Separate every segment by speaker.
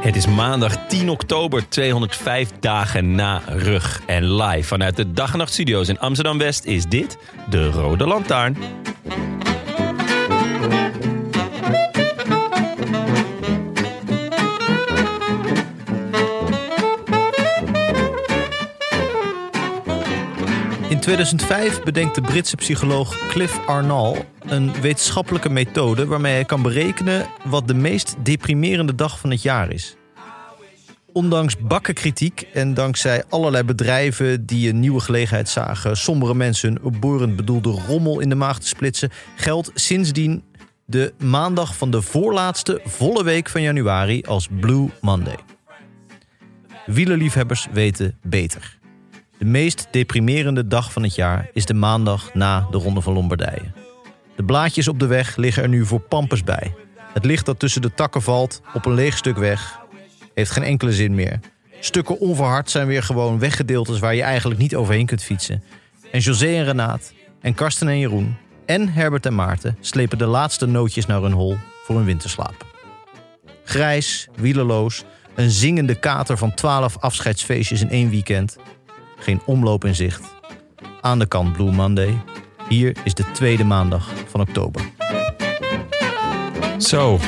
Speaker 1: Het is maandag 10 oktober, 205 dagen na rug. En live vanuit de Dag en Nacht Studio's in Amsterdam-West is dit de Rode Lantaarn.
Speaker 2: In 2005 bedenkt de Britse psycholoog Cliff Arnall een wetenschappelijke methode waarmee hij kan berekenen wat de meest deprimerende dag van het jaar is. Ondanks bakkenkritiek en dankzij allerlei bedrijven die een nieuwe gelegenheid zagen sombere mensen hun opborend bedoelde rommel in de maag te splitsen, geldt sindsdien de maandag van de voorlaatste volle week van januari als Blue Monday. Wielerliefhebbers weten beter. De meest deprimerende dag van het jaar is de maandag na de Ronde van Lombardije. De blaadjes op de weg liggen er nu voor pampers bij. Het licht dat tussen de takken valt op een leeg stuk weg heeft geen enkele zin meer. Stukken onverhard zijn weer gewoon weggedeeltes waar je eigenlijk niet overheen kunt fietsen. En José en Renaat, en Karsten en Jeroen, en Herbert en Maarten slepen de laatste nootjes naar hun hol voor hun winterslaap. Grijs, wielerloos, een zingende kater van 12 afscheidsfeestjes in één weekend. Geen omloop in zicht. Aan de kant Blue Monday. Hier is de tweede maandag van oktober.
Speaker 1: Zo,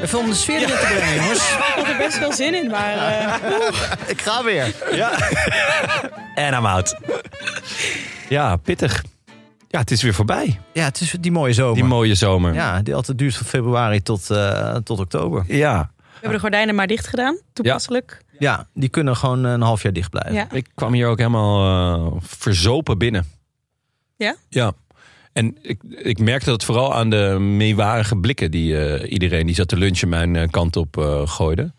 Speaker 2: Even om de sfeer in te brengen, jongens.
Speaker 3: Ik heb er best veel zin in, maar eh,
Speaker 2: Ik ga weer.
Speaker 1: en I'm out. Ja, pittig. Ja, het is weer voorbij,
Speaker 2: Ja, het is die mooie zomer.
Speaker 1: die mooie zomer.
Speaker 2: ja, die altijd duurt van februari tot, eh, tot oktober.
Speaker 1: Ja,
Speaker 3: we hebben de gordijnen maar dicht gedaan. Toepasselijk.
Speaker 2: Ja, die kunnen gewoon eh, een half jaar dicht blijven.
Speaker 3: Ja.
Speaker 1: ik kwam hier ook helemaal eh, verzopen binnen.
Speaker 3: Ja?
Speaker 1: Ja. En ik, ik merkte dat vooral aan de meewarige blikken die eh, iedereen die zat te lunchen mijn eh, kant op eh, gooide.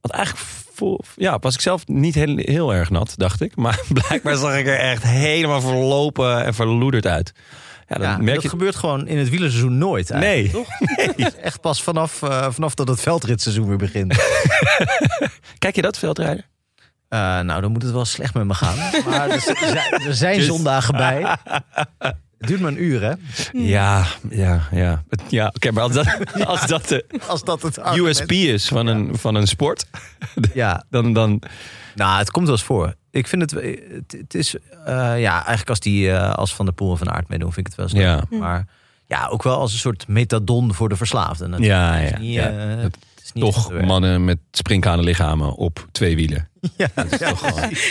Speaker 1: Want eigenlijk vo- ja, was ik zelf niet heel, heel erg nat, dacht ik. Maar blijkbaar zag ik er echt helemaal verlopen en verloederd uit. Ja, dan
Speaker 2: Ja,
Speaker 1: merk
Speaker 2: dat
Speaker 1: je...
Speaker 2: gebeurt gewoon in het wielerseizoen nooit. eigenlijk,
Speaker 1: Nee.
Speaker 2: Toch? Het is Echt pas vanaf, eh, vanaf dat het veldritseizoen weer begint.
Speaker 1: Kijk je dat, veldrijden?
Speaker 2: Eh, nou, dan moet het wel slecht met me gaan. Maar er, zijn- er zijn
Speaker 1: Dus-
Speaker 2: zondagen bij. Het duurt maar een uur, hè?
Speaker 1: Ja, ja, ja. ja Oké, maar als dat, als dat de
Speaker 2: Als dat het argument-
Speaker 1: USP is van een, van een sport,
Speaker 2: Ja,
Speaker 1: dan... dan
Speaker 2: nou, het komt wel eens voor. Ik vind het, het, het is, eh, ja, eigenlijk als, die, eh, als Van der Poel en Van Aert meedoen, vind ik het wel eens
Speaker 1: Ja.
Speaker 2: leuk. Maar ja, ook wel als een soort metadon voor de verslaafden. natuurlijk.
Speaker 1: ja,
Speaker 2: Het
Speaker 1: ja,
Speaker 2: is niet,
Speaker 1: ja.
Speaker 2: eh,
Speaker 1: Dat-
Speaker 2: het is niet echt
Speaker 1: toch
Speaker 2: werk.
Speaker 1: mannen met springkane lichamen op twee wielen.
Speaker 2: Ja,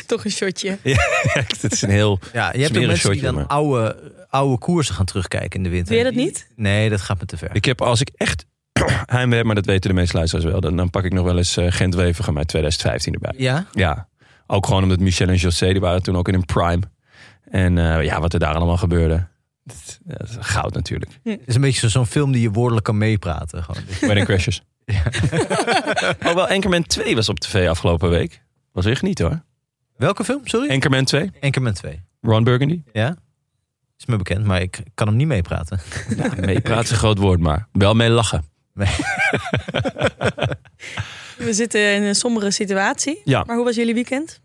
Speaker 3: Toch een shotje.
Speaker 1: Het is een heel...
Speaker 2: Ja, je hebt ook
Speaker 1: Smerig
Speaker 2: mensen die
Speaker 1: shotje,
Speaker 2: dan
Speaker 1: maar.
Speaker 2: oude, oude koersen gaan terugkijken in de winter.
Speaker 3: Wil je dat niet?
Speaker 2: Nee, dat gaat me te ver.
Speaker 1: Ik heb als ik echt heimwee heb, maar dat weten de meeste luisteraars wel, dan, dan pak ik nog wel eens eh, Gent Wevergem uit 2015 erbij.
Speaker 2: Ja?
Speaker 1: Ja, ook gewoon omdat Michel en José, die waren toen ook in hun prime. En eh, ja, wat er daar allemaal gebeurde. Dat is- dat is goud natuurlijk.
Speaker 2: Het is een beetje zo- zo'n film die je woordelijk kan meepraten. Gewoon.
Speaker 1: Wedding Crashers. oh, wel, Anchorman 2 was op tv afgelopen week. Was echt niet hoor.
Speaker 2: Welke film? Sorry?
Speaker 1: Anchorman 2,
Speaker 2: Anchorman 2.
Speaker 1: Ron Burgundy.
Speaker 2: Ja? Is me bekend, maar ik kan hem niet meepraten.
Speaker 1: Ja, meepraat is een groot woord, maar wel mee lachen.
Speaker 2: Nee.
Speaker 3: We zitten in een eh, sombere situatie.
Speaker 1: Ja.
Speaker 3: Maar hoe was jullie weekend?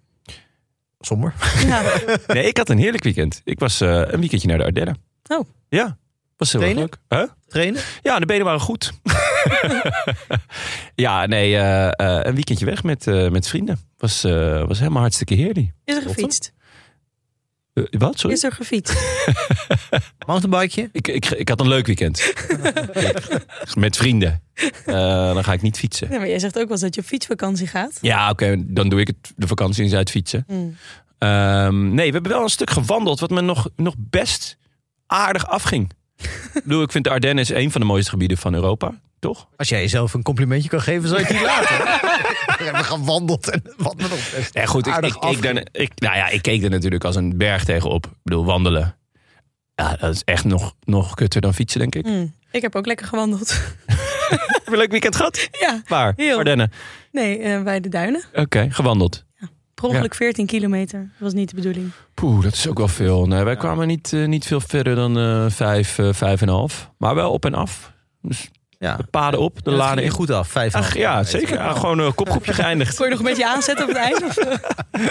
Speaker 2: Somber.
Speaker 3: Ja.
Speaker 1: Nee, ik had een heerlijk weekend. Ik was eh, een weekendje naar de Ardennen.
Speaker 3: Oh.
Speaker 1: Ja, was heel erg
Speaker 2: Trainen?
Speaker 1: leuk. Huh?
Speaker 2: Trainen?
Speaker 1: Ja, de benen waren goed. ja, nee, eh, eh, een weekendje weg met, eh, met vrienden. Was, eh, was helemaal hartstikke heerlijk.
Speaker 3: Is er gefietst?
Speaker 1: Eh, wat, sorry?
Speaker 3: Is er gefietst?
Speaker 2: Mountainbikeje?
Speaker 1: Ik, ik, ik had een leuk weekend. met vrienden. Eh, dan ga ik niet fietsen.
Speaker 3: Ja, maar jij zegt ook wel eens dat je op fietsvakantie gaat.
Speaker 1: Ja, oké, dan doe ik het de vakantie in Zuid fietsen.
Speaker 2: Mm.
Speaker 3: Hmm.
Speaker 1: Ehm, nee, we hebben wel een stuk gewandeld wat me nog, nog best aardig afging. ik, bedoel, ik vind de Ardennen is een van de mooiste gebieden van Europa, toch?
Speaker 2: Als jij jezelf een complimentje kan geven, zou je het niet laten. We hebben gewandeld en wat me nog best.
Speaker 1: Ja, goed, ik,
Speaker 2: aardig
Speaker 1: ik, keek
Speaker 2: afging.
Speaker 1: daar, ik, nou ja, ik keek er natuurlijk als een berg tegenop. Ik bedoel, wandelen. Ja, dat is echt nog, nog kutter dan fietsen, denk ik.
Speaker 3: Hmm. Ik heb ook lekker gewandeld.
Speaker 1: Heb je een leuk weekend gehad?
Speaker 3: ja,
Speaker 1: Waar?
Speaker 3: Heel.
Speaker 1: Ardennen.
Speaker 3: nee, eh, bij de duinen.
Speaker 1: Oké, gewandeld.
Speaker 3: Per ongeluk 14 kilometer. Dat was niet de bedoeling.
Speaker 1: Poeh, dat is ook wel veel. Nee, wij kwamen niet, eh, niet veel verder dan eh, vijf, eh, vijf en een half. Maar wel op en af. Dus
Speaker 2: Ja.
Speaker 1: de paden op, de
Speaker 2: Dat
Speaker 1: laden
Speaker 2: ging
Speaker 1: in.
Speaker 2: je goed af. Vijf en
Speaker 1: Ach,
Speaker 2: een
Speaker 1: ja,
Speaker 2: half
Speaker 1: zeker.
Speaker 2: kilometer.
Speaker 1: Ja, gewoon een kopgroepje geëindigd.
Speaker 3: Kon je nog een beetje aanzetten op het eind? Of, eh?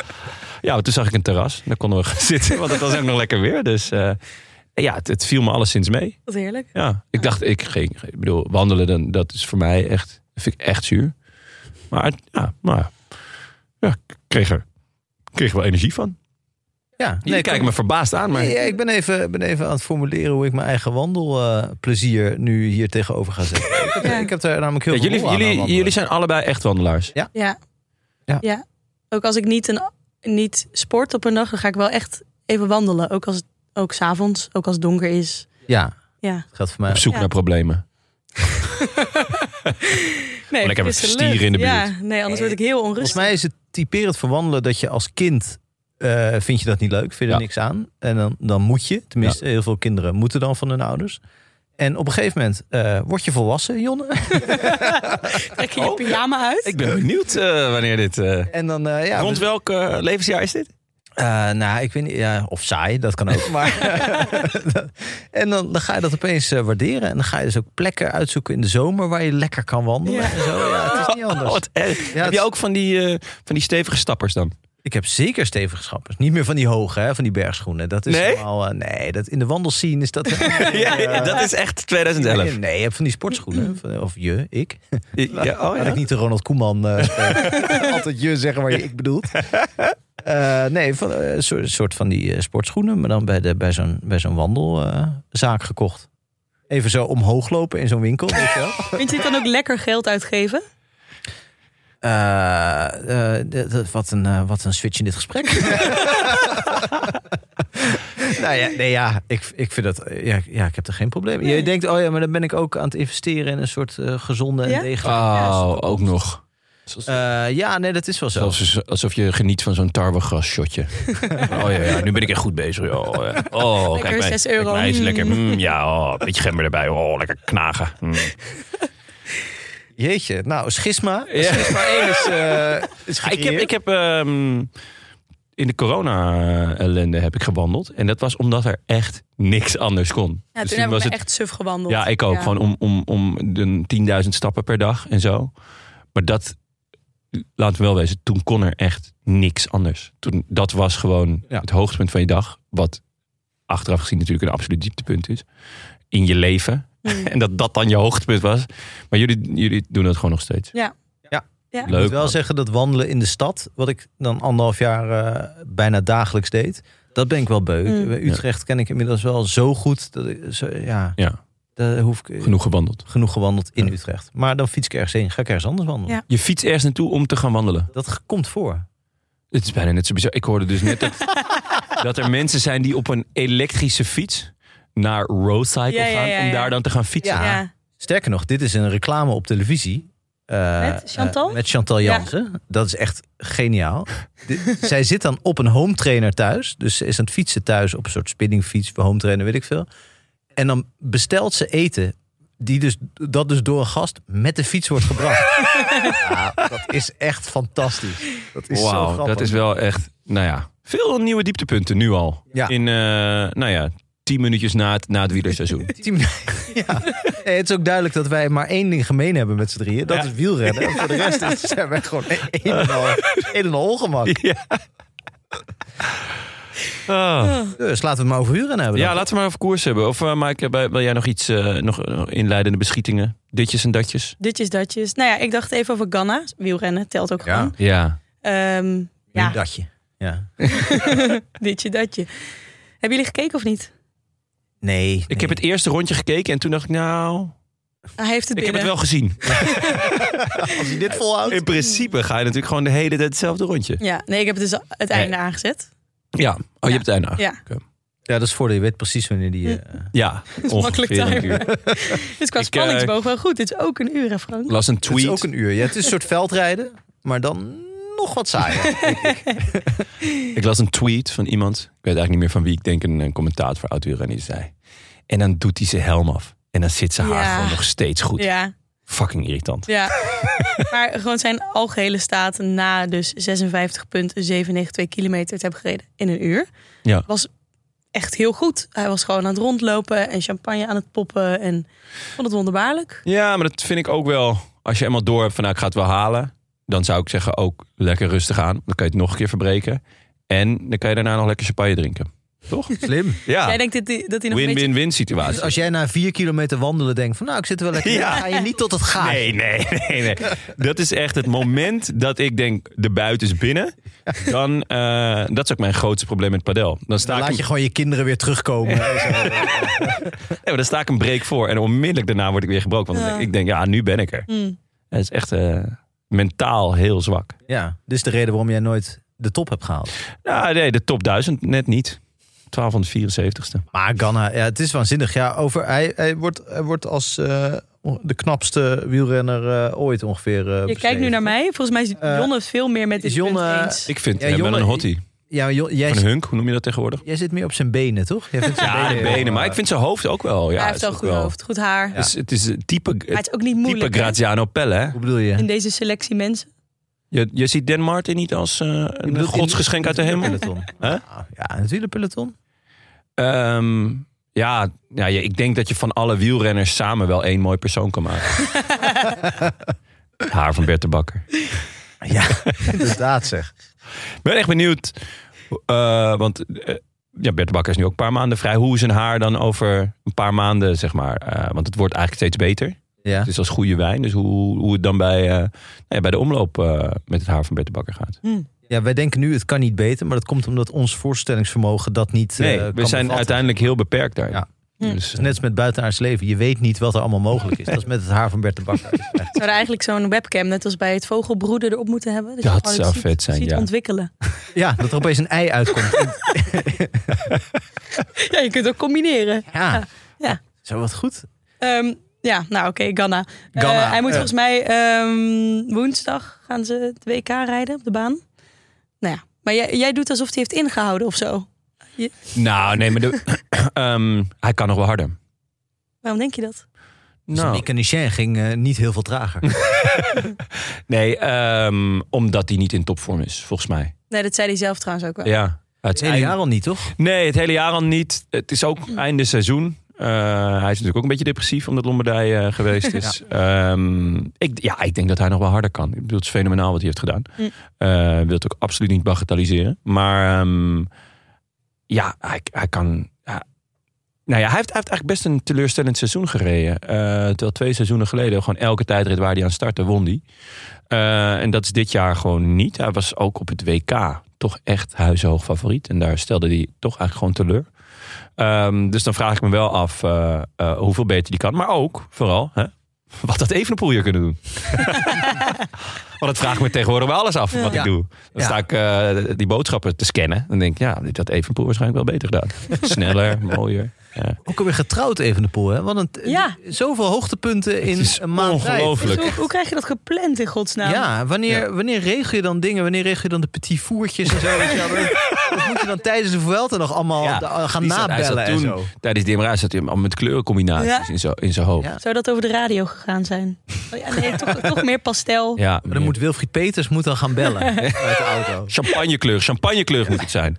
Speaker 1: Ja, want toen zag ik een terras. Daar konden we gaan zitten, want het was ook nog lekker weer. Dus eh, ja, het, het viel me alleszins mee.
Speaker 3: Wat heerlijk.
Speaker 1: Ja, ik dacht, ik ging, ik bedoel, wandelen, dan, dat is voor mij echt, vind ik echt zuur. Maar ja, maar ja, ik kreeg er, kreeg er wel energie van.
Speaker 2: Ja,
Speaker 1: Jullie
Speaker 2: nee,
Speaker 1: kijken me verbaasd aan, maar
Speaker 2: Nee, ja, ik ben even, ben even aan het formuleren hoe ik mijn eigen wandelplezier eh, nu hier tegenover ga zetten. ik, heb,
Speaker 3: Ja.
Speaker 2: ik heb daar namelijk heel
Speaker 1: Ja,
Speaker 2: veel
Speaker 1: jullie,
Speaker 2: lol aan, aan
Speaker 1: jullie,
Speaker 2: wandelen.
Speaker 1: jullie zijn allebei echt wandelaars.
Speaker 3: Ja.
Speaker 2: Ja.
Speaker 3: Ook als ik niet, een, niet sport op een dag, dan ga ik wel echt even wandelen. Ook als het ook s'avonds, ook als het donker is.
Speaker 2: Ja,
Speaker 3: Ja.
Speaker 2: dat geldt voor mij.
Speaker 1: Op zoek
Speaker 3: Ja.
Speaker 1: naar problemen.
Speaker 3: Nee,
Speaker 1: ik heb een
Speaker 3: is leuk.
Speaker 1: stier in de buurt.
Speaker 3: Ja, nee, anders word ik heel
Speaker 2: Volgens
Speaker 3: onrustig.
Speaker 2: mij is het typerend voor wandelen dat je als kind eh, vind je dat niet leuk, vind je er
Speaker 1: Ja.
Speaker 2: niks aan. En dan, dan moet je, tenminste heel veel kinderen moeten dan van hun ouders. En op een gegeven moment eh, word je volwassen, Jonne.
Speaker 3: Trek je je pyjama uit.
Speaker 1: Ik ben benieuwd eh, wanneer dit... eh,
Speaker 2: En dan, eh, ja,
Speaker 1: rond
Speaker 2: dus-
Speaker 1: welk eh, levensjaar is dit?
Speaker 2: Eh, nou, ik weet niet. Ja, of saai, dat kan ook. Maar, en dan, dan ga je dat opeens eh, waarderen. En dan ga je dus ook plekken uitzoeken in de zomer waar je lekker kan wandelen.
Speaker 3: Ja.
Speaker 2: En zo. Ja, het is niet anders.
Speaker 1: Oh, wat erg.
Speaker 2: Ja,
Speaker 1: Heb
Speaker 2: het-
Speaker 1: je ook van die, eh, van die stevige stappers dan?
Speaker 2: Ik heb zeker stevige schappers. Niet meer van die hoge, hè, van die bergschoenen. Dat is
Speaker 1: Nee?
Speaker 2: allemaal, eh, nee, dat in de wandelscene is dat.
Speaker 1: Ja,
Speaker 3: Eh,
Speaker 1: ja, dat is echt 2011.
Speaker 2: Nee, je hebt van die sportschoenen. Van- Of je, ik.
Speaker 1: Ja, oh
Speaker 2: Laat ik niet de Ronald Koeman eh, spelen. altijd je zeggen waar je ik bedoelt. Eh, nee, van, eh, een soort, soort van die eh, sportschoenen, maar dan bij, de- bij zo'n bij zo'n wandelzaak gekocht. Even zo omhoog lopen in zo'n winkel. Weet je wel?
Speaker 3: Vind je het dan ook lekker geld uitgeven?
Speaker 2: Eh, eh, d- d- wat, een, eh, wat een switch in dit gesprek. nou ja, nee, ja ik, ik vind dat. eh, Ja, ja, ik heb er geen probleem mee. Je
Speaker 3: Nee.
Speaker 2: denkt, oh ja, maar dan ben ik ook aan het investeren in een soort eh, gezonde en
Speaker 3: Ja?
Speaker 2: degelijke.
Speaker 1: Oh, ook nog.
Speaker 2: Eh, ja, nee, dat is wel zo.
Speaker 1: Zelfs alsof je geniet van zo'n tarwegrasshotje. oh ja, ja, nu ben ik echt goed bezig. Oh, ja. oh
Speaker 3: Lekker
Speaker 1: kijk mij.
Speaker 3: zes
Speaker 1: kijk
Speaker 3: euro.
Speaker 1: mij, is lekker.
Speaker 3: Mm.
Speaker 1: Mm, ja, oh, een beetje gember erbij. Oh, lekker knagen. Mm.
Speaker 2: Jeetje, nou, schisma.
Speaker 1: Ja.
Speaker 2: Schisma 1 is, eh, is
Speaker 1: Ah, Ik heb,
Speaker 2: gecreëerd.
Speaker 1: ik heb ehm, in de corona-ellende heb ik gewandeld. En dat was omdat er echt niks anders kon.
Speaker 3: Ja,
Speaker 1: Dus
Speaker 3: toen heb ik
Speaker 1: was
Speaker 3: me
Speaker 1: het
Speaker 3: echt suf gewandeld.
Speaker 1: Ja, ik ook. Gewoon om, om, om de 10.000 stappen per dag en zo. Maar dat, laten we wel wezen, toen kon er echt niks anders. Toen, dat was gewoon
Speaker 2: Ja.
Speaker 1: het hoogtepunt van je dag. Wat achteraf gezien natuurlijk een absoluut dieptepunt is. In je leven.
Speaker 3: Mm.
Speaker 1: En dat dat dan je hoogtepunt was. Maar jullie, jullie doen dat gewoon nog steeds.
Speaker 3: Ja.
Speaker 2: Ja.
Speaker 3: Ja.
Speaker 2: Ik
Speaker 1: Leuk.
Speaker 2: moet wel
Speaker 1: man.
Speaker 2: zeggen dat wandelen in de stad, wat ik dan anderhalf jaar eh, bijna dagelijks deed, dat ben ik wel beu.
Speaker 3: Mm.
Speaker 2: Bij Utrecht ken ik inmiddels wel zo goed dat ik, zo, ja,
Speaker 1: Ja,
Speaker 2: daar hoef ik genoeg,
Speaker 1: genoeg gewandeld.
Speaker 2: genoeg gewandeld in
Speaker 1: Ja.
Speaker 2: Utrecht. Maar dan fiets ik ergens heen, ga ik ergens anders wandelen.
Speaker 3: Ja.
Speaker 1: Je fietst ergens naartoe om te gaan wandelen.
Speaker 2: Dat komt voor.
Speaker 1: Het is bijna net zo bizar. Ik hoorde dus net dat, dat er mensen zijn die op een elektrische fiets naar Roadcycle
Speaker 3: Ja, ja,
Speaker 1: gaan.
Speaker 3: ja,
Speaker 1: Om
Speaker 3: ja.
Speaker 1: daar dan te gaan fietsen.
Speaker 2: Ja.
Speaker 3: Ja.
Speaker 2: Sterker nog, dit is een reclame op televisie. eh,
Speaker 3: Met Chantal?
Speaker 2: eh, met Chantal
Speaker 3: Ja.
Speaker 2: Jansen. Dat is echt geniaal. Dit- zij zit dan op een home trainer thuis. Dus ze is aan het fietsen thuis op een soort spinningfiets, home trainer, weet ik veel. En dan bestelt ze eten, die dus, dat dus door een gast met de fiets wordt gebracht. ja, dat is echt fantastisch. Dat is zo
Speaker 1: Wauw,
Speaker 2: grappig.
Speaker 1: dat is wel echt, nou ja, veel nieuwe dieptepunten nu al.
Speaker 2: Ja.
Speaker 1: In, eh, nou ja, tien minuutjes na het, na het wielerseizoen.
Speaker 2: Ja. Eh, Het is ook duidelijk dat wij maar één ding gemeen hebben met z'n drieën. Dat
Speaker 1: Ja.
Speaker 2: is wielrennen. En voor de rest is, zijn wij gewoon e- een en al, een en al ongemak.
Speaker 1: ja. Ah.
Speaker 2: Dus laten we het maar over wielrennen hebben.
Speaker 1: Ja,
Speaker 2: dan.
Speaker 1: laten we maar over koers hebben. Of eh, Maaike, bij- wil jij nog iets eh, nog eh, inleidende beschietingen? Ditjes en datjes?
Speaker 3: Ditjes, datjes. Nou ja, ik dacht even over Ghana. Wielrennen telt ook
Speaker 2: Ja.
Speaker 3: gewoon.
Speaker 1: Ja.
Speaker 3: Ehm, ja,
Speaker 2: Een datje. Ja.
Speaker 3: ditje, datje. Hebben jullie gekeken of niet?
Speaker 2: Nee, nee.
Speaker 1: Ik heb het eerste rondje gekeken en toen dacht ik, nou,
Speaker 3: Hij heeft het
Speaker 1: ik heb het
Speaker 3: binnen.
Speaker 1: wel gezien.
Speaker 2: Als hij dit volhoudt.
Speaker 1: In principe ga je natuurlijk gewoon de hele tijd hetzelfde rondje.
Speaker 3: Ja, nee, ik heb dus het einde aangezet.
Speaker 1: Ja. Oh, je hebt het einde achter.
Speaker 3: Ja.
Speaker 1: Oké.
Speaker 2: Ja, dat is voordeel. Je weet precies wanneer die... eh,
Speaker 1: Ja,
Speaker 3: makkelijk
Speaker 1: ongeveer een
Speaker 3: timen.
Speaker 1: uur.
Speaker 3: Dus qua
Speaker 1: Ik, eh,
Speaker 3: spanningsboog wel goed. Dit is ook een uur, hè, Frank?
Speaker 1: Las een
Speaker 2: Het is
Speaker 1: tweet.
Speaker 2: ook een uur. Ja, het is een soort veldrijden, maar dan nog wat saaier.
Speaker 1: Ik las een tweet van iemand. Ik weet eigenlijk niet meer van wie. Ik denk een, een commentator voor Autour. En die zei. En dan doet hij zijn helm af. En dan zit zijn haar
Speaker 3: Ja.
Speaker 1: gewoon nog steeds goed.
Speaker 3: Ja,
Speaker 1: Fucking irritant.
Speaker 3: ja. maar gewoon zijn algehele staat na dus 56,792 kilometer te hebben gereden in een uur.
Speaker 1: Ja.
Speaker 3: Was echt heel goed. Hij was gewoon aan het rondlopen en champagne aan het poppen. En ik vond het wonderbaarlijk.
Speaker 1: Ja, maar dat vind ik ook wel. Als je eenmaal door hebt van nou, ik ga het wel halen. Dan zou ik zeggen ook lekker rustig aan. Dan kan je het nog een keer verbreken. En dan kan je daarna nog lekker champagne drinken. Toch?
Speaker 2: Slim.
Speaker 3: Jij
Speaker 1: Ja.
Speaker 3: denkt dat hij, dat hij nog een beetje...
Speaker 1: Win-win-win
Speaker 2: Dus
Speaker 1: situatie.
Speaker 2: als jij na vier kilometer wandelen denkt van nou, ik zit er wel lekker. in,
Speaker 1: Ja.
Speaker 2: dan ga je niet tot het gaatje.
Speaker 1: Nee, nee, nee, nee. Dat is echt het moment dat ik denk, de buiten is binnen. Dan, eh, dat is ook mijn grootste probleem met padel. Dan sta
Speaker 2: Dan
Speaker 1: ik
Speaker 2: laat
Speaker 1: hem-
Speaker 2: je gewoon je kinderen weer terugkomen.
Speaker 1: Nee, maar dan sta ik een break voor. En onmiddellijk daarna word ik weer gebroken. Want dan
Speaker 3: Ja.
Speaker 1: denk ik denk, ja, nu ben ik er.
Speaker 3: Mm.
Speaker 1: Het is echt eh, mentaal heel zwak.
Speaker 2: Ja, dit is de reden waarom jij nooit de top hebt gehaald.
Speaker 1: Nou, nee, de top 1000 net niet. 1274ste.
Speaker 2: Maar Ganna, ja, het is waanzinnig. Ja, over, hij, hij, wordt, hij wordt als eh, de knapste wielrenner eh, ooit ongeveer. eh,
Speaker 3: Je kijkt
Speaker 2: beschreven.
Speaker 3: nu naar mij. Volgens mij is
Speaker 2: Eh,
Speaker 3: Jonne het veel meer met
Speaker 2: is
Speaker 3: dit punt
Speaker 2: Jonne-
Speaker 3: eens.
Speaker 1: Ik vind
Speaker 2: Ja,
Speaker 1: hem wel
Speaker 2: jongen,
Speaker 1: een hottie.
Speaker 2: Ja, joh, jij,
Speaker 1: Van een hunk, hoe noem je dat tegenwoordig?
Speaker 2: jij zit meer op zijn benen, toch? Jij vindt zijn
Speaker 1: Ja, de
Speaker 2: heel,
Speaker 1: benen. Maar
Speaker 2: eh,
Speaker 1: ik vind zijn hoofd ook wel. Ja,
Speaker 3: hij
Speaker 1: is
Speaker 3: heeft wel
Speaker 1: ook
Speaker 3: goed hoofd, goed haar.
Speaker 1: Het is- het is een type,
Speaker 3: Maar het is ook niet
Speaker 1: type
Speaker 3: moeilijk hè,
Speaker 1: Graziano Pelle, hè?
Speaker 2: Hoe bedoel je?
Speaker 3: in deze selectie mensen.
Speaker 1: Je, je ziet Den Martin niet als eh, een
Speaker 2: bedoelt in-
Speaker 1: godsgeschenk uit de hemel?
Speaker 2: Peloton.
Speaker 1: Huh?
Speaker 2: Ja, een wielerpeloton.
Speaker 1: Ehm, ja, ja, je- ik denk dat je van alle wielrenners samen wel één mooi persoon kan maken. Het Haar van Bert de Bakker.
Speaker 2: Ja, inderdaad zeg.
Speaker 1: Ik ben echt benieuwd, eh, want eh, ja, Bert de Bakker is nu ook een paar maanden vrij. Hoe is zijn haar dan over een paar maanden, zeg maar? eh, want het wordt eigenlijk steeds beter.
Speaker 2: Ja.
Speaker 1: Het is als goede wijn. Dus hoe, hoe het dan bij, eh, nou ja, bij de omloop eh, met het haar van Bert de Bakker gaat.
Speaker 2: ja, wij denken nu het kan niet beter, maar dat komt omdat ons voorstellingsvermogen dat niet. eh,
Speaker 1: Nee,
Speaker 2: kan
Speaker 1: we zijn
Speaker 2: bevatten.
Speaker 1: uiteindelijk heel beperkt daar.
Speaker 2: Ja.
Speaker 3: Hm.
Speaker 1: Dus, eh,
Speaker 2: Net als met buitenaards leven. Je weet niet wat er allemaal mogelijk is. Dat is met het haar van Bert de Bakker. Echt.
Speaker 3: Zou er eigenlijk zo'n webcam, net als bij het vogelbroeden, erop moeten hebben? Dus je
Speaker 1: Dat
Speaker 3: gewoon het
Speaker 1: zou
Speaker 3: ziet-
Speaker 1: vet zijn,
Speaker 3: ziet
Speaker 1: ja.
Speaker 3: ontwikkelen.
Speaker 2: Ja, dat er opeens een ei uitkomt.
Speaker 3: Ja, je kunt het ook combineren.
Speaker 2: Ja.
Speaker 3: Ja.
Speaker 2: Zo wat goed.
Speaker 3: Ehm, ja, nou oké, Ganna. Eh,
Speaker 2: Ganna,
Speaker 3: hij moet
Speaker 2: ja.
Speaker 3: volgens mij ehm, woensdag gaan ze het WK rijden op de baan. Nou ja, maar jij, jij doet alsof hij heeft ingehouden of zo.
Speaker 1: Nou, nee, maar de, Ehm, hij kan nog wel harder.
Speaker 3: Waarom denk je dat?
Speaker 2: Nou.
Speaker 1: Nou,
Speaker 2: Nick en Nichin ging eh, niet heel veel trager.
Speaker 1: nee, ehm, omdat hij niet in topvorm is, volgens mij.
Speaker 3: Nee, dat zei hij zelf trouwens ook wel.
Speaker 1: Ja.
Speaker 2: Het hele jaar al niet, toch?
Speaker 1: Nee, het hele jaar al niet. Het is ook einde seizoen. Eh, hij is natuurlijk ook een beetje depressief omdat Lombardij eh, geweest is. Ja. ik, ja, ik denk dat hij nog wel harder kan. Ik bedoel, het is fenomenaal wat hij heeft gedaan.
Speaker 3: Mm.
Speaker 1: Eh, wil het ook absoluut niet bagatelliseren. Maar ehm, ja, hij, hij kan. ja. nou ja, hij heeft, hij heeft eigenlijk best een teleurstellend seizoen gereden. Eh, terwijl twee seizoenen geleden gewoon elke tijdrit waar hij aan startte, won hij. Eh, en dat is dit jaar gewoon niet. Hij was ook op het WK toch echt huishoog favoriet. En daar stelde hij toch eigenlijk gewoon teleur. Ehm, dus dan vraag ik me wel af eh, eh, hoeveel beter die kan. Maar ook, vooral, hè, wat dat Evenepoel hier kunnen doen. Want dat vraag ik me tegenwoordig bij alles af wat
Speaker 2: Ja.
Speaker 1: ik doe. Dan
Speaker 2: Ja.
Speaker 1: sta ik eh, die boodschappen te scannen. Dan denk ik, ja, dit had Evenepoel waarschijnlijk wel beter gedaan. Sneller, mooier. Ja.
Speaker 2: Ook alweer getrouwd even de pool, hè? Want een,
Speaker 3: Ja.
Speaker 2: zoveel hoogtepunten in
Speaker 1: is
Speaker 2: een maand tijd.
Speaker 3: Dus
Speaker 1: ongelooflijk.
Speaker 3: hoe, hoe krijg je dat gepland in godsnaam?
Speaker 2: Ja, wanneer, wanneer regel je dan dingen? Wanneer regel je dan de petit voertjes en zo? weet je wel? Dat- Dat moet je dan tijdens de Vuelta nog allemaal
Speaker 1: Ja,
Speaker 2: da- Oh, gaan
Speaker 1: die zat- hij zat
Speaker 2: nabellen en
Speaker 1: toen-
Speaker 2: zo.
Speaker 1: Tijdens die MRI zat hij al met kleurencombinaties
Speaker 3: Ja.
Speaker 1: in zijn- in zijn hoofd.
Speaker 2: Ja.
Speaker 3: Zou dat over de radio gegaan zijn? Oh ja, nee, toch, toch meer pastel.
Speaker 1: Ja,
Speaker 2: Maar dan
Speaker 1: meer-
Speaker 2: moet Wilfried Peters moet dan gaan bellen uit de auto.
Speaker 1: Champagnekleur, champagnekleur moet het zijn.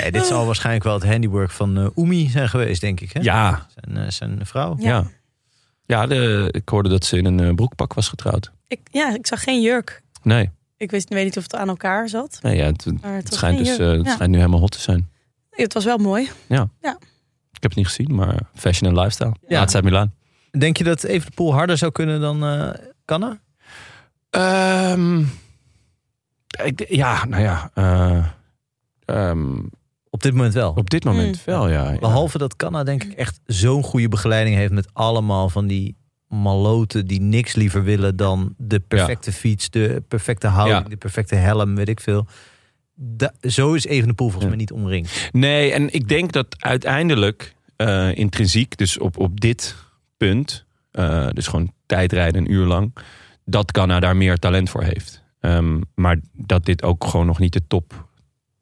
Speaker 2: Nee, dit zal waarschijnlijk wel het handiwork van eh Umi zijn geweest, denk ik. Hè?
Speaker 1: Ja,
Speaker 2: Zijn, eh, zijn vrouw.
Speaker 3: Ja.
Speaker 1: ja. ja. de, ik hoorde dat ze in een eh, broekpak was getrouwd.
Speaker 3: Ik, ja, ik zag geen jurk.
Speaker 1: Nee,
Speaker 3: Ik wist, weet niet of het aan elkaar zat.
Speaker 1: nee ja, het, het
Speaker 3: Maar het, was
Speaker 1: schijnt,
Speaker 3: geen
Speaker 1: dus,
Speaker 3: jurk.
Speaker 1: eh, het
Speaker 3: Ja.
Speaker 1: schijnt nu helemaal hot te zijn.
Speaker 3: Het was wel mooi.
Speaker 1: Ik heb het niet gezien, maar fashion en lifestyle. Ja, het zijn Milaan.
Speaker 2: Denk je dat Evenepoel harder zou kunnen dan eh Canna?
Speaker 1: Ehm, ik d- ja, nou ja. eh, ehm,
Speaker 2: Op dit moment wel.
Speaker 1: op dit moment
Speaker 3: Mm.
Speaker 1: wel, ja. ja.
Speaker 2: Behalve dat Canna denk ik echt zo'n goede begeleiding heeft met allemaal van die maloten die niks liever willen dan de perfecte fiets, de perfecte houding,
Speaker 1: Ja.
Speaker 2: de perfecte helm, weet ik veel. Da- zo is Evenepoel volgens
Speaker 1: Ja.
Speaker 2: mij niet omringd.
Speaker 1: Nee, en ik denk dat uiteindelijk eh, intrinsiek, dus op, op dit punt, eh, dus gewoon tijdrijden een uur lang, dat Ghana daar meer talent voor heeft. Ehm, maar dat dit ook gewoon nog niet de top,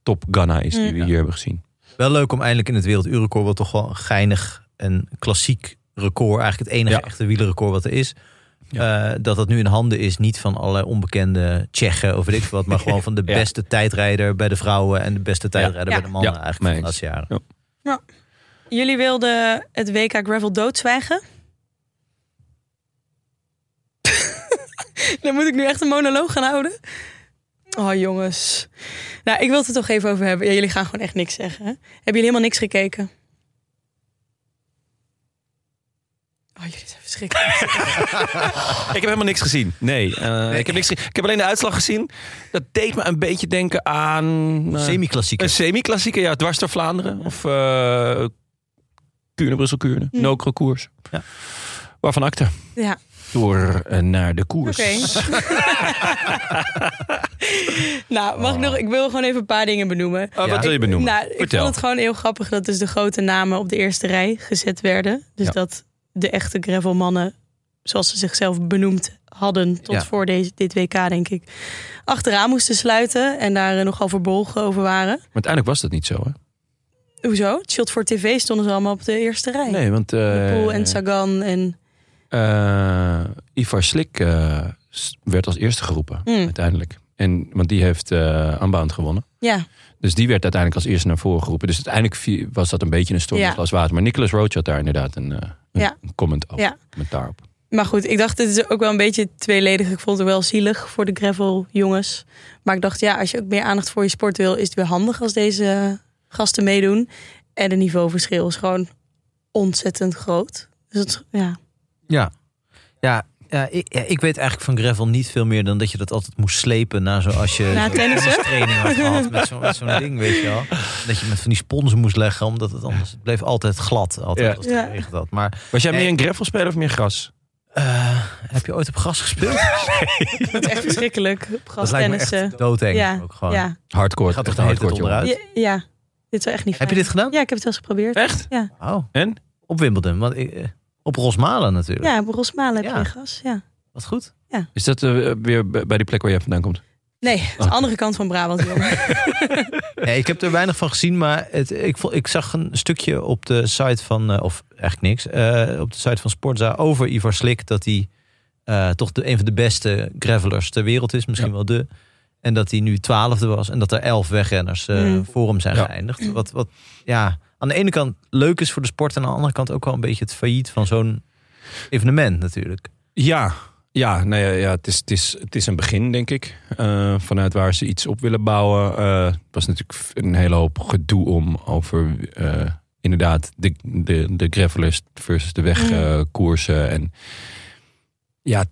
Speaker 1: top Ghana is die
Speaker 3: Mm.
Speaker 1: we hier hebben gezien.
Speaker 2: Wel leuk om eindelijk in het werelduurrecord, wat toch wel een geinig en klassiek record, eigenlijk het enige
Speaker 1: Ja.
Speaker 2: echte wielerrecord wat er is, eh, dat dat nu in handen is, niet van allerlei onbekende Tsjechen of weet ik veel wat, maar gewoon van de
Speaker 1: Ja.
Speaker 2: beste tijdrijder bij de vrouwen en de beste tijdrijder
Speaker 3: Ja.
Speaker 2: bij de mannen
Speaker 1: Ja.
Speaker 2: eigenlijk
Speaker 1: Mee
Speaker 2: van de
Speaker 1: eens.
Speaker 2: laatste jaren.
Speaker 3: Jullie wilden het WK Gravel doodzwijgen. Dan moet ik nu echt een monoloog gaan houden. Oh jongens. Nou, ik wil het er toch even over hebben. Ja, jullie gaan gewoon echt niks zeggen. Hè? Hebben jullie helemaal niks gekeken? Oh, jullie zijn verschrikkelijk.
Speaker 1: Ik heb helemaal niks gezien. Nee, eh, Ik, heb niks gezien. ik heb alleen de uitslag gezien. Dat deed me een beetje denken aan... eh,
Speaker 2: Semi-klassieker.
Speaker 1: een semi-klassieker, ja. Dwars door Vlaanderen. Of eh Kuurne, Brussel-Kuurne.
Speaker 3: Hm.
Speaker 1: Nokere koers.
Speaker 2: Ja.
Speaker 1: Waarvan acte.
Speaker 3: Ja,
Speaker 1: Door eh, naar de koers.
Speaker 3: oké. nou, mag ik nog? Ik wil gewoon even een paar dingen benoemen.
Speaker 1: Oh,
Speaker 2: Ja.
Speaker 1: Wat wil je benoemen?
Speaker 3: Nou, ik
Speaker 1: Vertel.
Speaker 3: vond het gewoon heel grappig dat dus de grote namen op de eerste rij gezet werden. Dus
Speaker 1: Ja.
Speaker 3: dat de echte gravelmannen, zoals ze zichzelf benoemd hadden tot
Speaker 2: Ja.
Speaker 3: voor deze, dit WK, denk ik, achteraan moesten sluiten en daar eh, nogal verbolgen over waren.
Speaker 1: Maar uiteindelijk was dat niet zo, hè?
Speaker 3: Hoezo? Het Shot voor TV stonden ze allemaal op de eerste rij.
Speaker 1: Nee, want... eh,
Speaker 3: Poel en Sagan en...
Speaker 1: eh, Ivar Slik eh, s- werd als eerste geroepen,
Speaker 3: Hm.
Speaker 1: uiteindelijk. En, want die heeft eh aanbaand gewonnen.
Speaker 3: Ja,
Speaker 1: Dus die werd uiteindelijk als eerste naar voren geroepen. Dus uiteindelijk vi- was dat een beetje een storm in
Speaker 3: Ja.
Speaker 1: een glas water. Maar Nicolas Roach had daar inderdaad een, eh, een,
Speaker 3: Ja.
Speaker 1: een comment op.
Speaker 3: Ja.
Speaker 1: Commentaar op.
Speaker 3: maar goed, ik dacht, dit is ook wel een beetje tweeledig. Ik vond het wel zielig voor de gravel jongens. Maar ik dacht, ja, als je ook meer aandacht voor je sport wil, is het weer handig als deze gasten meedoen. En het niveauverschil is gewoon ontzettend groot. Dus het, is- ja.
Speaker 2: Ja. Ja, ja, ik, ja, ik weet eigenlijk van gravel niet veel meer dan dat je dat altijd moest slepen na zo als je
Speaker 3: Na
Speaker 2: zo'n
Speaker 3: tennissen?
Speaker 2: tennistraining had gehad met zo- met zo'n ding, weet je wel. Dat je met van die sponsen moest leggen, omdat het anders het bleef altijd glad, altijd
Speaker 1: Ja.
Speaker 2: als het
Speaker 3: Ja.
Speaker 2: regent had. Maar
Speaker 1: Was jij
Speaker 2: Nee.
Speaker 1: meer een gravel speler of meer gras?
Speaker 2: eh, heb je ooit op gras gespeeld?
Speaker 3: Het is echt verschrikkelijk.
Speaker 2: dat
Speaker 3: Op
Speaker 2: lijkt me
Speaker 3: grastennissen.
Speaker 2: echt doodeng
Speaker 3: Ja,
Speaker 2: ook gewoon.
Speaker 3: Ja.
Speaker 1: Hardcore.
Speaker 2: Gaat
Speaker 1: echt
Speaker 2: toch de hele tijd
Speaker 1: hardcore,
Speaker 2: onderuit?
Speaker 3: Ja, ja, dit is wel echt niet
Speaker 2: Heb je
Speaker 3: fijn.
Speaker 2: dit gedaan?
Speaker 3: Ja, ik heb het wel eens geprobeerd.
Speaker 1: jongen. Echt?
Speaker 2: Oh,
Speaker 1: En?
Speaker 2: op Wimbledon, want ik, eh, op Rosmalen natuurlijk.
Speaker 3: Ja, op Rosmalen heb
Speaker 2: Ja.
Speaker 3: je een gas. Ja.
Speaker 2: Wat goed.
Speaker 1: Is dat eh, weer b- bij die plek waar jij vandaan komt?
Speaker 3: Nee, het is de andere kant van Brabant. jongen.
Speaker 2: Nee, ik heb er weinig van gezien, maar het, ik, vo- ik zag een stukje op de site van, eh, of eigenlijk niks, eh, op de site van Sportza over Ivar Slik. Dat hij eh, toch de, een van de beste gravelers ter wereld is, misschien
Speaker 1: Ja.
Speaker 2: wel de. En dat hij nu twaalfde was en dat er elf wegrenners eh,
Speaker 3: Mm.
Speaker 2: voor hem zijn
Speaker 1: Ja.
Speaker 2: geëindigd. Wat, wat ja, aan de ene kant leuk is voor de sport en aan de andere kant ook wel een beetje het failliet van zo'n evenement natuurlijk.
Speaker 1: Ja, ja, nou ja, ja het, is, het, is, het is een begin, denk ik. Eh, vanuit waar ze iets op willen bouwen. Eh, Het was natuurlijk f- een hele hoop gedoe om over eh, inderdaad de, de, de gravelers versus de wegkoersen.
Speaker 2: Mm.
Speaker 1: en ja,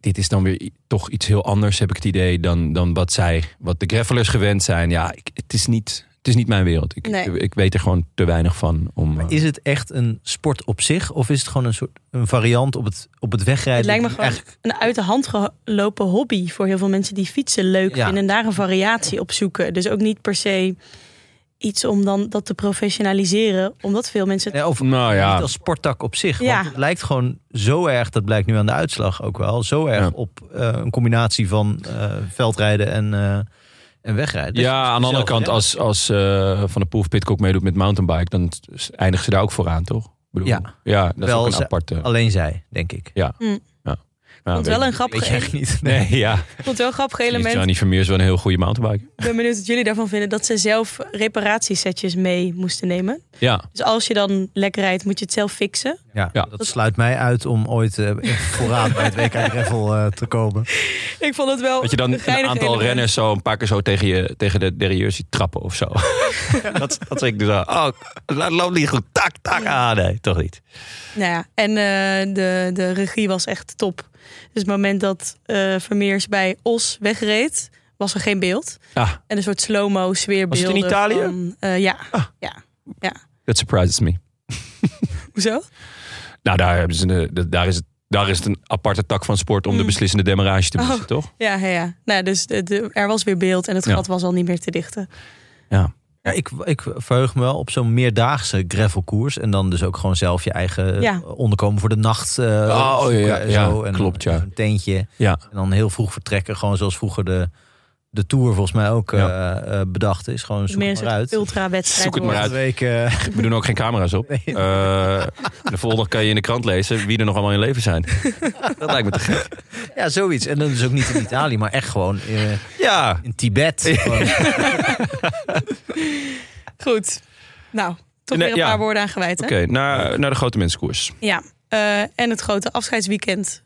Speaker 1: dit is dan weer i- toch iets heel anders, heb ik het idee, dan, dan wat zij, wat de gravelers gewend zijn. Ja, ik, het, is niet, het is niet mijn wereld. Ik,
Speaker 3: Nee.
Speaker 1: ik, ik weet er gewoon te weinig van om. eh,
Speaker 2: Is het echt een sport op zich of is het gewoon een soort een variant op het, op het wegrijden?
Speaker 3: Het lijkt me
Speaker 2: die
Speaker 3: gewoon
Speaker 2: eigenlijk-
Speaker 3: een uit de hand gelopen hobby voor heel veel mensen die fietsen leuk
Speaker 2: Ja.
Speaker 3: vinden en daar een variatie op zoeken. Dus ook niet per se iets om dan dat te professionaliseren, omdat veel mensen het
Speaker 2: Nee, of
Speaker 1: nou ja,
Speaker 2: Niet als sporttak op zich.
Speaker 3: Ja.
Speaker 2: Want het lijkt gewoon zo erg, dat blijkt nu aan de uitslag ook wel, zo erg
Speaker 1: Ja.
Speaker 2: op eh, een combinatie van eh, veldrijden en, eh, en wegrijden. Dus
Speaker 1: ja, aan de andere
Speaker 2: zelf,
Speaker 1: kant,
Speaker 2: ja.
Speaker 1: als, als eh, Van de Poel of Pitcock meedoet met mountainbike, dan s- eindigen ze daar ook vooraan, toch? Ik Bedoel,
Speaker 2: Ja.
Speaker 1: ja, dat
Speaker 2: Wel,
Speaker 1: is ook
Speaker 2: ze-
Speaker 1: een aparte.
Speaker 2: Alleen zij, denk ik.
Speaker 1: Ja.
Speaker 3: Mm.
Speaker 1: Ja. Ja,
Speaker 3: vond
Speaker 1: weet-
Speaker 3: het wel een grappig,
Speaker 2: Weet je echt niet.
Speaker 1: Nee, ja.
Speaker 3: ik vond het wel een grappig element.
Speaker 1: Johnny Vermeer is wel een heel goede mountainbiker.
Speaker 3: Ik ben benieuwd wat jullie daarvan vinden. Dat ze zelf reparatiesetjes mee moesten nemen.
Speaker 1: Ja,
Speaker 3: Dus als je dan lekker rijdt, moet je het zelf fixen.
Speaker 2: Ja,
Speaker 1: Ja.
Speaker 2: dat sluit mij uit om ooit eh, echt vooraan bij het WK Gravel eh, te komen.
Speaker 3: Ik vond het wel
Speaker 1: dat je dan een
Speaker 3: geinig
Speaker 1: aantal
Speaker 3: element.
Speaker 1: renners zo een paar keer zo tegen, je, tegen de derrière ziet trappen of zo. dat, dat zeg ik dus aan. Oh, la- loopt niet goed. Tak, tak. Ah, nee, toch niet.
Speaker 3: Nou ja, en eh, de, de regie was echt top. Dus het moment dat eh Vermeers bij Os wegreed, was er geen beeld.
Speaker 1: Ah,
Speaker 3: En een soort slow-mo sfeerbeelden.
Speaker 1: Was het in Italië?
Speaker 3: van, eh, ja. ja.
Speaker 1: that surprises me.
Speaker 3: Hoezo?
Speaker 1: Nou, daar, hebben ze een- de- daar, is het, daar is het een aparte tak van sport om de
Speaker 3: Mm.
Speaker 1: beslissende demarrage te missen,
Speaker 3: Oh.
Speaker 1: toch?
Speaker 3: Ja, ja, ja. Nou, dus de, de- er was weer beeld en het
Speaker 1: Ja.
Speaker 3: gat was al niet meer te dichten.
Speaker 2: Ja, ik, ik verheug me wel op zo'n meerdaagse gravelkoers. En dan dus ook gewoon zelf je eigen eh,
Speaker 3: Ja.
Speaker 2: onderkomen voor de nacht. eh,
Speaker 1: Oh,
Speaker 2: zoeken
Speaker 1: ja,
Speaker 2: en
Speaker 1: ja,
Speaker 2: zo. En
Speaker 1: klopt, ja.
Speaker 2: Een tentje.
Speaker 1: Ja.
Speaker 2: En dan heel vroeg vertrekken. Gewoon zoals vroeger de, de Tour volgens mij ook
Speaker 1: Ja.
Speaker 2: eh, eh, bedacht is. Gewoon zoek
Speaker 3: Meer
Speaker 2: het
Speaker 3: een
Speaker 2: maar
Speaker 3: soort
Speaker 2: uit.
Speaker 3: ultra-wedstrijd.
Speaker 1: Zoek het maar
Speaker 3: wordt.
Speaker 1: uit.
Speaker 2: Volgende week, eh,
Speaker 1: We doen ook geen camera's op.
Speaker 2: Nee.
Speaker 1: Eh, de volgende kan je in de krant lezen wie er nog allemaal in leven zijn. Dat lijkt me te gek.
Speaker 2: ja, zoiets. En dan dus ook niet in Italië, maar echt gewoon eh,
Speaker 1: Ja,
Speaker 2: in Tibet. Gewoon-
Speaker 3: Goed. Nou, toch
Speaker 1: Nee,
Speaker 3: weer een
Speaker 1: ja.
Speaker 3: paar woorden aan gewijd, hè?
Speaker 1: oké. naar, naar de grote mensenkoers.
Speaker 3: Ja, eh, en het grote afscheidsweekend.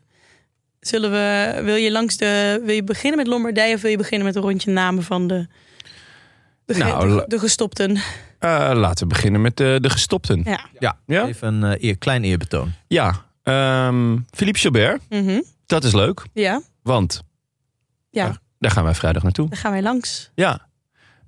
Speaker 3: Zullen we, wil je langs de, wil je beginnen met Lombardije of wil je beginnen met een rondje namen van de, de, ge-
Speaker 1: Nou,
Speaker 3: de-
Speaker 1: la-
Speaker 3: de gestopten?
Speaker 1: Eh, laten we beginnen met eh, de, de gestopten.
Speaker 3: Ja.
Speaker 1: Ja. Ja?
Speaker 2: Even een eh, eer, klein eerbetoon.
Speaker 1: ja. Ehm, Philippe Gilbert,
Speaker 3: Mhm.
Speaker 1: dat is leuk.
Speaker 3: ja,
Speaker 1: Want
Speaker 3: Ja.
Speaker 1: daar, daar gaan wij vrijdag naartoe.
Speaker 3: daar gaan wij langs.
Speaker 1: Ja.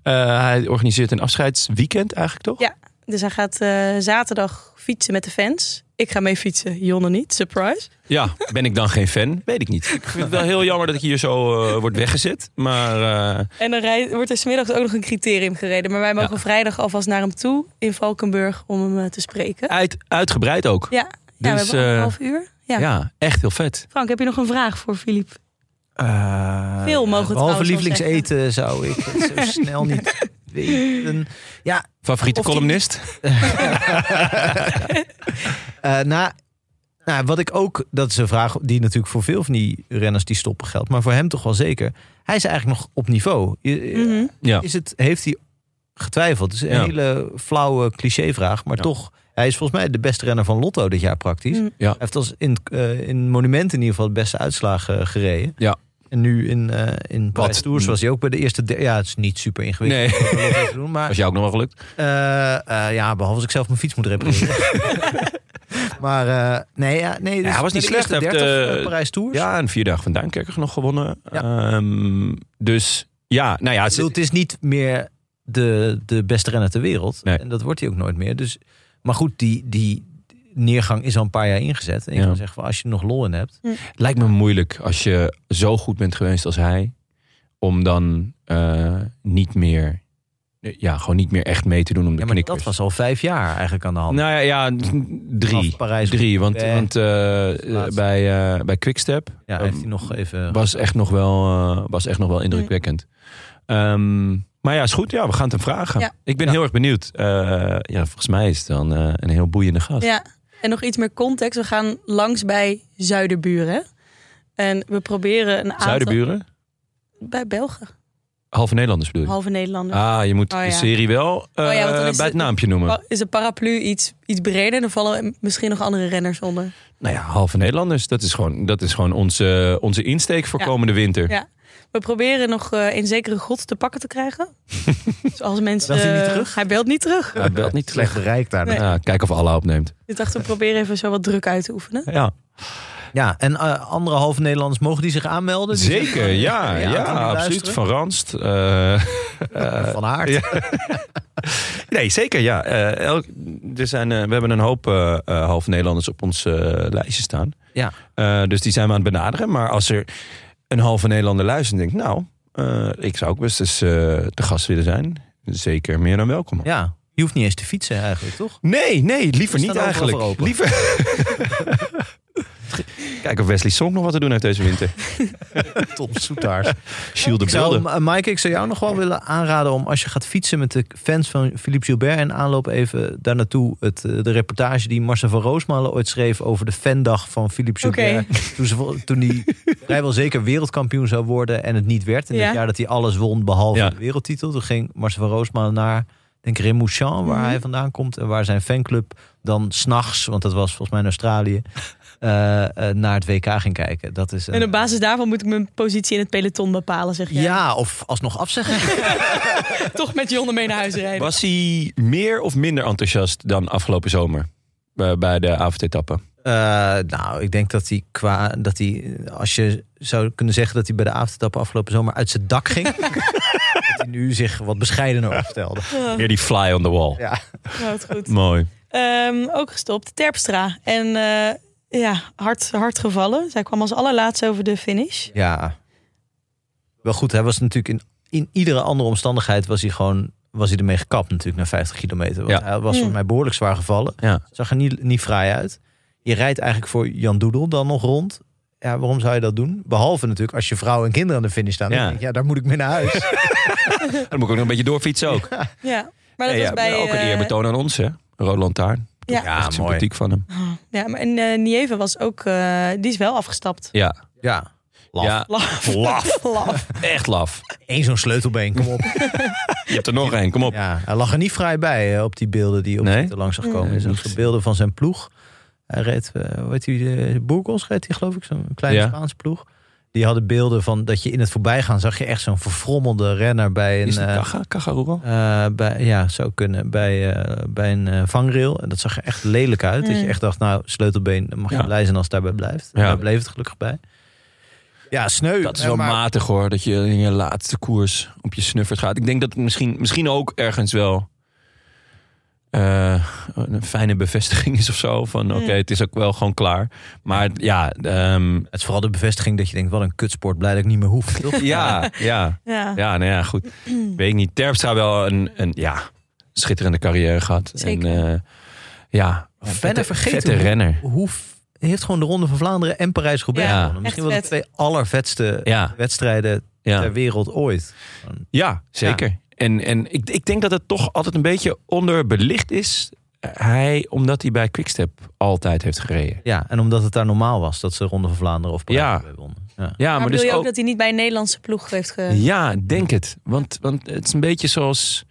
Speaker 1: Eh, hij organiseert een afscheidsweekend eigenlijk, toch?
Speaker 3: Ja. Dus hij gaat eh, zaterdag fietsen met de fans. Ik ga mee fietsen, Jonne niet. Surprise.
Speaker 1: Ja, ben ik dan geen fan? Weet ik niet. Ik vind het wel heel jammer dat ik hier zo eh word weggezet. Maar eh,
Speaker 3: En dan rijdt, wordt er smiddags ook nog een criterium gereden. Maar wij mogen
Speaker 1: Ja.
Speaker 3: vrijdag alvast naar hem toe in Valkenburg om hem eh, te spreken.
Speaker 1: uit, uitgebreid ook.
Speaker 3: Ja, ja we
Speaker 1: Dus,
Speaker 3: hebben
Speaker 1: eh,
Speaker 3: anderhalf uur. Ja.
Speaker 1: Ja, echt heel vet.
Speaker 3: Frank, heb je nog een vraag voor Filip?
Speaker 1: Eh,
Speaker 3: Veel mogen we trouwens
Speaker 2: Behalve
Speaker 3: wel
Speaker 2: lievelingseten zou ik het zo snel niet weten. Ja,
Speaker 1: Favoriete
Speaker 2: Of die-
Speaker 1: columnist?
Speaker 2: Eh, nou, nou, wat ik ook, dat is een vraag die natuurlijk voor veel van die renners die stoppen geldt, maar voor hem toch wel zeker. Hij is eigenlijk nog op niveau. Je- eh,
Speaker 3: Mhm.
Speaker 1: Ja.
Speaker 2: Is het, heeft hij getwijfeld? Het is een
Speaker 1: Ja.
Speaker 2: hele flauwe clichévraag, maar
Speaker 1: Ja.
Speaker 2: toch, hij is volgens mij de beste renner van Lotto dit jaar praktisch.
Speaker 3: Mm.
Speaker 1: Ja.
Speaker 2: Hij heeft als in, eh, in monumenten in ieder geval de beste uitslagen eh, gereden.
Speaker 1: Ja.
Speaker 2: En nu in, eh in Parijs
Speaker 1: Wat- Mm.
Speaker 2: Tours was hij ook bij de eerste. de- ja, het is niet super ingewikkeld.
Speaker 1: Nee,
Speaker 2: om dat even te doen, maar
Speaker 1: was jou ook nog wel gelukt.
Speaker 2: eh, eh, ja, behalve als ik zelf mijn fiets moet repareren. maar eh, nee, ja, nee. dus
Speaker 1: hij was niet
Speaker 2: de
Speaker 1: slecht,
Speaker 2: eerste
Speaker 1: hij heeft,
Speaker 2: 30
Speaker 1: eh,
Speaker 2: Parijs Tours.
Speaker 1: Ja, een vierdaag van Duinkerker nog gewonnen.
Speaker 2: Ja.
Speaker 1: Ehm, dus ja, nou ja,
Speaker 2: Ik bedoel,
Speaker 1: ze-
Speaker 2: het is niet meer de, de beste renner ter wereld.
Speaker 1: Nee.
Speaker 2: En dat wordt hij ook nooit meer. Dus, maar goed, die, die neergang is al een paar jaar ingezet. En ik
Speaker 1: Ja.
Speaker 2: kan zeggen, van, als je er nog lol in hebt.
Speaker 1: het lijkt me moeilijk als je zo goed bent geweest als hij. Om dan eh, niet meer, ja, gewoon niet meer echt mee te doen om de
Speaker 2: Ja, maar
Speaker 1: knikkers.
Speaker 2: dat was al vijf jaar eigenlijk aan de hand.
Speaker 1: Nou ja, ja drie.
Speaker 2: Vanaf Parijs.
Speaker 1: Drie, want,
Speaker 2: Eh,
Speaker 1: want eh,
Speaker 2: laatste.
Speaker 1: bij, eh bij Quickstep
Speaker 2: ja, heeft hij nog even...
Speaker 1: was echt nog wel, eh, was echt nog wel indrukwekkend. Ehm, maar ja, is goed. Ja, we gaan het hem vragen.
Speaker 3: Ja.
Speaker 1: Ik ben
Speaker 2: Ja.
Speaker 1: heel erg benieuwd. Eh, ja, volgens mij is het dan eh, een heel boeiende gast.
Speaker 3: Ja, en nog iets meer context. We gaan langs bij Zuiderburen. En we proberen een aantal...
Speaker 1: Zuiderburen,
Speaker 3: Bij Belgen,
Speaker 1: halve Nederlanders bedoel je?
Speaker 3: halve Nederlander.
Speaker 1: Ah, je moet
Speaker 3: Oh,
Speaker 1: de
Speaker 3: ja.
Speaker 1: serie wel eh,
Speaker 3: Oh, ja, want dan is
Speaker 1: bij het
Speaker 3: het- Oh.
Speaker 1: naampje noemen.
Speaker 3: Pa- Is een paraplu iets, iets breder? Dan vallen misschien nog andere renners onder.
Speaker 1: Nou ja, halve Nederlanders. Dat is gewoon, dat is gewoon onze, onze insteek voor
Speaker 3: Ja.
Speaker 1: komende winter.
Speaker 3: Ja. We proberen nog eh, een zekere god te pakken te krijgen. dus als mensen...
Speaker 2: Belt hij niet terug?
Speaker 3: Hij belt niet terug.
Speaker 1: Hij Eh, belt niet
Speaker 2: slecht
Speaker 1: slecht.
Speaker 2: bereikt daar.
Speaker 3: Nee.
Speaker 1: Ja, kijk of Allah opneemt.
Speaker 3: Ik dacht, we proberen even zo wat druk uit te oefenen.
Speaker 1: Ja.
Speaker 2: Ja, en eh, anderhalf Nederlanders, mogen die zich aanmelden? Die
Speaker 1: Zeker,
Speaker 2: zeggen,
Speaker 1: ja, ja,
Speaker 2: kan die
Speaker 1: absoluut.
Speaker 2: luisteren?
Speaker 1: Van Ranst. eh,
Speaker 2: Van Aert.
Speaker 1: ja. nee, zeker, ja. Eh, elk- er zijn, eh, we hebben een hoop eh, eh, half Nederlanders op ons eh, lijstje staan.
Speaker 2: Ja.
Speaker 1: Eh, dus die zijn we aan het benaderen. Maar als er een halve Nederlander luistert en denkt... nou, eh, ik zou ook best eens eh, te gast willen zijn. Zeker meer dan welkom.
Speaker 2: Ja, je hoeft niet eens te fietsen eigenlijk, toch?
Speaker 1: Nee, nee, liever
Speaker 2: We
Speaker 1: niet
Speaker 2: staan overal
Speaker 1: eigenlijk.
Speaker 2: voor open.
Speaker 1: Liever... Kijk of Wesley Song nog wat te doen heeft deze winter.
Speaker 2: Tom Soetaars.
Speaker 1: Shield de
Speaker 2: Ik zou,
Speaker 1: Beelden.
Speaker 2: eh, Maaike, ik zou jou nog wel willen aanraden om als je gaat fietsen met de fans van Philippe Gilbert en aanloop even daar naartoe het, eh, de reportage die Marcel van Roosmalen ooit schreef over de fandag van Philippe Gilbert. Toen, ze, vol- toen hij vrijwel zeker wereldkampioen zou worden en het niet werd. In
Speaker 3: Ja.
Speaker 2: het jaar dat hij alles won behalve
Speaker 1: Ja.
Speaker 2: de wereldtitel. Toen ging Marcel van Roosmalen naar, denk ik, Remouchamp, waar
Speaker 3: Mhm.
Speaker 2: hij vandaan komt en waar zijn fanclub dan s'nachts, want dat was volgens mij in Australië, eh, eh, naar het WK ging kijken. Dat is,
Speaker 3: En
Speaker 2: een-
Speaker 3: op basis daarvan moet ik mijn positie in het peloton bepalen, zeg je.
Speaker 2: ja, of alsnog afzeggen.
Speaker 3: Toch met Jonne mee naar huis rijden.
Speaker 1: Was hij meer of minder enthousiast dan afgelopen zomer? eh, bij de avondetappe.
Speaker 2: Eh, nou, ik denk dat hij qua dat hij, als je zou kunnen zeggen dat hij bij de avondetappen afgelopen zomer uit zijn dak ging, dat hij nu zich wat bescheidener opstelde.
Speaker 3: Oh,
Speaker 1: Meer die fly on the wall.
Speaker 2: Ja.
Speaker 3: nou, het goed.
Speaker 1: Mooi.
Speaker 3: Ehm, ook gestopt. Terpstra. En eh, ja, hard, hard gevallen. Zij kwam als allerlaatste over de finish.
Speaker 2: ja. Wel goed, hij was natuurlijk in, in iedere andere omstandigheid was hij gewoon was hij ermee gekapt natuurlijk na 50 kilometer. Want
Speaker 1: Ja.
Speaker 2: hij was voor
Speaker 3: Mm.
Speaker 2: mij behoorlijk zwaar gevallen.
Speaker 1: Ja.
Speaker 2: Zag er niet, niet fraai uit. Je rijdt eigenlijk voor Jan Doedel dan nog rond. Ja, waarom zou je dat doen? Behalve natuurlijk als je vrouw en kinderen aan de finish staan.
Speaker 1: Ja.
Speaker 2: Dan denk ik, ja daar moet ik mee naar huis.
Speaker 1: Dan moet ik ook nog een beetje doorfietsen ook.
Speaker 3: Ja, maar dat
Speaker 1: Nee,
Speaker 3: was
Speaker 1: ja,
Speaker 3: bij...
Speaker 1: ook een
Speaker 3: eh,
Speaker 1: eerbetoon aan ons, hè? Rode Lantaarn.
Speaker 3: Ja.
Speaker 2: Ja,
Speaker 1: Echt
Speaker 2: mooi.
Speaker 1: sympathiek van hem.
Speaker 3: ja, maar en eh Nieve was ook... eh, die is wel afgestapt.
Speaker 1: Ja.
Speaker 2: Ja. Laf.
Speaker 1: ja.
Speaker 3: Laf.
Speaker 1: Laf.
Speaker 3: Laf.
Speaker 1: Echt laf.
Speaker 2: Eén zo'n sleutelbeen, kom op.
Speaker 1: Je hebt er nog één, kom op.
Speaker 2: ja, hij lag er niet vrij bij hè, op die beelden die op
Speaker 1: Nee?
Speaker 2: Twitter langs zag komen.
Speaker 1: Nee,
Speaker 2: Dus ook
Speaker 1: niet.
Speaker 2: de beelden van zijn ploeg. Hij reed, eh, hoe heet die, eh, Burgos reed hij geloof ik, zo'n kleine
Speaker 1: Ja.
Speaker 2: Spaanse ploeg. Die hadden beelden van dat je in het voorbijgaan zag je echt zo'n verfrommelde renner bij een...
Speaker 1: Is het
Speaker 2: eh,
Speaker 1: Caga? Cagaruro?
Speaker 2: eh, bij, ja, zou kunnen. Bij, eh, bij een eh, vangrail. En dat zag er echt lelijk uit. Dat je
Speaker 3: Mm.
Speaker 2: echt dacht, nou, sleutelbeen, dan mag je
Speaker 1: Ja.
Speaker 2: blij zijn als het daarbij blijft.
Speaker 1: Ja.
Speaker 2: Daar bleef het gelukkig bij. Ja, sneu.
Speaker 1: Dat is
Speaker 2: hè,
Speaker 1: wel
Speaker 2: maar-
Speaker 1: matig hoor, dat je in je laatste koers op je snuffert gaat. Ik denk dat het misschien, misschien ook ergens wel eh, een fijne bevestiging is of zo. Van oké,
Speaker 3: Mm.
Speaker 1: het is ook wel gewoon klaar. Maar ja, ehm,
Speaker 2: Het is vooral de bevestiging dat je denkt, wat een kutsport. Blij dat ik niet meer hoef. toch?
Speaker 1: ja, ja,
Speaker 3: Ja,
Speaker 1: ja, nou ja, goed. Weet ik niet. Terpstra wel een, een ja, schitterende carrière gehad.
Speaker 3: Zeker.
Speaker 1: En, eh, ja,
Speaker 2: bijna
Speaker 1: vette,
Speaker 2: vergeten
Speaker 1: vette
Speaker 2: hoe-
Speaker 1: renner.
Speaker 2: Hoe f- heeft gewoon de Ronde van Vlaanderen en Parijs-Roubaix
Speaker 3: Ja,
Speaker 2: gewonnen. Misschien wel de
Speaker 3: echt
Speaker 2: twee allervetste
Speaker 1: Ja,
Speaker 2: wedstrijden
Speaker 1: ja.
Speaker 2: ter wereld ooit.
Speaker 1: Ja, zeker. En, en ik, ik denk dat het toch altijd een beetje onderbelicht is. eh, Hij, omdat hij bij Quickstep altijd heeft gereden.
Speaker 2: Ja, en omdat het daar normaal was dat ze Ronde van Vlaanderen of Parijs-Roubaix wonnen. Ja.
Speaker 1: Ja, maar,
Speaker 3: maar bedoel
Speaker 1: dus
Speaker 3: je ook
Speaker 1: ook.
Speaker 3: dat hij niet bij een Nederlandse ploeg heeft ge...
Speaker 1: Ja, denk het. Want, want het is een beetje zoals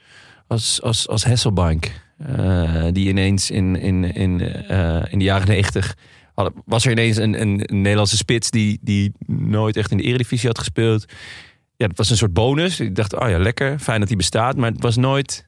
Speaker 1: als, als, als Hasselbank. eh, die ineens in, in, in, eh, in de jaren negentig. Was er ineens een, een, een Nederlandse spits die, die nooit echt in de eredivisie had gespeeld. Ja, dat was een soort bonus. Ik dacht, oh ja, lekker. Fijn dat hij bestaat. Maar het was nooit...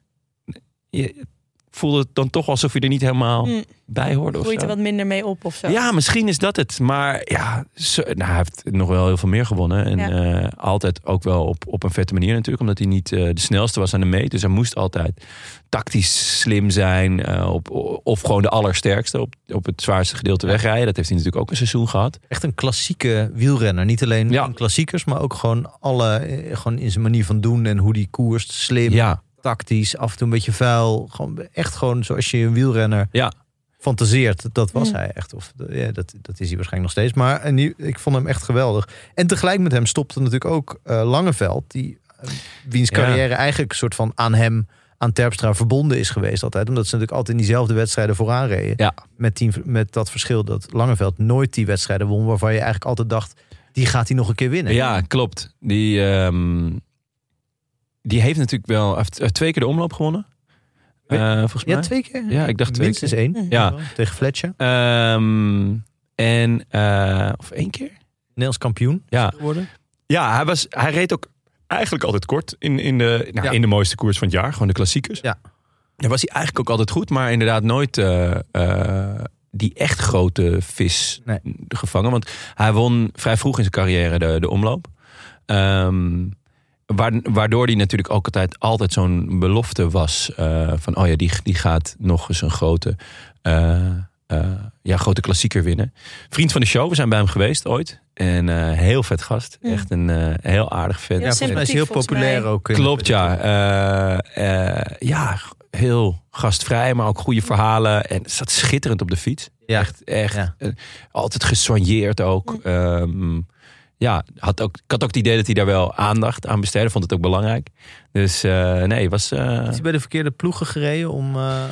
Speaker 1: Je voelde het dan toch alsof je er niet helemaal
Speaker 3: Mm.
Speaker 1: bij hoorde of
Speaker 3: Groeit er
Speaker 1: zo.
Speaker 3: wat minder mee op of zo.
Speaker 1: Ja, misschien is dat het. Maar ja, zo- nou, hij heeft nog wel heel veel meer gewonnen. En
Speaker 3: Ja.
Speaker 1: eh, altijd ook wel op, op een vette manier natuurlijk. Omdat hij niet eh, de snelste was aan de meet. Dus hij moest altijd tactisch slim zijn. eh, op, of gewoon de allersterkste op, op het zwaarste gedeelte wegrijden. Dat heeft hij natuurlijk ook een seizoen gehad.
Speaker 2: Echt een klassieke wielrenner. Niet alleen
Speaker 1: Ja.
Speaker 2: in klassiekers, maar ook gewoon, alle, eh, gewoon in zijn manier van doen en hoe die koerst. Slim,
Speaker 1: Ja,
Speaker 2: tactisch, af en toe een beetje vuil. Gewoon, echt gewoon zoals je een wielrenner
Speaker 1: Ja.
Speaker 2: fantaseert. Dat was
Speaker 3: Ja.
Speaker 2: hij echt. Of, ja, dat, dat is hij waarschijnlijk nog steeds. Maar en die- ik vond hem echt geweldig. En tegelijk met hem stopte natuurlijk ook eh, Langeveld. Die, eh, wiens
Speaker 1: Ja.
Speaker 2: carrière eigenlijk soort van aan hem, aan Terpstra verbonden is geweest altijd. Omdat ze natuurlijk altijd in diezelfde wedstrijden vooraan reden.
Speaker 1: Ja.
Speaker 2: Met, die, met dat verschil dat Langeveld nooit die wedstrijden won. Waarvan je eigenlijk altijd dacht, die gaat hij nog een keer winnen.
Speaker 1: ja klopt. Die, ehm, die heeft natuurlijk wel hij heeft, hij heeft twee keer de omloop gewonnen. Eh, volgens mij.
Speaker 2: Ja, twee keer.
Speaker 1: Ja, ik dacht twee
Speaker 2: Minstens één.
Speaker 1: Ja.
Speaker 2: Tegen Fletcher.
Speaker 1: Ehm, en, eh, of één keer?
Speaker 2: Nederlands kampioen
Speaker 1: Ja.
Speaker 2: geworden.
Speaker 1: Ja, hij, was, hij reed ook eigenlijk altijd kort in, in, de, nou,
Speaker 2: Ja.
Speaker 1: in de mooiste koers van het jaar. Gewoon de klassiekers.
Speaker 2: Ja.
Speaker 1: Daar was hij eigenlijk ook altijd goed. Maar inderdaad nooit eh, eh, die echt grote vis
Speaker 2: Nee.
Speaker 1: gevangen. Want hij won vrij vroeg in zijn carrière de, de omloop. Ehm, waar- waardoor hij natuurlijk ook altijd, altijd zo'n belofte was. eh, van oh ja, die, die gaat nog eens een grote, eh, eh, ja, grote klassieker winnen. Vriend van de show, we zijn bij hem geweest ooit. En eh, heel vet gast.
Speaker 3: Ja.
Speaker 1: Echt een eh, heel aardig vet.
Speaker 3: Ja,
Speaker 2: Ja, volgens mij is hij heel
Speaker 3: Sympathiek, volgens
Speaker 2: populair
Speaker 3: mij.
Speaker 2: ook. in-
Speaker 1: Klopt, ja. Eh, eh, ja, heel gastvrij, maar ook goede verhalen. En het staat schitterend op de fiets.
Speaker 2: Ja.
Speaker 1: Echt, echt.
Speaker 2: Ja.
Speaker 1: Eh, altijd gesoigneerd ook. Ehm, ja, had ook, ik had ook het idee dat hij daar wel aandacht aan besteedde. Vond het ook belangrijk. Dus eh, nee, was... eh,
Speaker 2: Is hij bij de verkeerde ploegen gereden om... eh,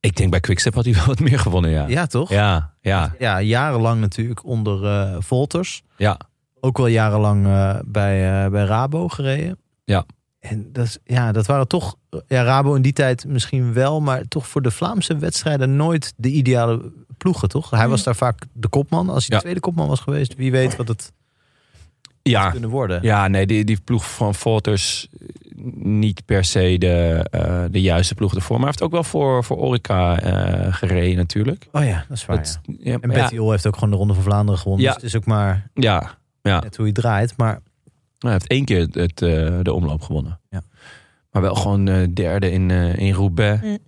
Speaker 1: ik denk bij Quickstep had hij wel wat meer gewonnen, ja.
Speaker 2: ja, toch?
Speaker 1: Ja, ja,
Speaker 2: Ja, jarenlang natuurlijk onder eh Volters.
Speaker 1: ja.
Speaker 2: Ook wel jarenlang eh, bij, eh, bij Rabo gereden.
Speaker 1: Ja.
Speaker 2: En dat, is- ja, dat waren toch... Ja, Rabo in die tijd misschien wel, maar toch voor de Vlaamse wedstrijden nooit de ideale ploegen, toch? Hij was daar vaak de kopman. Als hij de
Speaker 1: Ja.
Speaker 2: tweede kopman was geweest, wie weet wat het
Speaker 1: ja.
Speaker 2: kunnen worden.
Speaker 1: Ah. Ja, nee, die, die ploeg van Volters eh, niet per se de, eh, de juiste ploeg ervoor. Maar hij heeft ook wel voor, voor Orica eh, gereden natuurlijk.
Speaker 2: Oh ja, dat is waar.
Speaker 1: Dat-
Speaker 2: ja.
Speaker 1: ja,
Speaker 2: En Betty Ol heeft ook gewoon de Ronde van Vlaanderen gewonnen.
Speaker 1: Ja.
Speaker 2: Dus het is ook maar
Speaker 1: ja, ja.
Speaker 2: net hoe je draait. Maar
Speaker 1: hij heeft één keer het, het, eh, de omloop gewonnen.
Speaker 2: Ja.
Speaker 1: Maar wel gewoon eh, derde in, eh, in Roubaix.
Speaker 3: Mm.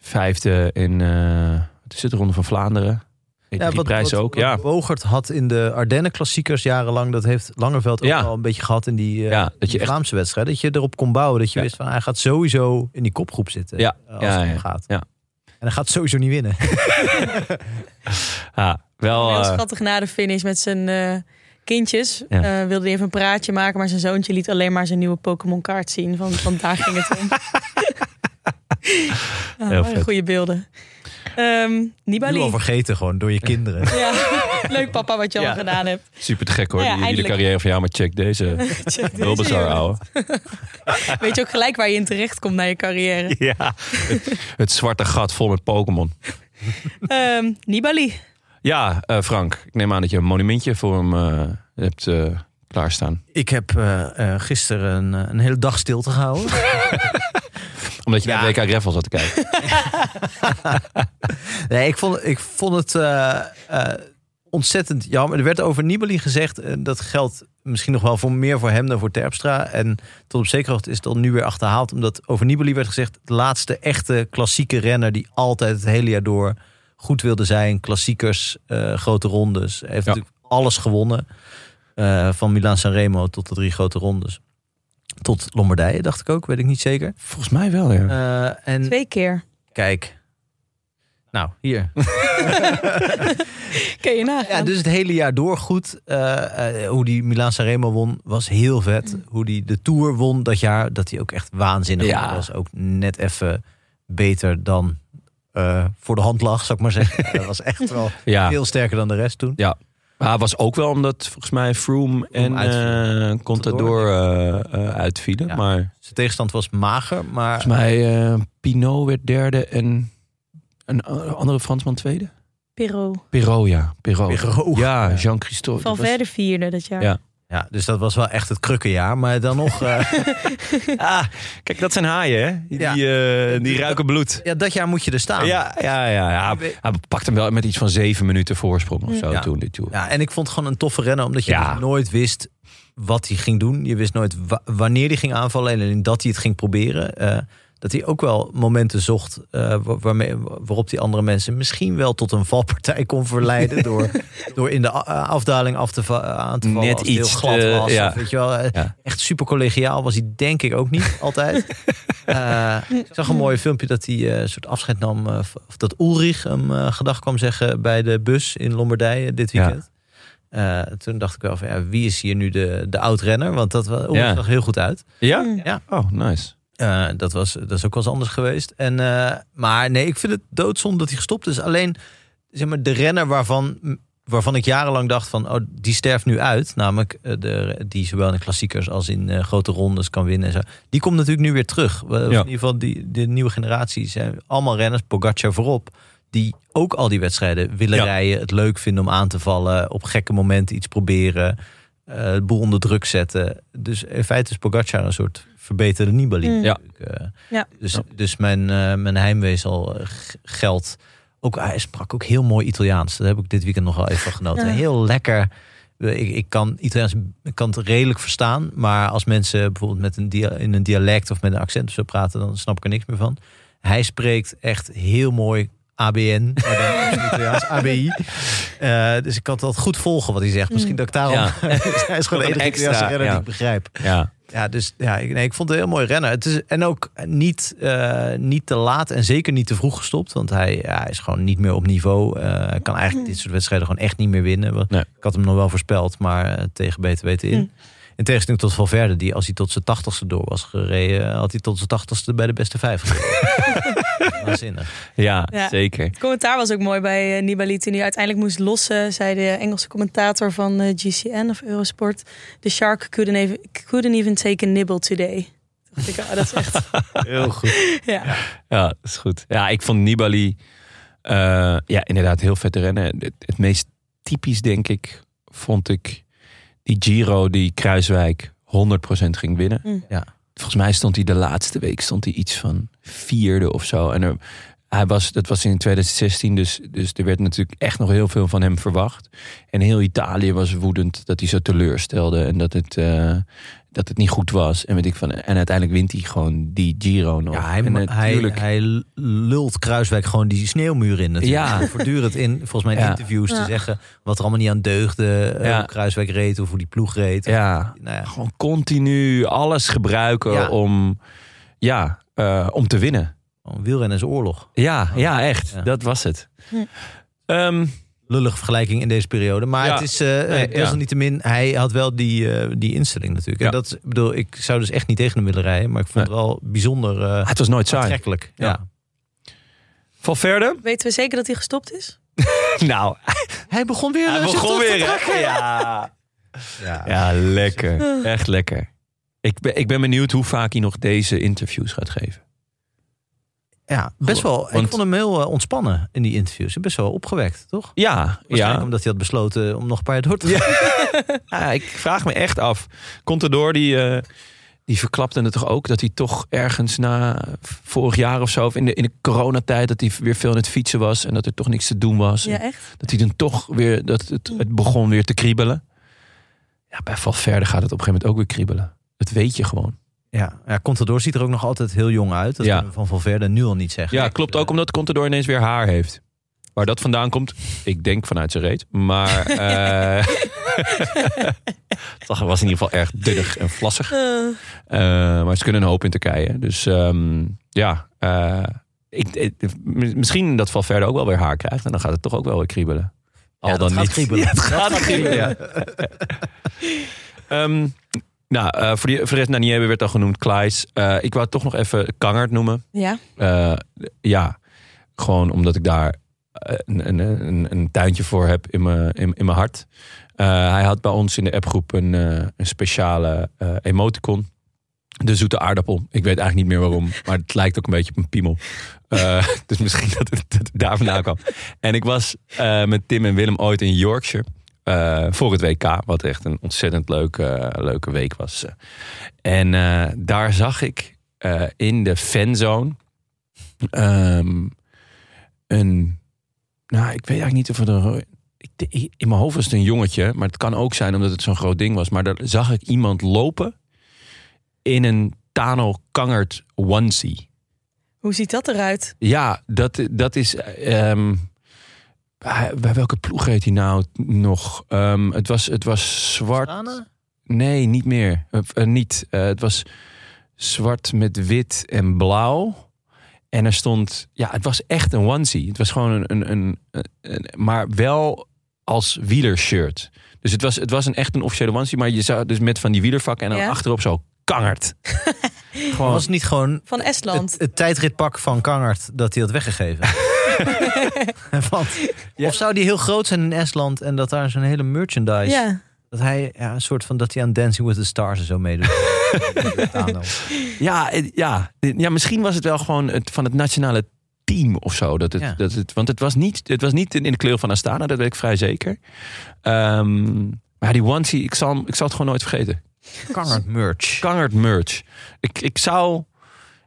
Speaker 1: Vijfde in eh wat is het, de Ronde van Vlaanderen. Ja,
Speaker 2: Ja,
Speaker 1: die prijs ook,
Speaker 2: wat
Speaker 1: ja.
Speaker 2: Bogert had in de Ardennen klassiekers jarenlang, dat heeft Langeveld ook
Speaker 1: Ja.
Speaker 2: al een beetje gehad in die, eh,
Speaker 1: Ja, dat
Speaker 2: die
Speaker 1: je echt-
Speaker 2: Vlaamse wedstrijd. Dat je erop kon bouwen. Dat je
Speaker 1: Ja.
Speaker 2: wist van hij gaat sowieso in die kopgroep zitten.
Speaker 1: Ja,
Speaker 2: eh, Als
Speaker 1: ja,
Speaker 2: het om
Speaker 1: ja,
Speaker 2: gaat.
Speaker 1: ja.
Speaker 2: En hij gaat sowieso niet winnen.
Speaker 1: Ja, wel,
Speaker 3: Heel
Speaker 1: eh,
Speaker 3: schattig na de finish met zijn eh, kindjes.
Speaker 1: Ja.
Speaker 3: Eh, wilde hij even een praatje maken, maar zijn zoontje liet alleen maar zijn nieuwe Pokémon kaart zien. Van, van daar ging het om. Ah,
Speaker 1: Heel vet.
Speaker 3: goede beelden. Ehm
Speaker 2: Nu al
Speaker 3: Nibali.
Speaker 2: vergeten gewoon door je kinderen.
Speaker 3: Ja, leuk papa wat je al
Speaker 1: Ja.
Speaker 3: gedaan hebt.
Speaker 1: super te gek hoor.
Speaker 3: Nou ja,
Speaker 1: die, hele
Speaker 3: eindelijk.
Speaker 1: carrière van jou, maar check deze.
Speaker 3: Check
Speaker 1: Heel
Speaker 3: deze
Speaker 1: bizar,
Speaker 3: jongen.
Speaker 1: ouwe.
Speaker 3: Weet je ook gelijk waar je in terecht komt na je carrière.
Speaker 1: Ja, het, het zwarte gat vol met Pokémon.
Speaker 3: Ehm, Nibali.
Speaker 1: Ja, eh, Frank, ik neem aan dat je een monumentje voor hem eh, hebt eh, klaarstaan.
Speaker 2: Ik heb eh, eh, gisteren een, eh, een hele dag stilte gehouden.
Speaker 1: Omdat je
Speaker 2: Ja.
Speaker 1: naar WK Greffel zat te kijken.
Speaker 2: Nee, ik vond, ik vond het eh, eh, ontzettend jammer. Er werd over Nibali gezegd. En dat geldt misschien nog wel voor meer voor hem dan voor Terpstra. En tot op zekere hoogte is het al nu weer achterhaald. Omdat over Nibali werd gezegd... de laatste echte klassieke renner... die altijd het hele jaar door goed wilde zijn. Klassiekers, eh, grote rondes. Hij heeft
Speaker 1: Ja.
Speaker 2: natuurlijk alles gewonnen. Eh, van Milaan-San Remo tot de drie grote rondes. Tot Lombardije, dacht ik ook. Weet ik niet zeker.
Speaker 1: Volgens mij wel, ja.
Speaker 2: Eh, en
Speaker 3: Twee keer.
Speaker 2: kijk... Nou, hier.
Speaker 3: Kun je nagaan.
Speaker 2: Ja, dus het hele jaar door goed. Eh, eh, hoe die Milan Sanremo won, was heel vet.
Speaker 1: Mm.
Speaker 2: Hoe die de Tour won dat jaar, dat hij ook echt waanzinnig
Speaker 1: Ja.
Speaker 2: was. Ook net even beter dan eh, voor de hand lag, zou ik maar zeggen. Hij was echt wel
Speaker 1: ja.
Speaker 2: veel sterker dan de rest toen.
Speaker 1: Maar het was ook wel omdat volgens mij Froome en
Speaker 2: uitviel.
Speaker 1: eh Contador eh, eh, uitvielen.
Speaker 2: Ja.
Speaker 1: Maar
Speaker 2: Zijn tegenstand was mager, maar
Speaker 1: volgens mij eh, Pinot werd derde en een a- andere Fransman tweede.
Speaker 3: Pirro.
Speaker 1: Pirot, ja. Pirot.
Speaker 2: Pirot.
Speaker 1: Ja, Jean-Christophe.
Speaker 3: Van
Speaker 1: Dat was-
Speaker 3: verder vierde dat jaar.
Speaker 1: Ja.
Speaker 2: ja, dus dat was wel echt het krukkenjaar. Maar dan nog, eh,
Speaker 1: Ah, kijk, dat zijn haaien, hè? Die,
Speaker 2: Ja.
Speaker 1: eh, die ruiken bloed.
Speaker 2: ja, dat jaar moet je er staan.
Speaker 1: Ja, ja, ja. ja. Hij, hij pakt hem wel met iets van zeven minuten voorsprong of zo
Speaker 2: Ja.
Speaker 1: toen dit tour.
Speaker 2: Ja, en ik vond het gewoon een toffe rennen, omdat je
Speaker 1: Ja.
Speaker 2: dus nooit wist wat hij ging doen. Je wist nooit wa- wanneer hij ging aanvallen en alleen dat hij het ging proberen. Eh, dat hij ook wel momenten zocht eh, wa- waarmee, waarop hij andere mensen misschien wel tot een valpartij kon verleiden. door, door in de a- eh, afdaling af te va- aan te vallen.
Speaker 1: Net
Speaker 2: als het
Speaker 1: iets
Speaker 2: heel
Speaker 1: te-
Speaker 2: glad was.
Speaker 1: ja.
Speaker 2: Of weet je wel, eh,
Speaker 1: Ja.
Speaker 2: Echt super collegiaal was hij, denk ik ook niet altijd. Eh, ik zag een mooi filmpje dat hij eh, een soort afscheid nam. eh, v- of dat Ulrich hem eh, gedag kwam zeggen bij de bus in Lombardije dit
Speaker 1: Ja.
Speaker 2: weekend. Eh, toen dacht ik wel van ja, wie is hier nu de, de oud-renner? Want dat wa- Ulrich
Speaker 1: Ja.
Speaker 2: zag heel goed uit.
Speaker 1: Ja?
Speaker 2: Ja.
Speaker 1: Oh, nice.
Speaker 2: Eh, dat, was, dat is ook wel eens anders geweest. En, eh, maar nee, ik vind het doodzonde dat hij gestopt is. Alleen zeg maar, de renner waarvan, waarvan ik jarenlang dacht van... Oh, die sterft nu uit. Namelijk eh, de, die zowel in klassiekers als in eh, grote rondes kan winnen. En zo. Die komt natuurlijk nu weer terug. We- In ieder geval die, de nieuwe generatie zijn allemaal renners. Pogacar voorop. Die ook al die wedstrijden willen
Speaker 1: Ja.
Speaker 2: rijden. Het leuk vinden om aan te vallen. Op gekke momenten iets proberen. eh, het boel onder druk zetten. Dus in feite is Pogacar een soort verbeterde Nibali.
Speaker 3: Mm.
Speaker 1: Ja.
Speaker 2: natuurlijk, eh.
Speaker 3: Ja.
Speaker 2: Dus,
Speaker 1: Ja.
Speaker 2: dus mijn, eh, mijn heimwee zal eh, g- geld. Ook, hij sprak ook heel mooi Italiaans. Daar heb ik dit weekend nog wel even van genoten.
Speaker 3: Ja.
Speaker 2: Heel lekker. Ik, ik kan Italiaans ik kan het redelijk verstaan. Maar als mensen bijvoorbeeld met een dia- in een dialect of met een accent of zo praten, dan snap ik er niks meer van. Hij spreekt echt heel mooi ABN. maar dan op zijn Italiaans, ABI. Eh, dus ik kan dat goed volgen wat hij zegt. Misschien dat ik daarom.
Speaker 1: Mm. Ja.
Speaker 2: hij is gewoon de
Speaker 1: Een
Speaker 2: enige
Speaker 1: extra,
Speaker 2: Italiaanse renner
Speaker 1: ja.
Speaker 2: die ik begrijp.
Speaker 1: Ja.
Speaker 2: Ja, dus ja, ik, nee, ik vond het een heel mooi rennen. Het is, en ook niet, eh, niet te laat en zeker niet te vroeg gestopt. Want hij, ja, hij is gewoon niet meer op niveau. Eh, hij kan eigenlijk dit soort wedstrijden gewoon echt niet meer winnen. Wat-
Speaker 1: Nee.
Speaker 2: Ik had hem nog wel voorspeld, maar eh, tegen beter weten in.
Speaker 3: Hm.
Speaker 2: In tegenstelling tot Valverde, die als hij tot zijn tachtigste door was gereden... had hij tot zijn tachtigste bij de beste vijf gereden. Waanzinnig.
Speaker 1: Ja,
Speaker 3: Ja.
Speaker 1: zeker.
Speaker 3: Het commentaar was ook mooi bij eh, Nibali toen hij uiteindelijk moest lossen. Zei de Engelse commentator van eh, GCN of Eurosport. The shark couldn't even, couldn't even take a nibble today. Dacht ik, ah, dat is echt...
Speaker 2: Heel goed.
Speaker 3: ja.
Speaker 1: Ja, dat is goed. Ja, ik vond Nibali eh, ja, inderdaad heel vet te rennen. Het, het meest typisch, denk ik, vond ik die Giro die Kruiswijk 100% ging winnen.
Speaker 3: Mm.
Speaker 2: Ja.
Speaker 1: Volgens mij stond hij de laatste week stond hij iets van vierde of zo. En er, hij was, dat was in 2016, dus, dus er werd natuurlijk echt nog heel veel van hem verwacht. En heel Italië was woedend dat hij zo teleurstelde en dat het, eh, dat het niet goed was. En, weet ik van, en uiteindelijk wint hij gewoon die Giro nog.
Speaker 2: Ja, hij,
Speaker 1: en eh,
Speaker 2: hij, hij lult Kruiswijk gewoon die sneeuwmuur in natuurlijk.
Speaker 1: Ja.
Speaker 2: En Voortdurend in, volgens mij in
Speaker 1: Ja.
Speaker 2: interviews te
Speaker 3: Ja.
Speaker 2: zeggen... wat er allemaal niet aan deugde. eh,
Speaker 1: Ja.
Speaker 2: Hoe Kruiswijk reed of hoe die ploeg reed.
Speaker 1: Ja,
Speaker 2: Nou ja.
Speaker 1: gewoon continu alles gebruiken
Speaker 2: Ja.
Speaker 1: om, ja, eh, om te winnen.
Speaker 2: Gewoon wielrennen is oorlog.
Speaker 1: Ja, ja echt.
Speaker 2: Oh. Ja.
Speaker 1: Dat was het.
Speaker 3: Hm.
Speaker 1: Ehm,
Speaker 2: Lullige vergelijking in deze periode. Maar
Speaker 1: Ja.
Speaker 2: het is eh eh,
Speaker 1: ja.
Speaker 2: desalniettemin... hij had wel die, eh, die instelling natuurlijk.
Speaker 1: Ja.
Speaker 2: En dat, is- ik bedoel, ik zou dus echt niet tegen hem willen rijden... maar ik vond het wel bijzonder eh
Speaker 1: het was nooit saai.
Speaker 2: aantrekkelijk.
Speaker 1: Ah, Ja.
Speaker 2: Ja.
Speaker 1: Valverde?
Speaker 3: Weten we zeker dat hij gestopt is?
Speaker 1: Nou,
Speaker 2: Hij begon weer.
Speaker 1: hij
Speaker 2: eh, zich
Speaker 1: begon
Speaker 2: terug te
Speaker 1: weer.
Speaker 2: trekken.
Speaker 1: hè? Ja.
Speaker 2: Ja.
Speaker 1: ja, lekker. Echt lekker. Ik ben, ik ben benieuwd hoe vaak hij nog deze interviews gaat geven.
Speaker 2: Ja, best wel.
Speaker 1: Want-
Speaker 2: Ik vond hem heel eh, ontspannen in die interviews. Best wel opgewekt, toch?
Speaker 1: Ja,
Speaker 2: Waarschijnlijk
Speaker 1: ja.
Speaker 2: omdat hij had besloten om nog een paar jaar door te gaan.
Speaker 1: Ah, ik vraag me echt af. Contador die, eh, die verklapte het toch ook dat hij toch ergens na vorig jaar of zo, of in de, in de coronatijd, dat hij weer veel aan het fietsen was en dat er toch niks te doen was.
Speaker 3: Ja,
Speaker 1: En
Speaker 3: echt?
Speaker 1: Dat hij dan toch weer, dat het, het begon weer te kriebelen. Ja, bij Valverde gaat het op een gegeven moment ook weer kriebelen. Dat weet je gewoon.
Speaker 2: Ja. ja, Contador ziet er ook nog altijd heel jong uit. Dat
Speaker 1: Ja.
Speaker 2: kunnen we van Valverde nu al niet zeggen.
Speaker 1: Ja, klopt ook omdat Contador ineens weer haar heeft. Waar dat vandaan komt, ik denk vanuit zijn reet. Maar eh het was in ieder geval erg dunnig en vlassig.
Speaker 3: Eh,
Speaker 1: Eh, maar ze kunnen een hoop in Turkije. Dus ehm, ja, eh, ik, ik- mi- misschien dat Valverde ook wel weer haar krijgt. En dan gaat het toch ook wel weer kriebelen. Al
Speaker 2: Ja, dat
Speaker 1: dan
Speaker 2: gaat
Speaker 1: niet.
Speaker 2: kriebelen.
Speaker 1: Ja, het gaat kriebelen. ja. Ehm, nou, eh, voor, die, voor de rest, nou, Niebe werd al genoemd, Klaes. Eh, ik wou toch nog even Kangert noemen.
Speaker 3: ja.
Speaker 1: Eh, ja, gewoon omdat ik daar eh, een, een, een, een tuintje voor heb in mijn, in, in mijn hart. Eh, hij had bij ons in de appgroep een, eh, een speciale eh, emoticon. De zoete aardappel. Ik weet eigenlijk niet meer waarom. Maar het lijkt ook een beetje op een piemel. Eh, dus misschien dat het, dat het daar vandaan kwam. En ik was eh, met Tim en Willem ooit in Yorkshire. eh, voor het WK. Wat echt een ontzettend leuke, leuke week was. En eh, daar zag ik eh, in de fanzone ehm, een. Nou, ik weet eigenlijk niet of het een. ik denk- In mijn hoofd was het een jongetje, maar het kan ook zijn omdat het zo'n groot ding was. Maar daar zag ik iemand lopen in een Tano Kangert onesie.
Speaker 3: Hoe ziet dat eruit?
Speaker 1: Ja, dat, dat is. ehm, bij bij welke ploeg heet hij nou nog? Ehm, het, was, het was zwart.
Speaker 2: Astana?
Speaker 1: Nee, niet meer. Eh, eh, niet. Eh, het was zwart met wit en blauw. En er stond, ja, het was echt een onesie. Het was gewoon een, een, een, een- maar wel als wielershirt. Dus het was, het was een echt een officiële onesie, maar je zou dus met van die wielervakken en dan
Speaker 3: Ja.
Speaker 1: achterop zo kangert. gewoon,
Speaker 2: Was het niet gewoon
Speaker 3: Van Estland.
Speaker 2: het, het tijdritpak van Kangert dat hij had weggegeven? Want, Of zou die heel groot zijn in Estland en dat daar zo'n hele merchandise...
Speaker 3: ja.
Speaker 2: Dat hij ja, een soort van dat hij aan Dancing with the Stars en zo meedoet. Tano.
Speaker 1: ja, eh, ja, Eh, ja, misschien was het wel gewoon het, van het nationale team of zo. Dat het,
Speaker 2: Ja.
Speaker 1: dat het, want het was, niet, het was niet in in de kleur van Astana, dat weet ik vrij zeker. Ehm, maar die onesie, ik zal, hem- ik zal het gewoon nooit vergeten.
Speaker 2: Kangert merch.
Speaker 1: Kangert merch. Ik, ik, zou,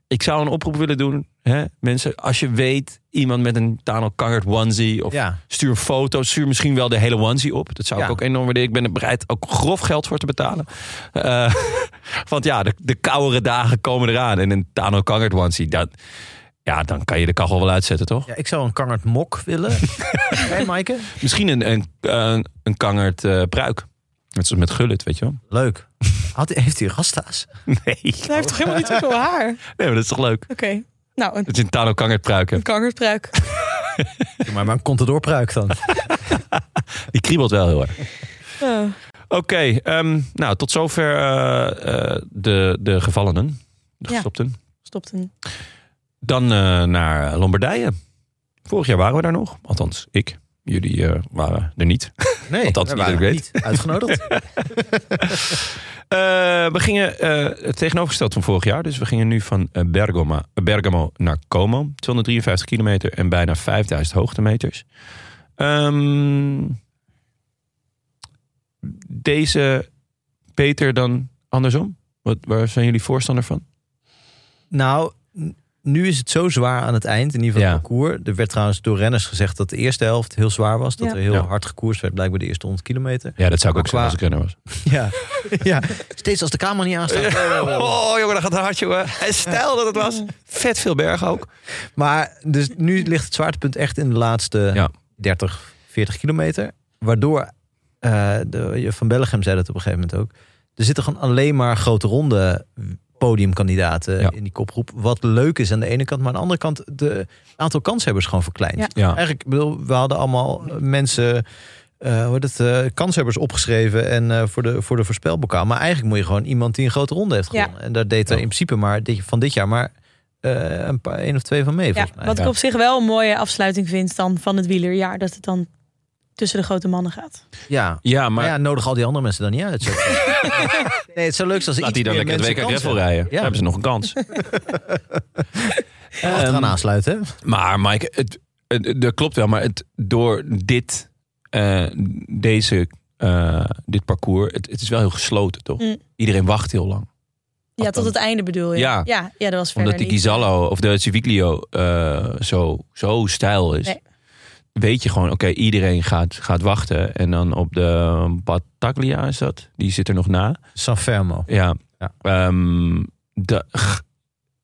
Speaker 1: ik zou een oproep willen doen. Hè? Mensen, als je weet, iemand met een Tano Kangert onesie. Of
Speaker 2: Ja,
Speaker 1: stuur een foto. Stuur misschien wel de hele onesie op. Dat zou ik
Speaker 2: Ja.
Speaker 1: ook enorm waarderen. Ik ben er bereid ook grof geld voor te betalen. Eh, want ja, de, de koude dagen komen eraan. En een Tano Kangert onesie, dat, ja, dan kan je de kachel wel uitzetten, toch?
Speaker 2: ja ik zou een Kangert mok willen. Hé, Maaike?
Speaker 1: eh, Misschien een, een, een, een Kangert eh, pruik. Net zoals met gullet, weet je wel.
Speaker 2: Leuk. Had, heeft hij rasta's?
Speaker 1: Nee.
Speaker 3: Hij heeft toch helemaal niet zoveel haar? Oké.
Speaker 1: Nee, maar dat is toch leuk?
Speaker 3: Nou, een,
Speaker 1: Dat je een Tano Kangert pruik
Speaker 3: een
Speaker 1: hebt.
Speaker 3: kankerpruik.
Speaker 2: Maar, maar een contadorpruik dan.
Speaker 1: Die kriebelt wel heel erg.
Speaker 3: Oh.
Speaker 1: Oké, ehm, nou tot zover eh, eh, de, de gevallenen. De
Speaker 3: Ja.
Speaker 1: gestopten.
Speaker 3: Stopt een.
Speaker 1: Dan eh, naar Lombardije. Vorig jaar waren we daar nog. Althans, ik. Jullie eh, waren er niet.
Speaker 2: Nee,
Speaker 1: Want dat
Speaker 2: we
Speaker 1: niet dat ik
Speaker 2: waren
Speaker 1: weet.
Speaker 2: niet uitgenodigd.
Speaker 1: Eh, we gingen eh, het tegenovergesteld van vorig jaar. Dus we gingen nu van eh, Bergamo, Bergamo naar Como. 253 kilometer en bijna 5000 hoogtemeters. Ehm, deze beter dan andersom? Wat, waar zijn jullie voorstander van?
Speaker 2: nou, n- nu is het zo zwaar aan het eind, in ieder geval
Speaker 1: Ja.
Speaker 2: het parcours. Er werd trouwens door renners gezegd dat de eerste helft heel zwaar was. Dat
Speaker 3: Ja.
Speaker 2: er heel
Speaker 1: Ja.
Speaker 2: hard gekoerst werd, blijkbaar de eerste 100 kilometer.
Speaker 1: Ja, dat zou ik ook
Speaker 2: ook
Speaker 1: zeggen
Speaker 2: zeggen
Speaker 1: als ik renner was.
Speaker 2: Ja, ja. steeds als de camera niet aanstaat.
Speaker 1: Oh jongen, dat gaat hard jongen. En stel dat het was. Vet veel bergen ook.
Speaker 2: Maar dus nu ligt het zwaartepunt echt in de laatste
Speaker 1: Ja.
Speaker 2: 30, 40 kilometer. Waardoor, eh, de, Van Bellegem zei dat op een gegeven moment ook... er zitten gewoon alleen maar grote ronde podiumkandidaten
Speaker 1: Ja.
Speaker 2: in die kopgroep. Wat leuk is aan de ene kant, maar aan de andere kant... de aantal kanshebbers gewoon verkleind.
Speaker 3: Ja.
Speaker 1: Ja,
Speaker 2: Eigenlijk, ik bedoel, we hadden allemaal eh, mensen... eh, hoe heet het, eh, kanshebbers opgeschreven en eh, voor, de, voor de voorspelbokaal. Maar eigenlijk moet je gewoon iemand die een grote ronde heeft
Speaker 3: Ja.
Speaker 2: gewonnen. En daar deed er
Speaker 1: Ja.
Speaker 2: in principe maar dit, van dit jaar maar eh, een paar, één of twee van mee,
Speaker 3: Ja,
Speaker 2: volgens mij.
Speaker 3: wat ik
Speaker 1: ja.
Speaker 3: op zich wel een mooie afsluiting vind dan van het wielerjaar. Dat het dan tussen de grote mannen gaat.
Speaker 2: Ja,
Speaker 1: ja
Speaker 2: maar
Speaker 1: maar
Speaker 2: ja, nodig al die andere mensen dan niet uit. Zo. nee, het zou leuk zijn als er
Speaker 1: laat
Speaker 2: iets
Speaker 1: die dan
Speaker 2: meer
Speaker 1: lekker het WK
Speaker 2: mensen kans
Speaker 1: Greffel
Speaker 2: hebben.
Speaker 1: rijden.
Speaker 2: Ja.
Speaker 1: Dan hebben ze nog een kans.
Speaker 2: Achteraan
Speaker 1: Ehm,
Speaker 2: aansluiten. hè?
Speaker 1: Maar Mike, het, het- dat klopt wel. Maar het, door dit, eh, deze, eh, dit parcours, het, het is wel heel gesloten, toch?
Speaker 3: Mm.
Speaker 1: Iedereen wacht heel lang.
Speaker 3: Ja, tot het einde bedoel je.
Speaker 1: Ja.
Speaker 3: ja, ja, dat was verder
Speaker 1: Omdat die
Speaker 3: niet.
Speaker 1: Gizallo of de Civiglio eh, zo, zo stijl is.
Speaker 3: Nee.
Speaker 1: Weet je gewoon, oké, iedereen gaat, gaat wachten. En dan op de Battaglia is dat. Die zit er nog na.
Speaker 2: San Fermo.
Speaker 1: Ja.
Speaker 2: Ja.
Speaker 1: Ehm, de, g-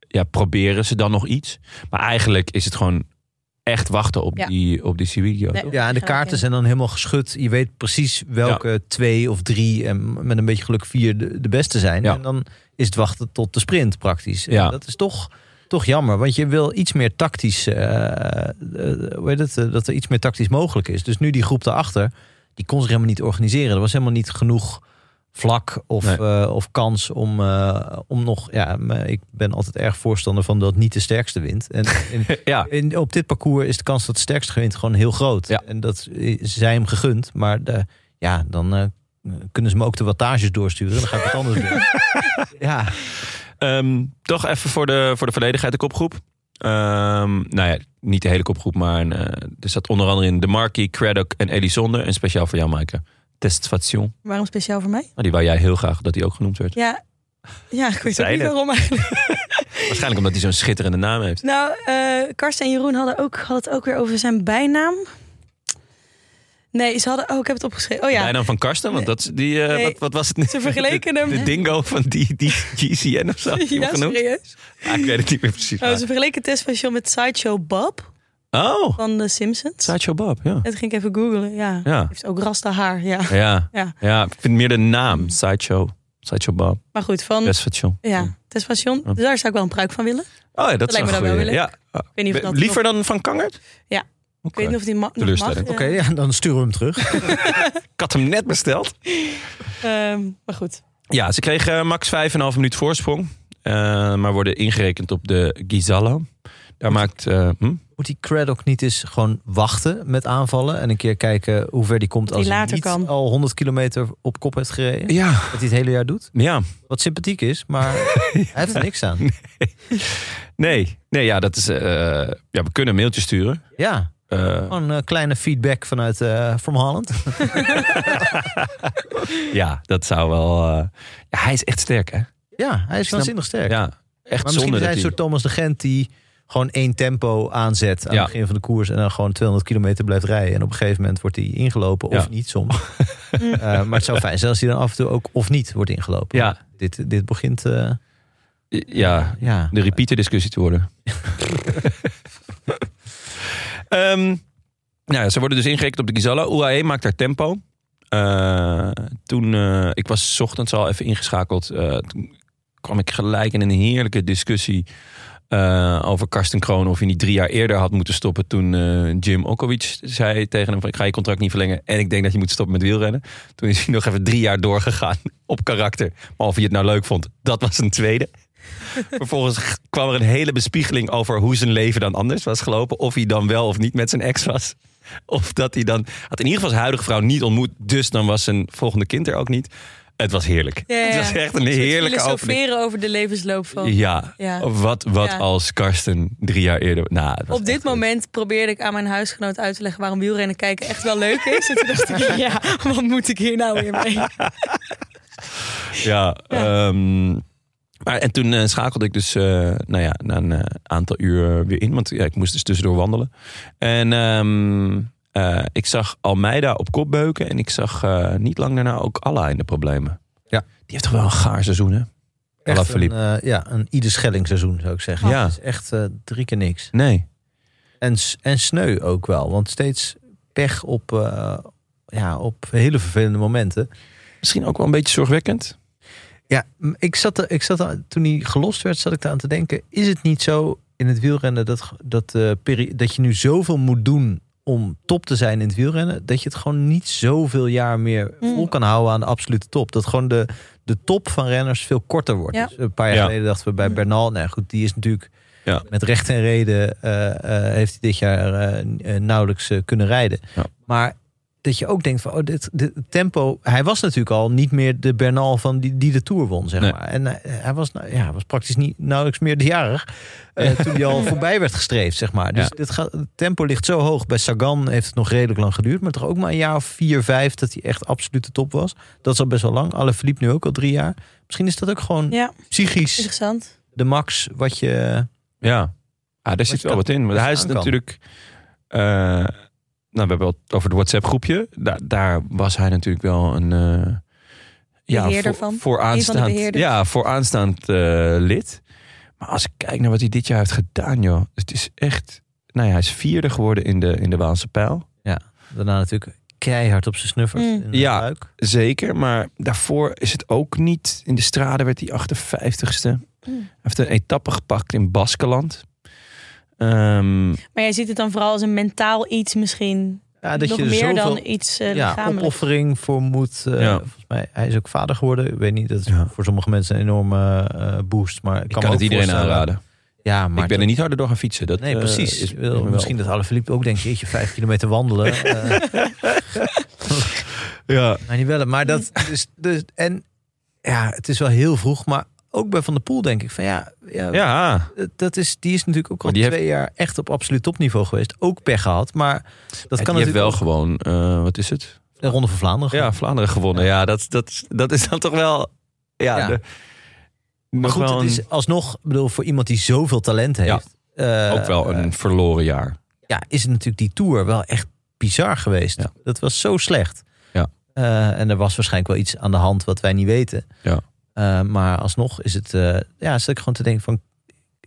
Speaker 1: ja, proberen ze dan nog iets? Maar eigenlijk is het gewoon echt wachten op
Speaker 3: Ja.
Speaker 1: die, op die Civiglio.
Speaker 3: Nee. eh,
Speaker 1: toch?
Speaker 2: Ja, en de kaarten zijn dan helemaal geschud. Je weet precies welke twee of drie en met een beetje geluk vier de, de beste zijn.
Speaker 1: Ja.
Speaker 2: En dan is het wachten tot de sprint praktisch.
Speaker 1: Ja.
Speaker 2: En Dat is toch, toch jammer, want je wil iets meer tactisch, eh, eh, hoe heet het, eh, dat er iets meer tactisch mogelijk is. Dus nu die groep daarachter, die kon zich helemaal niet organiseren. Er was helemaal niet genoeg vlak of,
Speaker 1: Nee.
Speaker 2: eh, of kans om, eh, om nog... Ja, maar ik ben altijd erg voorstander van dat niet de sterkste wint. En in,
Speaker 1: Ja.
Speaker 2: in, op dit parcours is de kans dat het sterkst gewint gewoon heel groot.
Speaker 1: Ja.
Speaker 2: En dat is- zij hem gegund. Maar de, ja, dan eh, kunnen ze me ook de wattages doorsturen. Dan ga ik wat anders doen. ja,
Speaker 1: Ehm, toch even voor de, voor de volledigheid de kopgroep. Ehm, nou ja, niet de hele kopgroep, maar een, eh, er zat onder andere in De Marquis, Craddock en Elisonde. En speciaal voor jou, Maaike. Testation. Nou,
Speaker 3: Waarom speciaal voor mij?
Speaker 1: die wou jij heel graag dat die ook genoemd werd.
Speaker 3: Ja, ja ik weet ook
Speaker 1: Zei
Speaker 3: niet
Speaker 1: het.
Speaker 3: waarom eigenlijk.
Speaker 1: Waarschijnlijk omdat hij zo'n schitterende naam heeft.
Speaker 3: Nou, eh, Karsten en Jeroen hadden, ook, hadden het ook weer over zijn bijnaam. Nee, ze hadden... Oh, ik heb het opgeschreven. Oh
Speaker 1: De
Speaker 3: ja,
Speaker 1: bijnaam van Karsten, want dat, is die, eh,
Speaker 3: Nee.
Speaker 1: wat, wat was het?
Speaker 3: ze vergeleken hem...
Speaker 1: De dingo van die, die GCN of zo. had je hem
Speaker 3: ja,
Speaker 1: genoemd?
Speaker 3: serieus?
Speaker 1: Ah, ik weet het niet meer precies.
Speaker 3: Oh,
Speaker 1: waar.
Speaker 3: ze vergeleken Tess van Sean met Sideshow Bob
Speaker 1: Oh,
Speaker 3: van The Simpsons.
Speaker 1: Sideshow Bob, ja.
Speaker 3: En toen ging ik even googlen, ja.
Speaker 1: Ja,
Speaker 3: Heeft ook rasta haar, ja.
Speaker 1: ja.
Speaker 3: Ja.
Speaker 1: ja ik vind meer de naam. Sideshow. Sideshow Bob.
Speaker 3: Maar goed, van...
Speaker 1: Testation.
Speaker 3: Mm. Ja, Tess van Sean,
Speaker 1: Ja.
Speaker 3: daar zou ik wel een pruik van willen.
Speaker 1: Oh ja, dat,
Speaker 3: Dat
Speaker 1: is
Speaker 3: lijkt
Speaker 1: een
Speaker 3: me dan wel
Speaker 1: goeie.
Speaker 3: weer
Speaker 1: Ja.
Speaker 3: Ik weet niet of
Speaker 1: Be-
Speaker 3: dat
Speaker 1: Liever
Speaker 3: nog-
Speaker 1: dan van Kangert?
Speaker 3: Ja.
Speaker 1: Oké.
Speaker 3: Ik weet niet of die ma- nog mag.
Speaker 1: Teleurstelling.
Speaker 3: Ja.
Speaker 2: oké. ja, dan sturen we hem terug.
Speaker 1: Ik had hem net besteld.
Speaker 3: Ehm, maar goed.
Speaker 1: Ja, ze kregen eh, max 5,5 minuut voorsprong. Eh, maar worden ingerekend op de Gizala. Daar maakt... eh, hm?
Speaker 2: Moet die Craddock niet eens gewoon wachten met aanvallen... en een keer kijken hoe ver die komt
Speaker 3: hij
Speaker 2: als hij
Speaker 3: later
Speaker 2: niet
Speaker 3: kan.
Speaker 2: al 100 kilometer op kop heeft gereden?
Speaker 1: Ja.
Speaker 2: Dat hij het hele jaar doet.
Speaker 1: Ja.
Speaker 2: Wat sympathiek is, maar hij heeft er niks aan.
Speaker 1: Nee. Nee, ja, dat is... eh, ja, we kunnen een mailtje sturen.
Speaker 2: Ja,
Speaker 1: Eh,
Speaker 3: Oh.
Speaker 2: gewoon eh, kleine feedback vanuit eh From Holland.
Speaker 1: ja, dat zou wel... eh, ja, hij is echt sterk, hè?
Speaker 2: Ja, hij is
Speaker 1: Snap-
Speaker 2: waanzinnig sterk.
Speaker 1: Ja. Echt
Speaker 2: Maar misschien
Speaker 1: zonde
Speaker 2: is hij
Speaker 1: dat
Speaker 2: een
Speaker 1: hij...
Speaker 2: soort Thomas de Gent die gewoon één tempo aanzet aan
Speaker 1: Ja.
Speaker 2: het begin van de koers en dan gewoon 200 kilometer blijft rijden. En op een gegeven moment wordt hij ingelopen of
Speaker 1: Ja.
Speaker 2: niet soms. Eh, maar het zou fijn zijn als hij dan af en toe ook of niet wordt ingelopen.
Speaker 1: Ja.
Speaker 2: Dit, dit begint, eh,
Speaker 1: Ja,
Speaker 2: ja.
Speaker 1: de repeater discussie te worden. Ehm, nou ja, ze worden dus ingerekend op de Gizalla. UAE maakt haar tempo. eh, toen, eh, ik was 's ochtends al even ingeschakeld. eh, toen kwam ik gelijk in een heerlijke discussie eh, over Karsten Kroon. Of hij niet drie jaar eerder had moeten stoppen toen eh, Jim Okowicz zei tegen hem. van, Ik ga je contract niet verlengen en ik denk dat je moet stoppen met wielrennen. Toen is hij nog even drie jaar doorgegaan op karakter. Maar of hij het nou leuk vond, dat was een tweede. Vervolgens g- kwam er een hele bespiegeling over hoe zijn leven dan anders was gelopen. Of hij dan wel of niet met zijn ex was. Of dat hij dan... Had in ieder geval zijn huidige vrouw niet ontmoet. Dus dan was zijn volgende kind er ook niet. Het was heerlijk.
Speaker 3: Ja, ja,
Speaker 1: Het
Speaker 3: ja.
Speaker 1: was echt een
Speaker 3: soort
Speaker 1: heerlijke opening.
Speaker 3: filosoferen over de levensloop van.
Speaker 1: Ja,
Speaker 3: Ja.
Speaker 1: wat, wat
Speaker 3: Ja.
Speaker 1: als Karsten drie jaar eerder... Nou, het was
Speaker 3: Op
Speaker 1: echt-
Speaker 3: dit moment probeerde ik aan mijn huisgenoot uit te leggen waarom wielrennen kijken echt wel leuk is. En toen dacht ik, ja, wat moet ik hier nou weer mee?
Speaker 1: Ja, ehm, maar en toen eh, schakelde ik dus eh, nou ja, na een eh, aantal uur weer in. Want ja, ik moest dus tussendoor wandelen. En ehm, eh, ik zag Almeida op kop beuken. En ik zag eh, niet lang daarna ook Alla in de problemen.
Speaker 2: Ja.
Speaker 1: Die heeft toch wel een gaar seizoen, hè? Alla
Speaker 2: Echt een,
Speaker 1: Philippe.
Speaker 2: eh, ja, een ieder Schelling seizoen zou ik zeggen.
Speaker 1: Ja.
Speaker 2: Het is echt eh, drie keer niks.
Speaker 1: Nee.
Speaker 2: En, s- en sneu ook wel. Want steeds pech op, eh, ja, op hele vervelende momenten.
Speaker 1: Misschien ook wel een beetje zorgwekkend.
Speaker 2: Ja, m- ik zat, er, ik zat er, toen hij gelost werd, zat ik eraan te denken. Is het niet zo in het wielrennen dat, g- dat, eh, peri- dat je nu zoveel moet doen om top te zijn in het wielrennen? Dat je het gewoon niet zoveel jaar meer
Speaker 3: Mm.
Speaker 2: vol kan houden aan de absolute top. Dat gewoon de, de top van renners veel korter wordt.
Speaker 3: Ja.
Speaker 2: Dus een paar jaar
Speaker 1: Ja.
Speaker 2: geleden dachten we bij
Speaker 3: Mm.
Speaker 2: Bernal, nou goed, die is natuurlijk
Speaker 1: Ja.
Speaker 2: met recht en reden eh, eh, heeft hij dit jaar eh, n- eh, nauwelijks eh, kunnen rijden.
Speaker 1: Ja.
Speaker 2: Maar dat je ook denkt van, oh, dit, dit tempo... Hij was natuurlijk al niet meer de Bernal van die, die de Tour won, zeg
Speaker 1: Nee.
Speaker 2: maar. En hij, hij was, nou, ja, hij was praktisch niet, nauwelijks meer de jarig eh, toen hij al voorbij werd gestreefd, zeg maar. Dus
Speaker 1: Ja.
Speaker 2: dit gaat, het tempo ligt zo hoog. Bij Sagan heeft het nog redelijk lang geduurd, maar toch ook maar een jaar of vier, vijf dat hij echt absoluut de top was. Dat is al best wel lang. Alle verliep nu ook al drie jaar. Misschien is dat ook gewoon
Speaker 3: Ja,
Speaker 2: psychisch
Speaker 3: interessant.
Speaker 2: de max wat je... eh,
Speaker 1: Ja, ah, daar zit
Speaker 2: je
Speaker 1: wel
Speaker 2: kan-
Speaker 1: wat in. Want
Speaker 2: je
Speaker 1: hij is
Speaker 2: aan kan.
Speaker 1: natuurlijk... eh, nou, we hebben het over het WhatsApp-groepje. Daar, daar was hij natuurlijk wel een... eh voor,
Speaker 3: Beheerder van. Een van de
Speaker 1: Vooraanstaand,
Speaker 3: beheerders.
Speaker 1: ja, vooraanstaand eh, lid. Maar als ik kijk naar wat hij dit jaar heeft gedaan, joh. Het is echt... Nou ja, hij is vierde geworden in de, in de Waalse pijl.
Speaker 2: Daarna natuurlijk keihard op zijn snuffert.
Speaker 3: Mm.
Speaker 2: in de
Speaker 1: Ja.
Speaker 2: buik.
Speaker 1: Zeker, maar daarvoor is het ook niet. In de straden werd hij 58ste. Hij heeft een etappe gepakt in Baskeland. Ehm,
Speaker 3: Maar jij ziet het dan vooral als een mentaal iets misschien.
Speaker 2: Ja, dat
Speaker 3: Nog
Speaker 2: je er
Speaker 3: meer
Speaker 2: zoveel
Speaker 3: dan iets eh
Speaker 2: ja,
Speaker 3: lichamelijk.
Speaker 2: opoffering voor moet. eh,
Speaker 1: Ja.
Speaker 2: Volgens mij, hij is ook vader geworden. Ik weet niet, dat is
Speaker 1: Ja.
Speaker 2: voor sommige mensen een enorme eh, boost. Maar ik
Speaker 1: ik
Speaker 2: kan,
Speaker 1: kan,
Speaker 2: me
Speaker 1: het
Speaker 2: ook
Speaker 1: iedereen
Speaker 2: voorstellen-
Speaker 1: aanraden.
Speaker 2: Ja, maar
Speaker 1: ik ben er
Speaker 2: toch-
Speaker 1: niet harder door gaan fietsen. Dat,
Speaker 2: Nee,
Speaker 1: eh,
Speaker 2: precies.
Speaker 1: is-
Speaker 2: Ik wil-
Speaker 1: wel-
Speaker 2: misschien dat Alaphilippe ook denkt, jeetje, vijf kilometer wandelen. eh,
Speaker 1: Ja.
Speaker 2: maar niet wel. Maar dat, dus, dus, en ja, het is wel heel vroeg. Maar ook bij Van der Poel denk ik van ja, ja,
Speaker 1: ja,
Speaker 2: Dat is, die is natuurlijk ook al
Speaker 1: Maar die
Speaker 2: twee
Speaker 1: heeft-
Speaker 2: jaar echt op absoluut topniveau geweest. Ook pech gehad, maar dat
Speaker 1: dat
Speaker 2: kan
Speaker 1: kan heeft
Speaker 2: natuurlijk
Speaker 1: wel
Speaker 2: ook-
Speaker 1: gewoon. eh, wat is het?
Speaker 2: de Ronde van Vlaanderen.
Speaker 1: Ja, Vlaanderen gewonnen. Ja, dat, dat, dat is dan toch wel. Ja,
Speaker 2: Ja.
Speaker 1: de-
Speaker 2: Maar
Speaker 1: nog
Speaker 2: goed,
Speaker 1: wel
Speaker 2: het
Speaker 1: een-
Speaker 2: is alsnog, ik bedoel, voor iemand die zoveel talent heeft, eh,
Speaker 1: ook wel een verloren jaar.
Speaker 2: ja, is het natuurlijk die tour wel echt bizar geweest.
Speaker 1: Ja.
Speaker 2: Dat was zo slecht.
Speaker 1: Ja.
Speaker 2: Eh, en er was waarschijnlijk wel iets aan de hand wat wij niet weten.
Speaker 1: Ja.
Speaker 2: Eh, maar alsnog is het, eh ja, zit ik gewoon te denken van,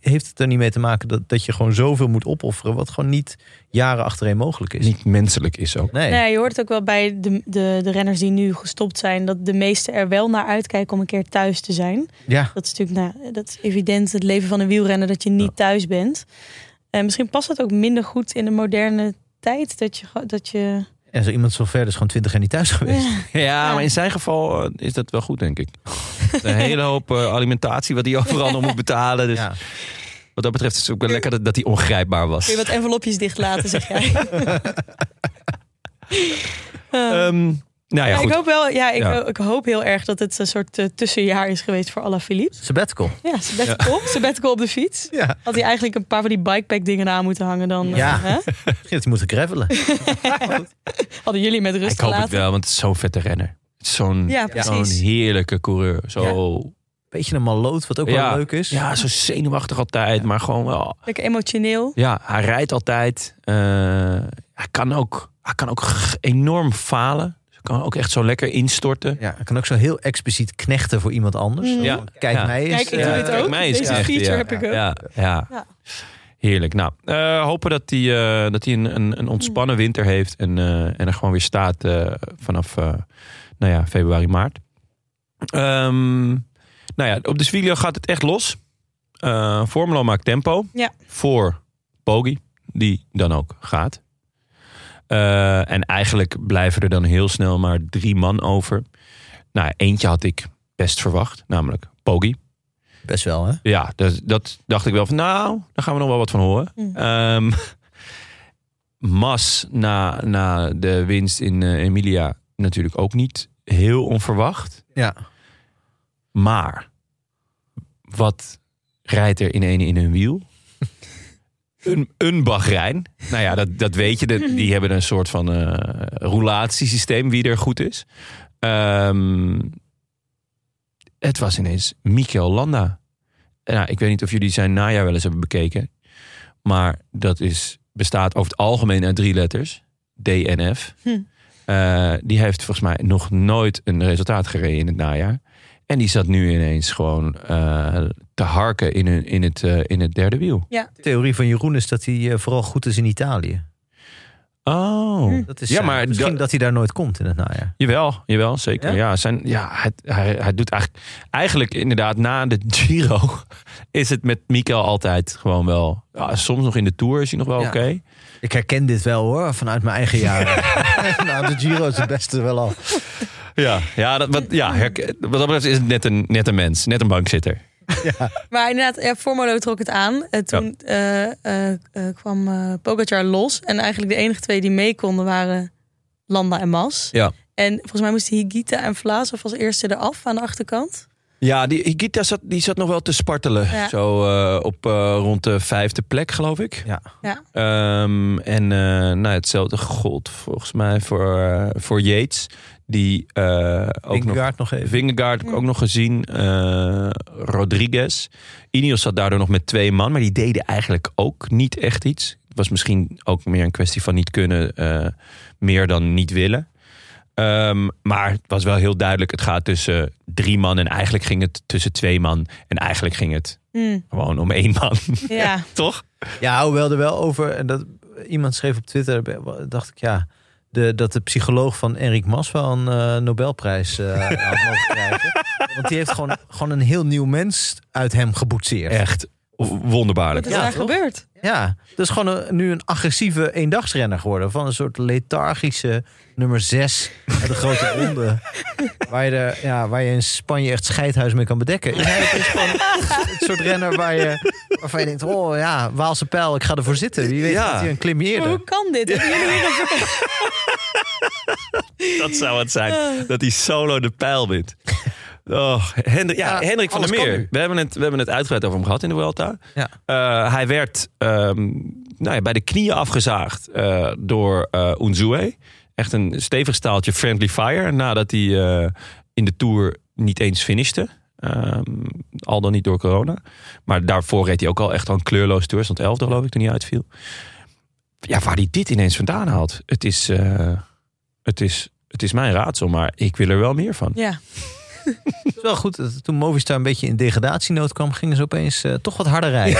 Speaker 2: heeft het er niet mee te maken dat, dat je gewoon zoveel moet opofferen, wat gewoon niet jaren achtereen mogelijk is?
Speaker 1: Niet menselijk is ook.
Speaker 2: Nee.
Speaker 3: Nou ja, je hoort het ook wel bij de, de, de renners die nu gestopt zijn. Dat de meesten er wel naar uitkijken om een keer thuis te zijn.
Speaker 2: Ja.
Speaker 3: Dat is natuurlijk nou, dat is evident het leven van een wielrenner dat je niet thuis bent. En misschien past dat ook minder goed in de moderne tijd. Dat je, gewoon- dat je
Speaker 2: En zo iemand zo ver is gewoon twintig jaar niet thuis geweest.
Speaker 1: Ja, maar in zijn geval eh, is dat wel goed, denk ik. een hele hoop eh, alimentatie wat hij overal nog moet betalen. Dus
Speaker 2: Ja.
Speaker 1: wat dat betreft is het ook wel lekker dat, dat hij ongrijpbaar
Speaker 3: kun
Speaker 1: was.
Speaker 3: je wat envelopjes dicht laten, zeg jij. Ah. Eh,
Speaker 1: Ehm, nou ja,
Speaker 3: maar
Speaker 1: goed.
Speaker 3: ik hoop wel, ja, ik,
Speaker 1: Ja.
Speaker 3: ik hoop heel erg dat het een soort eh, tussenjaar is geweest voor Alaphilippe.
Speaker 2: Sabbatical.
Speaker 3: Ja, sabbatical, sabbatical op de fiets.
Speaker 2: Ja.
Speaker 3: Had hij eigenlijk een paar van die bikepack dingen aan moeten hangen dan? eh,
Speaker 2: Ja.
Speaker 3: hè?
Speaker 2: Misschien dat hij moet gravelen.
Speaker 3: Hadden jullie met rust
Speaker 1: Ik hoop het
Speaker 3: gelaten?
Speaker 1: wel, want het is zo'n vette renner. Het is Zo'n
Speaker 3: Ja,
Speaker 1: zo'n
Speaker 3: precies.
Speaker 1: heerlijke coureur. Zo,
Speaker 2: Beetje een maloot, wat ook wel leuk is.
Speaker 1: Ja, zo zenuwachtig altijd, maar gewoon wel.
Speaker 3: Lekker emotioneel.
Speaker 1: Ja, hij rijdt altijd. Eh, hij, kan ook, hij kan ook g- enorm falen. Dus hij kan ook echt zo lekker instorten.
Speaker 2: Ja, hij kan ook zo heel expliciet knechten voor iemand anders.
Speaker 3: Mm.
Speaker 2: Zo,
Speaker 1: Ja.
Speaker 2: Kijk
Speaker 1: Ja.
Speaker 2: mij eens.
Speaker 3: Kijk, ik
Speaker 1: Ja,
Speaker 3: doe dit
Speaker 1: eh, kijk
Speaker 3: ook.
Speaker 1: mij eens
Speaker 3: Deze
Speaker 1: echt,
Speaker 3: feature
Speaker 1: ja.
Speaker 3: heb ik ook.
Speaker 1: Ja, ja.
Speaker 3: Ja.
Speaker 1: ja. Heerlijk. Nou, eh, hopen dat hij eh, dat hij een, een, een ontspannen winter heeft. En, eh, en er gewoon weer staat eh, vanaf eh, nou ja, februari, maart. Ehm, nou ja, op de Sviglio gaat het echt los. Eh Formula maakt tempo.
Speaker 3: Ja.
Speaker 1: Voor Bogie, die dan ook gaat. Eh, en eigenlijk blijven er dan heel snel maar drie man over. Nou, ja, eentje had ik best verwacht, namelijk Bogie.
Speaker 2: Best wel, hè?
Speaker 1: Ja, dus dat dacht ik wel van, nou, daar gaan we nog wel wat van horen.
Speaker 3: Mm.
Speaker 1: Ehm, Mas na, na de winst in eh, Emilia natuurlijk ook niet heel onverwacht.
Speaker 2: Ja.
Speaker 1: Maar wat rijdt er in ene in hun wiel? Een, een Bahrein. Nou ja, dat, dat weet je. Dat, die hebben een soort van eh roulatiesysteem, wie er goed is. Ehm, het was ineens Mikel Landa. Nou, ik weet niet of jullie zijn najaar wel eens hebben bekeken. Maar dat is, bestaat over het algemeen uit drie letters. DNF.
Speaker 3: Hm.
Speaker 1: Eh, die heeft volgens mij nog nooit een resultaat gereden in het najaar. En die zat nu ineens gewoon eh, te harken in, hun, in, het, eh, in het derde wiel.
Speaker 2: De theorie van Jeroen is dat hij eh, vooral goed is in Italië.
Speaker 1: Oh.
Speaker 3: Hm.
Speaker 2: Dat is
Speaker 1: Ja,
Speaker 2: zijn-
Speaker 1: maar
Speaker 2: misschien
Speaker 1: dat-
Speaker 2: dat hij daar nooit komt in het najaar.
Speaker 1: Jawel, jawel, zeker.
Speaker 2: Ja?
Speaker 1: Ja, zijn, ja hij, hij, hij doet eigenlijk, eigenlijk inderdaad na de Giro is het met Mikael altijd gewoon wel. ja, soms nog in de Tour is hij nog wel
Speaker 2: Ja.
Speaker 1: oké.
Speaker 2: Ik herken dit wel hoor, vanuit mijn eigen jaren. nou, de Giro is het beste wel al.
Speaker 1: Ja, ja, dat, wat, ja herk- wat dat betreft is het net een, net een mens, net een bankzitter.
Speaker 3: Maar inderdaad, ja, Formolo trok het aan. Eh, toen eh, eh, eh, kwam eh Pogacar los. En eigenlijk de enige twee die mee konden waren Landa en Mas.
Speaker 1: Ja.
Speaker 3: En volgens mij moesten Higita en Vlaasov als eerste eraf aan de achterkant.
Speaker 1: Ja, die Higita zat, die zat nog wel te spartelen.
Speaker 3: Ja.
Speaker 1: Zo eh, op eh, rond de vijfde plek, geloof ik.
Speaker 2: Ja.
Speaker 3: Ja.
Speaker 1: Ehm, en eh, nou, hetzelfde gold volgens mij voor, eh, voor Yates. Die eh, ook nog
Speaker 2: Vingegaard nog even.
Speaker 1: Vingegaard heb ik ook nog gezien. eh, Rodriguez. Ineos zat daardoor nog met twee man. Maar die deden eigenlijk ook niet echt iets. Het was misschien ook meer een kwestie van niet kunnen. eh, meer dan niet willen. Ehm, maar het was wel heel duidelijk. Het gaat tussen drie man. En eigenlijk ging het tussen twee man. En eigenlijk ging het
Speaker 3: Hm,
Speaker 1: gewoon om één man.
Speaker 3: ja.
Speaker 1: Toch?
Speaker 2: Ja, hoewel er wel over. En dat, iemand schreef op Twitter, dacht ik ja. De, dat de psycholoog van Enric Mas wel een eh, Nobelprijs eh, had mogen krijgen. Want die heeft gewoon, gewoon een heel nieuw mens uit hem geboetseerd.
Speaker 1: Echt wonderbaarlijk.
Speaker 3: Wat is
Speaker 2: Ja,
Speaker 3: daar
Speaker 2: toch?
Speaker 3: gebeurd?
Speaker 2: Ja, dat is gewoon een- nu een agressieve eendagsrenner geworden. Van een soort lethargische nummer 6 uit de grote ronde. waar, je er, ja, waar je in Spanje echt scheidhuis mee kan bedekken. Ja, het is gewoon een soort renner waar je, waarvan je denkt... oh ja, Waalse pijl, ik ga ervoor zitten. Wie weet
Speaker 1: Ja.
Speaker 2: dat hij een klim
Speaker 3: Maar
Speaker 2: eerder.
Speaker 3: hoe kan dit? Hebben jullie hier een ver-
Speaker 1: Dat zou het zijn. Dat hij solo de pijl wint. Oh, Hendrik, ja,
Speaker 2: Ja,
Speaker 1: Hendrik van der
Speaker 2: alles kan
Speaker 1: Meer.
Speaker 2: nu.
Speaker 1: We hebben, het, we hebben het uitgebreid over hem gehad in de Vuelta.
Speaker 2: Ja.
Speaker 1: Eh, hij werd ehm, nou ja, bij de knieën afgezaagd eh, door eh Unzue. Echt een stevig staaltje friendly fire. Nadat hij eh, in de Tour niet eens finishte. Ehm, al dan niet door corona. Maar daarvoor reed hij ook al echt al een kleurloos tour. Stond elfde geloof ik toen hij uitviel. Ja, waar hij dit ineens vandaan haalt. Het is, eh, het is, het is mijn raadsel, maar ik wil er wel meer van.
Speaker 3: Ja.
Speaker 2: Het is wel goed, dat toen Movistar een beetje in degradatienood kwam... gingen ze opeens eh, toch wat harder rijden.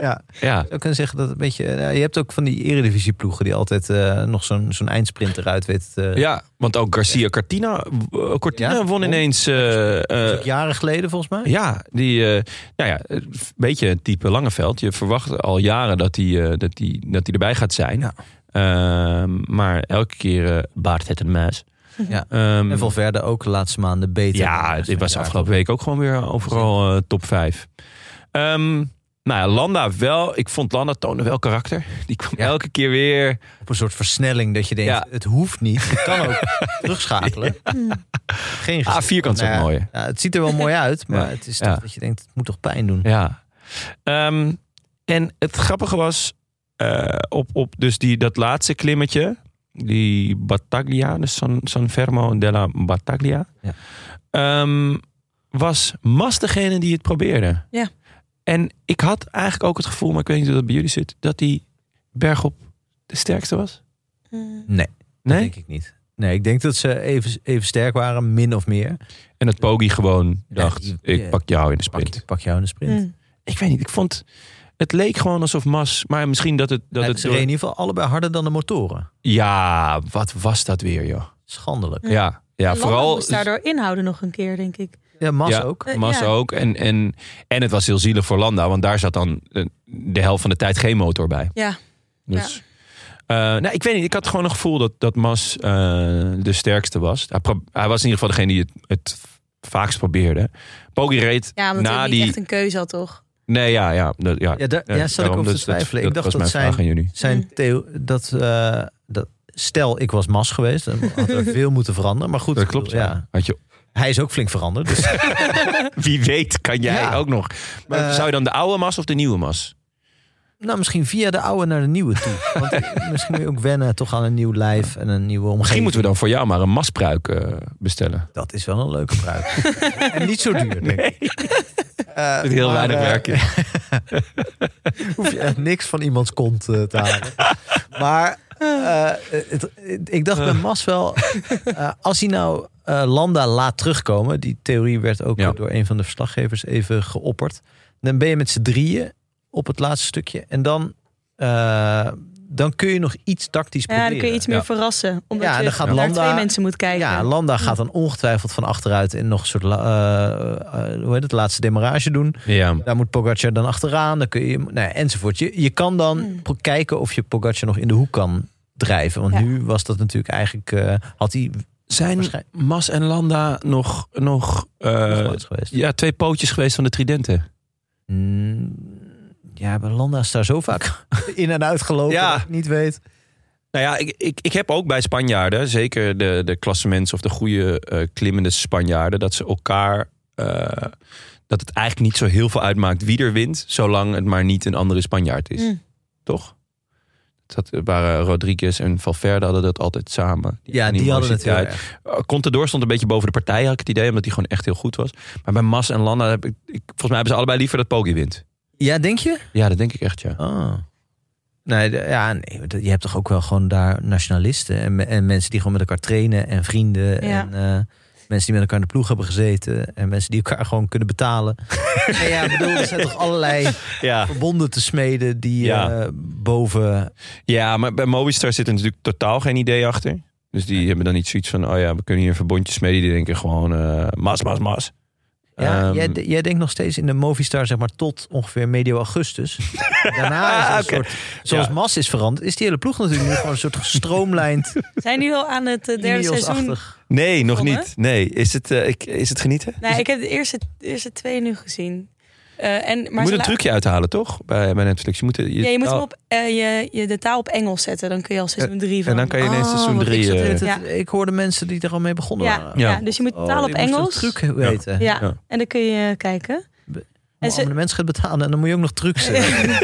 Speaker 2: ja.
Speaker 1: Ja,
Speaker 2: Ik zou kunnen zeggen dat het een beetje... eh, je hebt ook van die eredivisieploegen... die altijd eh, nog zo'n zo'n eindsprint eruit weet eh,
Speaker 1: ja want ook Garcia Cortina, eh, Cortina
Speaker 2: Ja,
Speaker 1: won
Speaker 2: won.
Speaker 1: ineens... eh, eh,
Speaker 2: Dat is ook jaren geleden volgens mij.
Speaker 1: ja, die, eh, nou ja, een beetje het type Langeveld. Je verwacht al jaren dat hij eh, dat die, dat die erbij gaat zijn.
Speaker 2: Ja.
Speaker 1: Ehm, maar elke keer eh, baart het een muis.
Speaker 2: Ja.
Speaker 1: Ehm,
Speaker 2: En Valverde ook de laatste maanden beter.
Speaker 1: Ja, dit was afgelopen week ook gewoon weer overal eh, top 5. nou ja, Landa wel. Ik vond Landa toonde wel karakter. Die kwam
Speaker 2: Ja.
Speaker 1: elke keer weer.
Speaker 2: Op een soort versnelling dat je denkt,
Speaker 1: Ja.
Speaker 2: het hoeft niet. Je kan ook terugschakelen. Geen
Speaker 1: Ah, vierkant is ook
Speaker 2: Nou ja,
Speaker 1: mooier.
Speaker 2: ja, het ziet er wel mooi uit, maar
Speaker 1: Ja.
Speaker 2: het is toch
Speaker 1: Ja.
Speaker 2: dat je denkt, het moet toch pijn doen.
Speaker 1: Ja. Ehm, en het grappige was, eh, op, op dus die, dat laatste klimmetje, die Battaglia, dus San, San Fermo della Battaglia,
Speaker 2: Ja.
Speaker 1: ehm, was Mas degene die het probeerde.
Speaker 3: Ja.
Speaker 1: En ik had eigenlijk ook het gevoel, maar ik weet niet hoe dat bij jullie zit, dat die bergop de sterkste was.
Speaker 2: Nee, dat
Speaker 1: Nee?
Speaker 2: denk ik niet. Nee, ik denk dat ze even, even sterk waren, min of meer.
Speaker 1: En dat Pogi gewoon
Speaker 2: Ja,
Speaker 1: dacht,
Speaker 2: die-
Speaker 1: ik
Speaker 2: ja.
Speaker 1: pak jou in de
Speaker 2: Pak,
Speaker 1: sprint.
Speaker 2: ik pak jou in de sprint.
Speaker 3: Hm.
Speaker 1: Ik weet niet, ik vond... Het leek gewoon alsof Mas. Maar misschien dat het. Dat
Speaker 2: Dat
Speaker 1: het
Speaker 2: ze
Speaker 1: door-
Speaker 2: reden in ieder geval allebei harder dan de motoren.
Speaker 1: Ja, wat was dat weer, joh?
Speaker 2: Schandelijk.
Speaker 1: Ja, ja, vooral.
Speaker 3: moest daardoor inhouden nog een keer, denk ik.
Speaker 2: Ja, Mas
Speaker 1: Ja.
Speaker 2: ook.
Speaker 3: Eh,
Speaker 1: Mas
Speaker 3: ja.
Speaker 1: ook. En, en, en het was heel zielig voor Landa, want daar zat dan eh, de helft van de tijd geen motor bij.
Speaker 3: Ja,
Speaker 1: Dus, eh, nou, ik weet niet. Ik had gewoon een gevoel dat, dat Mas eh, de sterkste was. Hij, pro- hij was in ieder geval degene die het, het vaakst probeerde. Poggi reed
Speaker 3: ja omdat
Speaker 1: na
Speaker 3: hij niet
Speaker 1: die...
Speaker 3: echt een keuze had, toch?
Speaker 1: Nee, ja, ja. dat- ja,
Speaker 2: Ja, daar ja, zat ik
Speaker 1: daarom,
Speaker 2: over
Speaker 1: dat-
Speaker 2: te twijfelen.
Speaker 1: Dat,
Speaker 2: ik dacht
Speaker 1: was
Speaker 2: dat,
Speaker 1: mijn
Speaker 2: zijn,
Speaker 1: vraag aan jullie.
Speaker 2: zijn
Speaker 3: Mm.
Speaker 2: theo, dat, eh, dat stel ik was Mas geweest, dan had er veel moeten veranderen. Maar goed,
Speaker 1: Dat
Speaker 2: ik
Speaker 1: klopt,
Speaker 2: bedoel,
Speaker 1: ja.
Speaker 2: ja.
Speaker 1: Had je,
Speaker 2: Hij is ook flink veranderd. Dus,
Speaker 1: wie weet kan jij
Speaker 2: Ja.
Speaker 1: ook nog. Maar
Speaker 2: Eh,
Speaker 1: zou je dan de oude Mas of de nieuwe Mas?
Speaker 2: nou, misschien via de oude naar de nieuwe toe. Want eh, misschien moet je ook wennen toch aan een nieuw lijf en een nieuwe omgeving.
Speaker 1: Misschien moeten we dan voor jou maar een maspruik eh, bestellen.
Speaker 2: Dat is wel een leuke pruik. en niet zo duur, denk ik. Eh,
Speaker 1: Met heel
Speaker 2: maar,
Speaker 1: weinig
Speaker 2: eh,
Speaker 1: werk in.
Speaker 2: hoef je echt niks van iemands kont eh, te halen. Maar eh, het- het- ik dacht bij Mas wel, eh, als hij nou eh, Landa laat terugkomen, die theorie werd ook
Speaker 1: Ja.
Speaker 2: door een van de verslaggevers even geopperd, dan ben je met z'n drieën op het laatste stukje en dan, eh, dan kun je nog iets tactisch
Speaker 3: Ja,
Speaker 2: proberen.
Speaker 3: dan kun je iets meer
Speaker 1: Ja.
Speaker 3: verrassen. Omdat
Speaker 2: Ja, en
Speaker 3: je
Speaker 2: dan gaat
Speaker 3: naar
Speaker 2: Landa-
Speaker 3: twee mensen moet kijken.
Speaker 2: Ja, Landa gaat dan ongetwijfeld van achteruit en nog een soort la- eh, eh, hoe heet het, laatste demarrage doen.
Speaker 1: Ja.
Speaker 2: Daar moet Pogacar dan achteraan. Dan kun je, nou ja, enzovoort. Je, je kan dan
Speaker 3: Hmm.
Speaker 2: pro- kijken of je Pogacar nog in de hoek kan drijven. Want
Speaker 3: Ja.
Speaker 2: nu was dat natuurlijk eigenlijk... eh, had hij
Speaker 1: Zijn
Speaker 2: waarschijnlijk
Speaker 1: Mas en Landa nog, nog,
Speaker 2: nog
Speaker 1: eh,
Speaker 2: nooit geweest.
Speaker 1: ja, twee pootjes geweest van de Tridenten?
Speaker 2: Mm, Ja, bij Landa is daar zo vaak in en uit gelopen.
Speaker 1: Ja.
Speaker 2: dat ik niet weet.
Speaker 1: Nou ja, ik, ik, ik heb ook bij Spanjaarden, zeker de, de klassemens of de goede eh, klimmende Spanjaarden, dat ze elkaar. eh, dat het eigenlijk niet zo heel veel uitmaakt wie er wint, zolang het maar niet een andere Spanjaard is.
Speaker 3: Mm.
Speaker 1: Toch? Dat waren Rodriguez en Valverde hadden dat altijd samen.
Speaker 2: Ja, die hadden het heel
Speaker 1: animositeit.
Speaker 2: erg.
Speaker 1: Eh, Contador stond een beetje boven de partij, had ik het idee, omdat hij gewoon echt heel goed was. Maar bij Mas en Landa heb ik, ik- volgens mij hebben ze allebei liever dat Poggi wint.
Speaker 2: Ja, denk je?
Speaker 1: Ja, dat denk ik echt, ja.
Speaker 2: Ah. Nee, de- ja, nee, want je hebt toch ook wel gewoon daar nationalisten en, me- en mensen die gewoon met elkaar trainen en vrienden
Speaker 3: Ja.
Speaker 2: en eh, mensen die met elkaar in de ploeg hebben gezeten en mensen die elkaar gewoon kunnen betalen. nee, ja, ik bedoel, er zijn toch allerlei
Speaker 1: Ja,
Speaker 2: verbonden te smeden die
Speaker 1: Ja.
Speaker 2: eh, boven.
Speaker 1: ja maar bij Movistar zit er natuurlijk totaal geen idee achter. Dus die hebben dan niet zoiets van, oh ja, we kunnen hier verbondjes mee. Die denken gewoon, eh, mas, mas, mas.
Speaker 2: Ja,
Speaker 1: Ehm,
Speaker 2: jij, de- jij denkt nog steeds in de Movistar, zeg maar, tot ongeveer medio augustus. Daarna is het een soort, zoals
Speaker 1: Ja.
Speaker 2: Mas is veranderd, is die hele ploeg natuurlijk nu gewoon een soort gestroomlijnd,
Speaker 3: Zijn jullie al aan het eh, derde seizoen?
Speaker 2: Ineos-achtig.
Speaker 1: Nee, nog
Speaker 3: Zonne?
Speaker 1: niet. Nee, is het, eh, ik, is het genieten?
Speaker 3: Nee, ik heb de eerste, de eerste twee nu gezien. Eh, en,
Speaker 1: je
Speaker 3: maar
Speaker 1: moet
Speaker 3: ze
Speaker 1: een
Speaker 3: la-
Speaker 1: trucje uithalen, toch? Bij, bij Netflix. Je moet, je,
Speaker 3: Ja, je moet
Speaker 1: oh, Eh,
Speaker 3: hem op, eh, je, je de taal op Engels zetten. Dan kun je al seizoen drie van.
Speaker 1: En dan kan je ineens
Speaker 3: Oh,
Speaker 2: Ah,
Speaker 1: seizoen
Speaker 2: want ik
Speaker 1: drie...
Speaker 2: zat de
Speaker 1: eh,
Speaker 2: hele tijd-
Speaker 3: Ja.
Speaker 2: Ik hoorde mensen die er al mee begonnen
Speaker 3: ja,
Speaker 2: waren.
Speaker 3: ja.
Speaker 1: Ja.
Speaker 3: dus je moet de
Speaker 2: Oh,
Speaker 3: taal op
Speaker 2: die moest
Speaker 3: Engels.
Speaker 2: een truc weten.
Speaker 3: Ja,
Speaker 1: Ja. Oh,
Speaker 3: en dan kun je eh, kijken.
Speaker 2: Hoe
Speaker 3: En ze-
Speaker 2: abonnements gaat betalen en dan moet je ook nog trucs eh. hebben.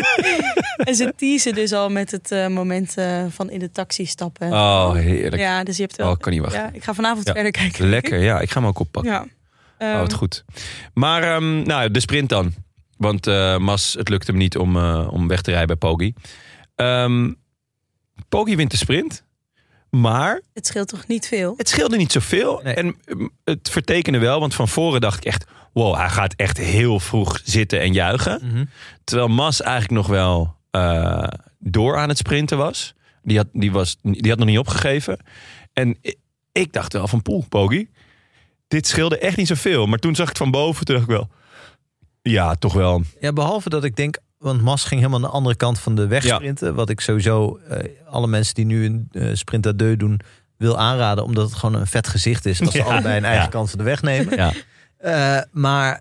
Speaker 3: En ze teasen dus al met het eh, moment eh, van in de taxi stappen.
Speaker 1: Oh, heerlijk.
Speaker 3: ja, dus je hebt wel.
Speaker 1: Oh, ik kan niet wachten.
Speaker 3: ja, ik ga vanavond
Speaker 1: Ja.
Speaker 3: verder kijken.
Speaker 1: Lekker, ja. Ik ga hem ook oppakken.
Speaker 3: Ja. Ehm,
Speaker 1: Oh, wat goed. Maar ehm, nou, de sprint dan. Want eh, Mas, het lukt hem niet om, eh, om weg te rijden bij Poggi. Ehm Poggi wint de sprint. Maar
Speaker 3: Het scheelt toch niet veel?
Speaker 1: het scheelde niet zoveel.
Speaker 2: Nee.
Speaker 1: En ehm, het vertekende wel. Want van voren dacht ik echt... Wow, hij gaat echt heel vroeg zitten en juichen. Terwijl Mas eigenlijk nog wel eh, door aan het sprinten was. Die had, die was. die had nog niet opgegeven. En ik, ik dacht wel van poel, Pogi. Dit scheelde echt niet zoveel. Maar toen zag ik van boven, toen dacht ik wel. Ja, toch wel.
Speaker 2: Ja, behalve dat ik denk, want Mas ging helemaal aan de andere kant van de weg
Speaker 1: Ja.
Speaker 2: sprinten. Wat ik sowieso eh, alle mensen die nu een eh, sprint à deux doen, wil aanraden. Omdat het gewoon een vet gezicht is als ze
Speaker 1: Ja.
Speaker 2: allebei een eigen
Speaker 1: Ja.
Speaker 2: kant van de weg nemen.
Speaker 1: Ja.
Speaker 2: Eh, maar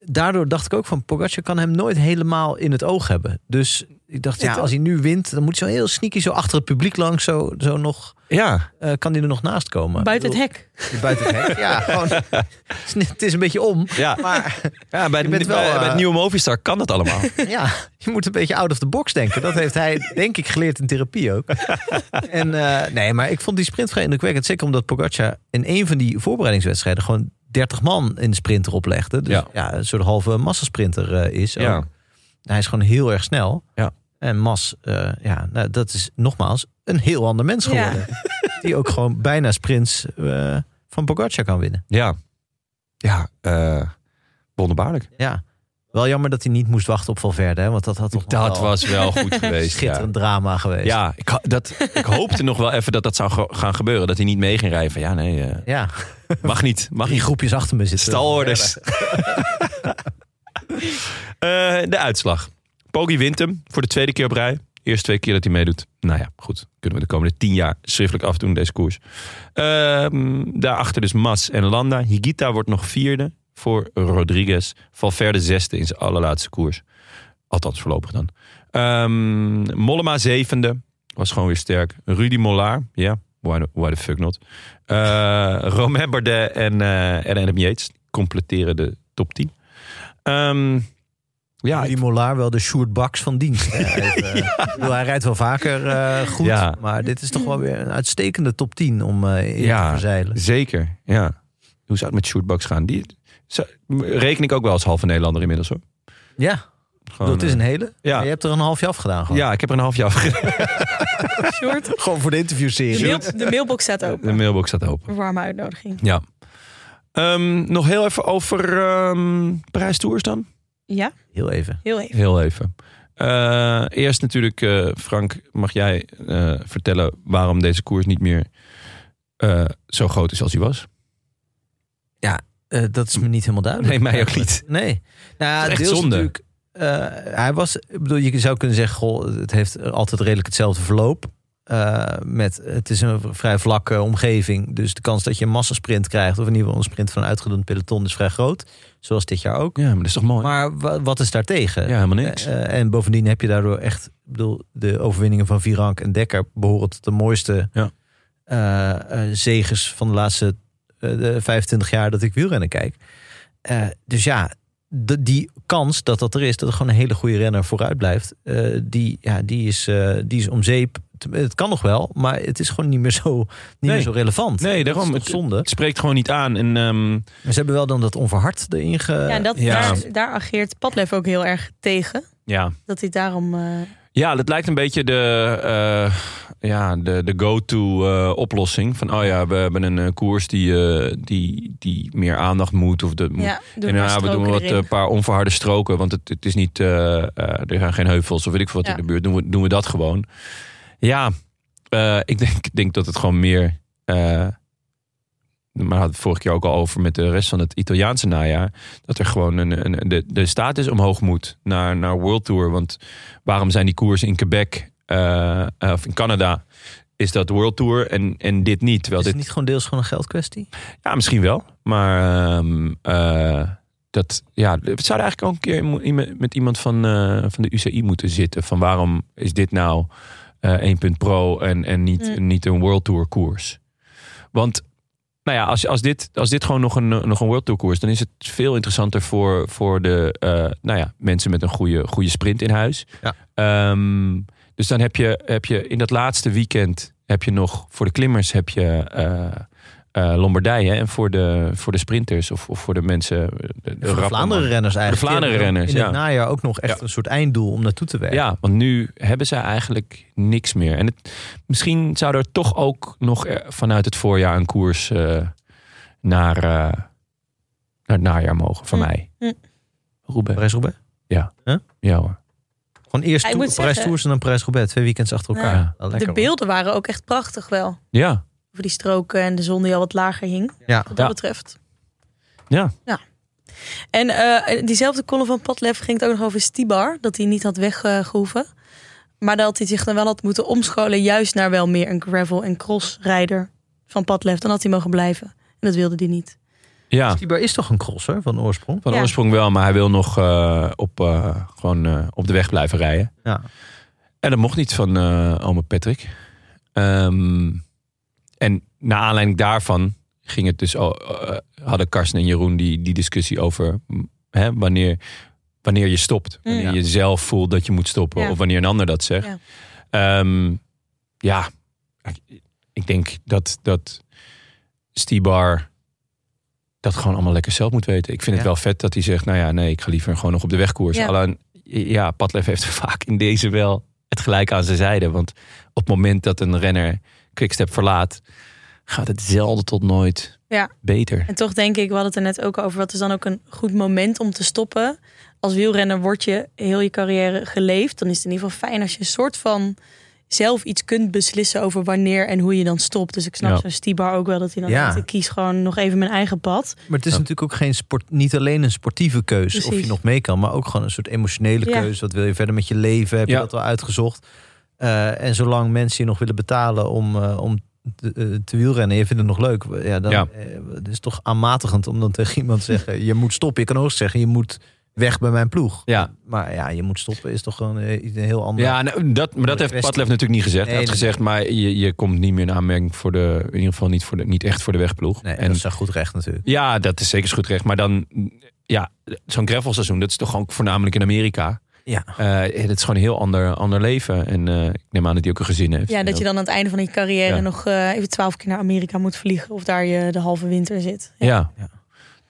Speaker 2: daardoor dacht ik ook van, Pogacar kan hem nooit helemaal in het oog hebben. Dus ik dacht, ja, als hij nu wint, dan moet hij zo heel sneaky zo achter het publiek langs. Zo, zo nog,
Speaker 1: Ja,
Speaker 2: eh, kan hij er nog naast komen.
Speaker 3: Buiten het
Speaker 2: Ik
Speaker 3: hek.
Speaker 2: bedoel, Buiten het hek, ja. Gewoon, het is niet- het is een beetje om.
Speaker 1: ja.
Speaker 2: Maar
Speaker 1: ja bij,
Speaker 2: Je
Speaker 1: de,
Speaker 2: bent wel,
Speaker 1: bij, bij
Speaker 2: eh,
Speaker 1: het nieuwe Movistar kan dat allemaal.
Speaker 2: ja, je moet een beetje out of the box denken. Dat heeft hij, denk ik, geleerd in therapie ook. En eh, nee, maar ik vond die sprint vrij indrukwekkend. Zeker omdat Pogacar in een van die voorbereidingswedstrijden gewoon 30 man in de sprinter oplegde. Dus ja,
Speaker 1: Ja.
Speaker 2: een soort halve massasprinter eh, is.
Speaker 1: Ja.
Speaker 2: ook. Hij is gewoon heel erg snel.
Speaker 1: Ja.
Speaker 2: En Mas, eh, ja, nou, dat is nogmaals een heel ander mens
Speaker 3: Ja.
Speaker 2: geworden. Die ook gewoon bijna sprints eh, van Pogacar kan winnen.
Speaker 1: Ja, ja eh, wonderbaarlijk.
Speaker 2: Ja. Wel jammer dat hij niet moest wachten op Valverde, hè, want dat had toch nog
Speaker 1: Dat
Speaker 2: wel
Speaker 1: was wel goed
Speaker 2: een
Speaker 1: geweest. ja.
Speaker 2: schitterend drama geweest.
Speaker 1: Ja, ik, ho- dat, ik hoopte nog wel even dat dat zou ge- gaan gebeuren. Dat hij niet mee ging rijden. Van, ja, nee, eh,
Speaker 2: ja.
Speaker 1: mag niet. Mag
Speaker 2: Die
Speaker 1: niet.
Speaker 2: groepjes achter me zitten.
Speaker 1: Stalorders. Eh, de uitslag. Poggi wint hem voor de tweede keer op rij. Eerst twee keer dat hij meedoet. Nou ja, goed. Kunnen we de komende tien jaar schriftelijk afdoen, deze koers. Ehm, daarachter dus Mas en Landa. Higita wordt nog vierde voor Rodriguez. Valverde zesde in zijn allerlaatste koers. Althans voorlopig dan. Ehm, Mollema zevende. Was gewoon weer sterk. Rudy Mollard. Ja, why, the- why the fuck not. Eh Romain Bardet en, eh en Adam Yates completeren de top 10. Ehm, ja,
Speaker 2: Ja, die Molaar wel de Sjoerd Baks van dienst. hè. Hij, heeft, eh, ik bedoel, hij rijdt wel vaker eh, goed,
Speaker 1: Ja.
Speaker 2: maar dit is toch wel weer een uitstekende top 10 om eh in
Speaker 1: Ja.
Speaker 2: te verzeilen.
Speaker 1: Zeker, ja. Hoe zou het met shootbox gaan? Die zou- reken ik ook wel als halve Nederlander inmiddels hoor.
Speaker 2: Ja, ik bedoel, het is een hele.
Speaker 1: Oh, ja.
Speaker 2: Maar je hebt er een half jaar afgedaan gewoon.
Speaker 1: ja, ik heb er een half jaar voor gedaan.
Speaker 3: Sjoerd,
Speaker 2: Gewoon voor de interviewserie.
Speaker 3: de, mail- de mailbox staat
Speaker 1: De
Speaker 3: open.
Speaker 1: mailbox staat open.
Speaker 3: Een warme uitnodiging.
Speaker 1: Ja. Ehm, nog heel even over ehm Parijs Tours dan.
Speaker 3: Ja,
Speaker 2: Heel even.
Speaker 3: heel even.
Speaker 1: Heel even. Eh, eerst natuurlijk, eh, Frank, mag jij eh, vertellen waarom deze koers niet meer eh, zo groot is als hij was?
Speaker 2: Eh, dat is me niet helemaal duidelijk.
Speaker 1: Nee, mij ook niet.
Speaker 2: Nee. Nou,
Speaker 1: is echt
Speaker 2: deels
Speaker 1: zonde.
Speaker 2: natuurlijk. eh, hij was, ik bedoel, je zou kunnen zeggen, goh, het heeft altijd redelijk hetzelfde verloop. Eh, met, het is een vrij vlakke omgeving, dus de kans dat je een massasprint krijgt, of in ieder geval een sprint van een uitgedund peloton, is vrij groot. Zoals dit jaar ook.
Speaker 1: Ja, maar dat is toch mooi?
Speaker 2: Maar wa- wat is daartegen?
Speaker 1: ja, helemaal niks.
Speaker 2: Eh, eh, en bovendien heb je daardoor echt, ik bedoel, de overwinningen van Virank en Dekker behoren tot de mooiste
Speaker 1: Ja.
Speaker 2: eh, eh, zegens van de laatste eh, de 25 jaar dat ik wielrennen kijk. Eh, dus ja, de- die kans dat dat er is, dat er gewoon een hele goede renner vooruit blijft, eh, die, ja, die, is, eh, die is om zeep. Te- Het kan nog wel, maar het is gewoon niet meer zo, niet
Speaker 1: Nee.
Speaker 2: meer zo relevant.
Speaker 1: Nee,
Speaker 2: Dat is
Speaker 1: daarom.
Speaker 2: toch
Speaker 1: eh, Het,
Speaker 2: zonde.
Speaker 1: het spreekt gewoon niet aan. En, ehm,
Speaker 2: Maar ze hebben wel dan dat onverhard erin ge...
Speaker 3: Ja, en dat,
Speaker 1: ja.
Speaker 3: Daar, daar ageert Padlef ook heel erg tegen.
Speaker 1: ja.
Speaker 3: Dat hij daarom... eh,
Speaker 1: Ja, dat lijkt een beetje de, eh, ja, de, de go-to eh, oplossing. Van, oh ja, we hebben een eh, koers die, eh, die, die meer aandacht moet. Of de, moet-
Speaker 3: ja, doen
Speaker 1: en
Speaker 3: maar
Speaker 1: daarna we doen
Speaker 3: stroken
Speaker 1: wat eh,
Speaker 3: erin.
Speaker 1: een paar onverharde stroken. Want het, het is niet, eh, eh, er zijn geen heuvels of weet ik veel wat
Speaker 3: Ja.
Speaker 1: in de buurt. Doen we, doen we dat gewoon. Ja, eh, ik denk, ik denk dat het gewoon meer... eh, maar hadden we het vorige keer ook al over met de rest van het Italiaanse najaar. Dat er gewoon een, een, de, de status omhoog moet naar, naar World Tour. Want waarom zijn die koersen in Quebec eh, eh, of in Canada? Is dat World Tour en, en dit niet? Terwijl
Speaker 2: is
Speaker 1: dit
Speaker 2: het niet gewoon deels gewoon een geldkwestie?
Speaker 1: ja, misschien wel. Maar ehm, eh, dat, ja, we zouden eigenlijk ook een keer mo- iemand- met iemand van, eh, van de UCI moeten zitten. Van waarom is dit nou eh 1 punt pro en, en niet,
Speaker 3: Mm.
Speaker 1: niet een World Tour koers? Want nou ja, als, als, dit, als dit gewoon nog een, eh, nog een World Tour koers, dan is het veel interessanter voor, voor de eh, nou ja, mensen met een goede, goede sprint in huis.
Speaker 2: Ja.
Speaker 1: Ehm, dus dan heb je, heb je in dat laatste weekend heb je nog voor de klimmers heb je eh, eh, Lombardije. En voor de, voor de sprinters of, of voor de mensen. De, de
Speaker 2: De,
Speaker 1: rappen-
Speaker 2: Vlaanderen renners eigenlijk.
Speaker 1: De Vlaanderen
Speaker 2: Die hebben
Speaker 1: renners,
Speaker 2: In het
Speaker 1: ja.
Speaker 2: najaar ook nog echt
Speaker 1: Ja.
Speaker 2: een soort einddoel om naartoe te werken.
Speaker 1: Ja, want nu hebben ze eigenlijk niks meer. En het, misschien zou er toch ook nog eh, vanuit het voorjaar een koers eh, naar, eh, naar het najaar mogen, van
Speaker 3: Mm.
Speaker 1: mij.
Speaker 3: Mm.
Speaker 1: Roubaix.
Speaker 2: Parijs-Roubaix?
Speaker 1: Ja hoor.
Speaker 2: Gewoon eerst
Speaker 3: Ik
Speaker 2: toer,
Speaker 3: moet
Speaker 2: Parijs
Speaker 3: zeggen-
Speaker 2: Tours en dan Parijs-Roubaix. Twee weekends achter elkaar.
Speaker 1: Ja.
Speaker 2: Wel
Speaker 3: De
Speaker 2: lekker, hoor.
Speaker 3: beelden waren ook echt prachtig wel.
Speaker 1: Ja,
Speaker 3: Over die stroken en de zon die al wat lager hing.
Speaker 2: Ja.
Speaker 3: Wat dat
Speaker 1: Ja.
Speaker 3: betreft.
Speaker 1: Ja.
Speaker 3: ja. En eh, diezelfde column van Padlef ging het ook nog over Stibar. Dat hij niet had weggehoeven. Maar dat hij zich dan wel had moeten omscholen. Juist naar wel meer een gravel- en crossrijder van Padlef. Dan had hij mogen blijven. En dat wilde hij niet.
Speaker 1: ja.
Speaker 2: Stibar is toch een crosser van oorsprong?
Speaker 1: Van
Speaker 3: Ja.
Speaker 1: oorsprong wel, maar hij wil nog eh, op, eh, gewoon, eh, op de weg blijven rijden.
Speaker 2: Ja.
Speaker 1: En dat mocht niet van eh ome Patrick. Ehm, en naar aanleiding daarvan ging het dus, al- eh, hadden Karsten en Jeroen die, die discussie over mm, hè, wanneer, wanneer je stopt.
Speaker 3: Mm.
Speaker 1: Wanneer je zelf voelt dat je moet stoppen
Speaker 3: Ja.
Speaker 1: of wanneer een ander dat zegt.
Speaker 3: Ja.
Speaker 1: Ja, ja ik- ik denk dat, dat Stibar dat gewoon allemaal lekker zelf moet weten. Ik vind het
Speaker 2: Ja.
Speaker 1: wel vet dat hij zegt, nou ja, nee, ik ga liever gewoon nog op de weg koersen.
Speaker 3: Ja.
Speaker 1: Alleen, ja, Padlef heeft vaak in deze wel het gelijk aan zijn zijde. Want op het moment dat een renner Quickstep verlaat, gaat het zelden tot nooit
Speaker 3: Ja.
Speaker 1: beter.
Speaker 3: En toch denk ik, we hadden het er net ook over. Wat is dan ook een goed moment om te stoppen? als wielrenner word je heel je carrière geleefd. Dan is het in ieder geval fijn als je een soort van zelf iets kunt beslissen over wanneer en hoe je dan stopt. Dus ik snap
Speaker 1: Ja.
Speaker 3: zo'n Stibar ook wel dat hij dan
Speaker 2: Ja.
Speaker 3: denkt, ik kies gewoon nog even mijn eigen pad.
Speaker 2: Maar het is
Speaker 1: Ja.
Speaker 2: natuurlijk ook geen sport, niet alleen een sportieve keuze of je
Speaker 3: Precies.
Speaker 2: nog mee kan, maar ook gewoon een soort emotionele
Speaker 3: Ja.
Speaker 2: keuze. Wat wil je verder met je leven? Heb je
Speaker 1: Ja.
Speaker 2: dat al uitgezocht? Eh, en zolang mensen je nog willen betalen om, eh, om te, eh, te wielrennen, en je vindt het nog leuk. Ja, dan,
Speaker 1: Ja.
Speaker 2: eh, het is toch aanmatigend om dan tegen iemand te zeggen: je moet stoppen. Je kan ook zeggen: je moet weg bij mijn ploeg.
Speaker 1: Ja,
Speaker 2: Maar ja, je moet stoppen is toch gewoon eh, iets- een heel ander.
Speaker 1: ja nou, dat, maar dat heeft
Speaker 2: Kwestie.
Speaker 1: Padlef natuurlijk niet gezegd.
Speaker 2: Nee,
Speaker 1: hij heeft
Speaker 2: nee.
Speaker 1: gezegd, maar je, je komt niet meer in aanmerking voor de... In ieder geval niet, voor de, niet echt voor de wegploeg.
Speaker 2: Nee,
Speaker 1: en,
Speaker 2: dat is een goed recht natuurlijk.
Speaker 1: Ja, dat is zeker goed recht. Maar dan, ja, zo'n gravelseizoen, dat is toch gewoon voornamelijk in Amerika.
Speaker 2: Ja.
Speaker 1: Eh, dat is gewoon een heel ander, ander leven. En eh, ik neem aan dat hij ook een gezin heeft.
Speaker 3: Ja, dat je dan aan het einde van je carrière
Speaker 1: Ja.
Speaker 3: nog eh, even twaalf keer naar Amerika moet vliegen. Of daar je de halve winter zit.
Speaker 1: Ja.
Speaker 2: Ja.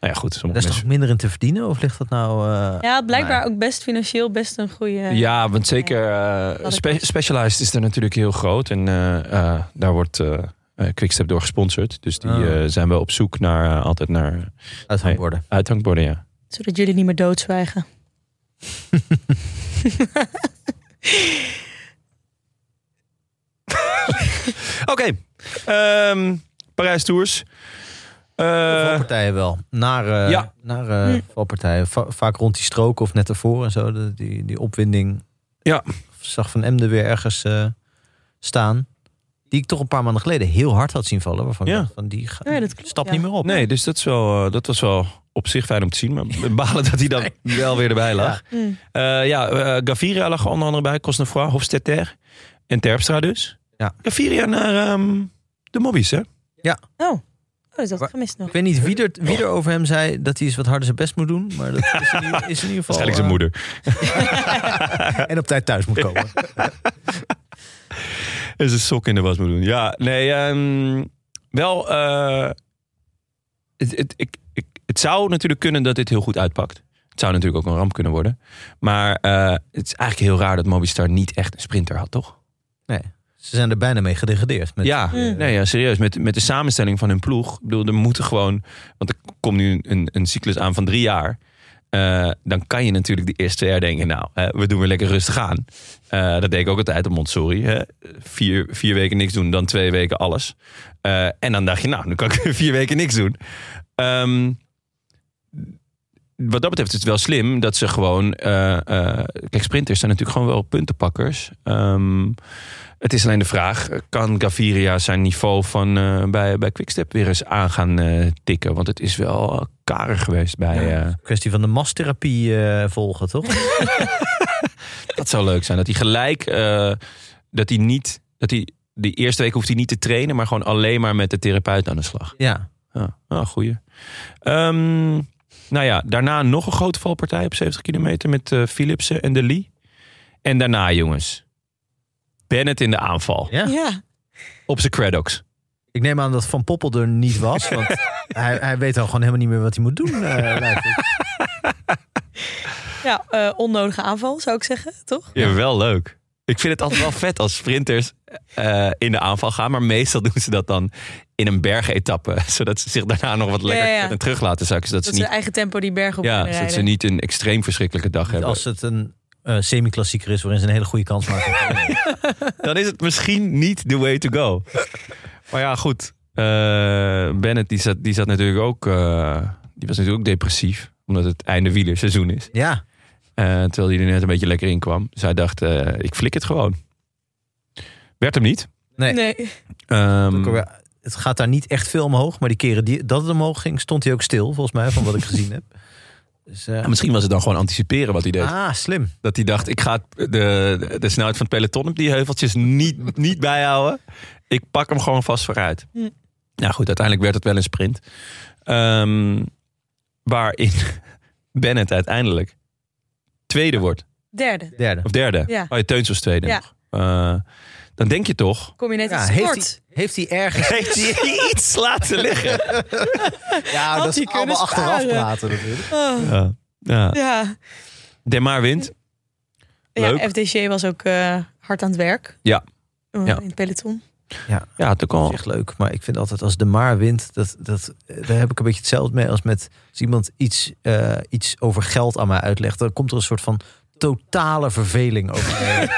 Speaker 1: Nou ja, goed. sommige
Speaker 2: Daar is toch
Speaker 1: mensen-
Speaker 2: minder in te verdienen? Of ligt dat nou... eh,
Speaker 3: Ja, blijkbaar
Speaker 2: nou
Speaker 3: ook best financieel best een goede...
Speaker 1: Ja, want zeker eh
Speaker 3: Dat ik-
Speaker 1: spe- Specialized is er natuurlijk heel groot. En eh, eh, daar wordt eh eh, Quickstep door gesponsord. Dus die
Speaker 2: Ah.
Speaker 1: eh, zijn wel op zoek naar, eh, altijd naar
Speaker 2: ja, uithangborden.
Speaker 1: uithangborden, ja.
Speaker 3: Zodat jullie niet meer doodzwijgen. Oh,
Speaker 1: Oké. Ehm, Parijs Tours. Eh,
Speaker 2: valpartijen wel. Naar, eh,
Speaker 1: ja.
Speaker 2: naar eh,
Speaker 3: Hm.
Speaker 2: valpartijen. Va- vaak rond die strook of net ervoor en zo. de- die, die opwinding.
Speaker 1: Ja.
Speaker 2: Zag Van Emden weer ergens eh, staan. Die ik toch een paar maanden geleden heel hard had zien vallen. Waarvan ik
Speaker 1: Ja.
Speaker 2: dacht van die ga,
Speaker 3: Ja, dat klopt,
Speaker 2: stap
Speaker 3: ja.
Speaker 2: niet meer op.
Speaker 1: nee, dus dat, is wel, eh, dat was wel op zich fijn om te zien. Maar we balen dat hij dan wel weer erbij lag.
Speaker 3: Mm.
Speaker 1: Eh, ja, eh, Gaviria lag onder andere bij, Cosnefroid, Hofstetter en Terpstra dus.
Speaker 2: Ja.
Speaker 1: Gaviria naar ehm, de mobbies, hè?
Speaker 3: Oh. oh, dat had
Speaker 2: Waar-
Speaker 3: ik gemist nog.
Speaker 2: Ik weet niet wie er, wie er over hem zei dat hij eens wat harder zijn best moet doen. Maar dat is in, ieder- is in ieder geval...
Speaker 1: Waarschijnlijk zijn
Speaker 2: eh,
Speaker 1: moeder.
Speaker 2: En op tijd thuis moet komen.
Speaker 1: En zijn sok in de was moet doen. Ja, nee, ehm, wel... eh, het, het, ik, ik, het zou natuurlijk kunnen dat dit heel goed uitpakt. Het zou natuurlijk ook een ramp kunnen worden. Maar eh, het is eigenlijk heel raar dat Mobistar niet echt een sprinter had, toch?
Speaker 2: Ze zijn er bijna mee gedegradeerd. Met,
Speaker 1: ja,
Speaker 3: Mm.
Speaker 1: nee, ja, serieus. Met, met de samenstelling van hun ploeg. Ik bedoel, er moeten gewoon. Want er komt nu een, een cyclus aan van drie jaar. Eh, dan kan je natuurlijk de eerste jaar denken: Nou, hè, we doen weer lekker rustig aan. Eh, dat deed ik ook altijd op Montsori. Hè. Vier, vier weken niks doen, dan twee weken alles. Eh, en dan dacht je: Nou, nu kan ik weer vier weken niks doen. Ehm, wat dat betreft is het wel slim dat ze gewoon. eh, eh, kijk, sprinters zijn natuurlijk gewoon wel puntenpakkers. Ehm, het is alleen de vraag: kan Gaviria zijn niveau van, eh, bij, bij Quickstep weer eens aan gaan eh, tikken? Want het is wel eh, karig geweest bij. eh,
Speaker 2: Kwestie van de masstherapie eh, volgen, toch?
Speaker 1: dat zou leuk zijn. Dat hij gelijk. eh, dat hij niet. Dat hij, de eerste week hoeft hij niet te trainen, maar gewoon alleen maar met de therapeut aan de slag.
Speaker 2: ja.
Speaker 1: Ja, nou, goeie. Ehm, nou ja, daarna nog een grote valpartij op 70 kilometer met eh, Philipsen en De Lee. En daarna, jongens, Bennett in de aanval
Speaker 2: ja.
Speaker 3: Ja,
Speaker 1: op zijn credox.
Speaker 2: Ik neem aan dat Van Poppel er niet was. Want hij, hij weet dan gewoon helemaal niet meer wat hij moet doen. eh, lijkt het.
Speaker 3: ja eh, onnodige aanval zou ik zeggen, toch?
Speaker 1: Ja, wel leuk. Ik vind het altijd wel vet als sprinters eh, in de aanval gaan. Maar meestal doen ze dat dan in een bergetappe. Zodat ze zich daarna nog wat lekker
Speaker 3: Ja, ja, ja.
Speaker 1: kunnen terug laten zakken. Zodat
Speaker 3: Dat
Speaker 1: ze
Speaker 3: ze
Speaker 1: niet,
Speaker 3: eigen tempo die berg op
Speaker 1: ja,
Speaker 3: kunnen
Speaker 1: zodat
Speaker 3: rijden.
Speaker 1: ze niet een extreem verschrikkelijke dag hebben.
Speaker 2: Als het een eh, semi-klassieker is waarin ze een hele goede kans maken.
Speaker 1: dan is het misschien niet the way to go. Maar ja, goed. Eh, Bennett die zat, die zat natuurlijk ook. eh, die was natuurlijk ook depressief. Omdat het einde wielerseizoen is.
Speaker 2: ja,
Speaker 1: Eh, terwijl hij er net een beetje lekker in kwam. Dus hij dacht, eh, ik flik het gewoon. Werd hem niet.
Speaker 2: nee.
Speaker 3: Nee.
Speaker 1: Ehm,
Speaker 3: Hmm.
Speaker 2: Ook alweer- Het gaat daar niet echt veel omhoog. Maar die keren die, dat het omhoog ging, stond hij ook stil. Volgens mij, van wat ik gezien heb. Dus, eh,
Speaker 1: ja, misschien was het dan gewoon anticiperen wat hij deed.
Speaker 2: ah, slim.
Speaker 1: Dat hij dacht, ik ga het- de, de snelheid van het peloton op die heuveltjes niet, niet bijhouden. Ik pak hem gewoon vast vooruit.
Speaker 3: Hm.
Speaker 1: Nou goed, uiteindelijk werd het wel een sprint. Ehm, waarin Bennett uiteindelijk tweede wordt.
Speaker 3: Derde.
Speaker 2: Derde.
Speaker 1: Of derde.
Speaker 3: Ja.
Speaker 1: Oh, je Teuns was tweede
Speaker 3: Ja.
Speaker 1: nog. Eh, dan denk je toch...
Speaker 3: Kom je net
Speaker 2: Ja,
Speaker 3: iets
Speaker 2: heeft,
Speaker 3: tekort.
Speaker 2: hij, heeft hij ergens...
Speaker 1: Heeft hij iets laten liggen?
Speaker 2: Ja,
Speaker 3: Had
Speaker 2: dat
Speaker 3: hij
Speaker 2: is
Speaker 3: kunnen
Speaker 2: allemaal achteraf
Speaker 3: sparen.
Speaker 2: praten natuurlijk.
Speaker 3: Oh,
Speaker 1: Ja. Ja.
Speaker 3: ja.
Speaker 1: Demar wint.
Speaker 3: ja.
Speaker 1: Leuk.
Speaker 3: FDC was ook eh, hard aan het werk.
Speaker 1: Ja.
Speaker 3: Eh,
Speaker 1: Ja.
Speaker 3: In het peloton.
Speaker 2: Ja,
Speaker 1: Ja, het ook
Speaker 2: dat
Speaker 1: al.
Speaker 2: is echt leuk. Maar ik vind altijd als de maar wint, dat, dat, eh, daar heb ik een beetje hetzelfde mee als met als iemand iets, eh, iets over geld aan mij uitlegt. Dan komt er een soort van totale verveling over. mij.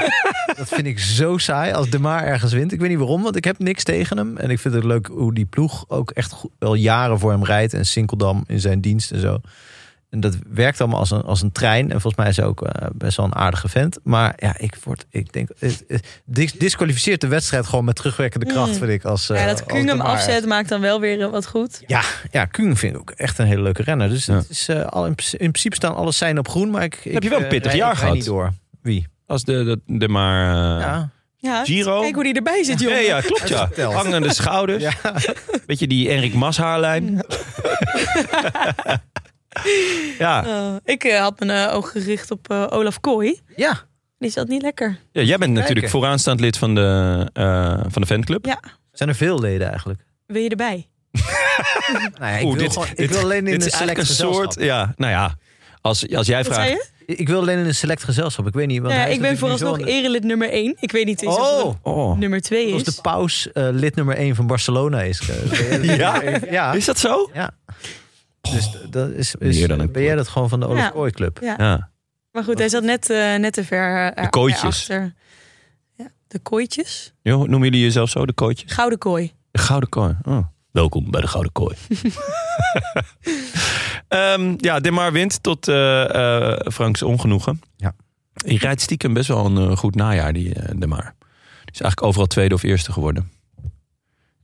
Speaker 2: dat vind ik zo saai als de maar ergens wint. Ik weet niet waarom, want ik heb niks tegen hem. En ik vind het leuk hoe die ploeg ook echt go- wel jaren voor hem rijdt. En Sinkeldam in zijn dienst en zo. En dat werkt allemaal als een, als een trein. En volgens mij is hij ook eh, best wel een aardige vent. Maar ja, ik, word, ik denk... Het, het dis- disqualificeert de wedstrijd gewoon met terugwerkende kracht,
Speaker 3: Mm.
Speaker 2: vind ik. Als, eh,
Speaker 3: ja, dat
Speaker 2: als
Speaker 3: Kung
Speaker 2: de
Speaker 3: hem
Speaker 2: maar.
Speaker 3: afzet maakt dan wel weer eh, wat goed.
Speaker 2: Ja, ja, Kuhn vind ik ook echt een hele leuke renner. Dus
Speaker 1: Ja.
Speaker 2: het is, eh, al in, in principe staan alle zijn op groen. Maar ik, ik,
Speaker 1: je wel een
Speaker 2: eh,
Speaker 1: pittig
Speaker 2: rij-
Speaker 1: jaar
Speaker 2: rij
Speaker 1: gehad.
Speaker 2: niet door. Wie?
Speaker 1: Als de, de, de maar... eh,
Speaker 2: Ja.
Speaker 3: Ja,
Speaker 1: Giro?
Speaker 3: Kijk hoe die erbij zit, jongen.
Speaker 1: Nee, ja, klopt ja.
Speaker 2: verteld.
Speaker 1: Hangende schouders.
Speaker 2: Ja.
Speaker 1: Weet je, die Enrik Mas haarlijn. ja.
Speaker 3: Eh, ik eh, had mijn eh, oog gericht op eh, Olaf Kooi.
Speaker 2: ja,
Speaker 3: Die zat niet lekker.
Speaker 1: ja, jij bent natuurlijk
Speaker 2: Kijken.
Speaker 1: vooraanstaand lid van de, eh, van de fanclub.
Speaker 3: Ja.
Speaker 2: zijn er veel leden eigenlijk.
Speaker 3: Wil je erbij?
Speaker 2: Nou ja, ik,
Speaker 1: Oeh,
Speaker 2: wil,
Speaker 1: dit-
Speaker 2: gewoon, ik
Speaker 1: dit-
Speaker 2: wil alleen in
Speaker 1: Dit
Speaker 2: een
Speaker 1: is eigenlijk
Speaker 2: select
Speaker 1: een
Speaker 2: gezelschap.
Speaker 1: soort... Ja, nou ja, als, als jij
Speaker 3: Wat zei
Speaker 1: vraagt...
Speaker 3: je?
Speaker 2: Ik wil alleen in een select gezelschap. Ik weet niet. Want
Speaker 3: Nou ja,
Speaker 2: hij is
Speaker 3: ik ben
Speaker 2: natuurlijk nu
Speaker 3: vooralsnog
Speaker 2: zo'n-
Speaker 3: erelid nummer 1. Ik weet niet eens of
Speaker 2: Oh,
Speaker 3: het
Speaker 1: Oh.
Speaker 3: nummer 2
Speaker 2: als
Speaker 3: is.
Speaker 2: de paus eh, lid nummer 1 van Barcelona is.
Speaker 1: Ja?
Speaker 2: ja.
Speaker 1: Is dat zo?
Speaker 2: Ja. Dus d- dat is, is-
Speaker 1: Meer dan een
Speaker 2: ben jij dat gewoon van de Olaf
Speaker 3: Ja.
Speaker 2: Kooi Club?
Speaker 3: Ja.
Speaker 1: Ja.
Speaker 3: Maar goed, hij zat net, eh, net te ver eh,
Speaker 1: De kooitjes.
Speaker 3: erachter. Ja, de kooitjes.
Speaker 1: Jo, Noemen jullie jezelf zo, de coaches?
Speaker 3: Gouden kooi.
Speaker 1: De Gouden Kooi. Oh. Welkom bij de Gouden Kooi. Ehm, ja, Demar wint tot eh, eh, Franks ongenoegen.
Speaker 2: Ja.
Speaker 1: Hij rijdt stiekem best wel een eh, goed najaar, die eh, Demar. Die is eigenlijk overal tweede of eerste geworden.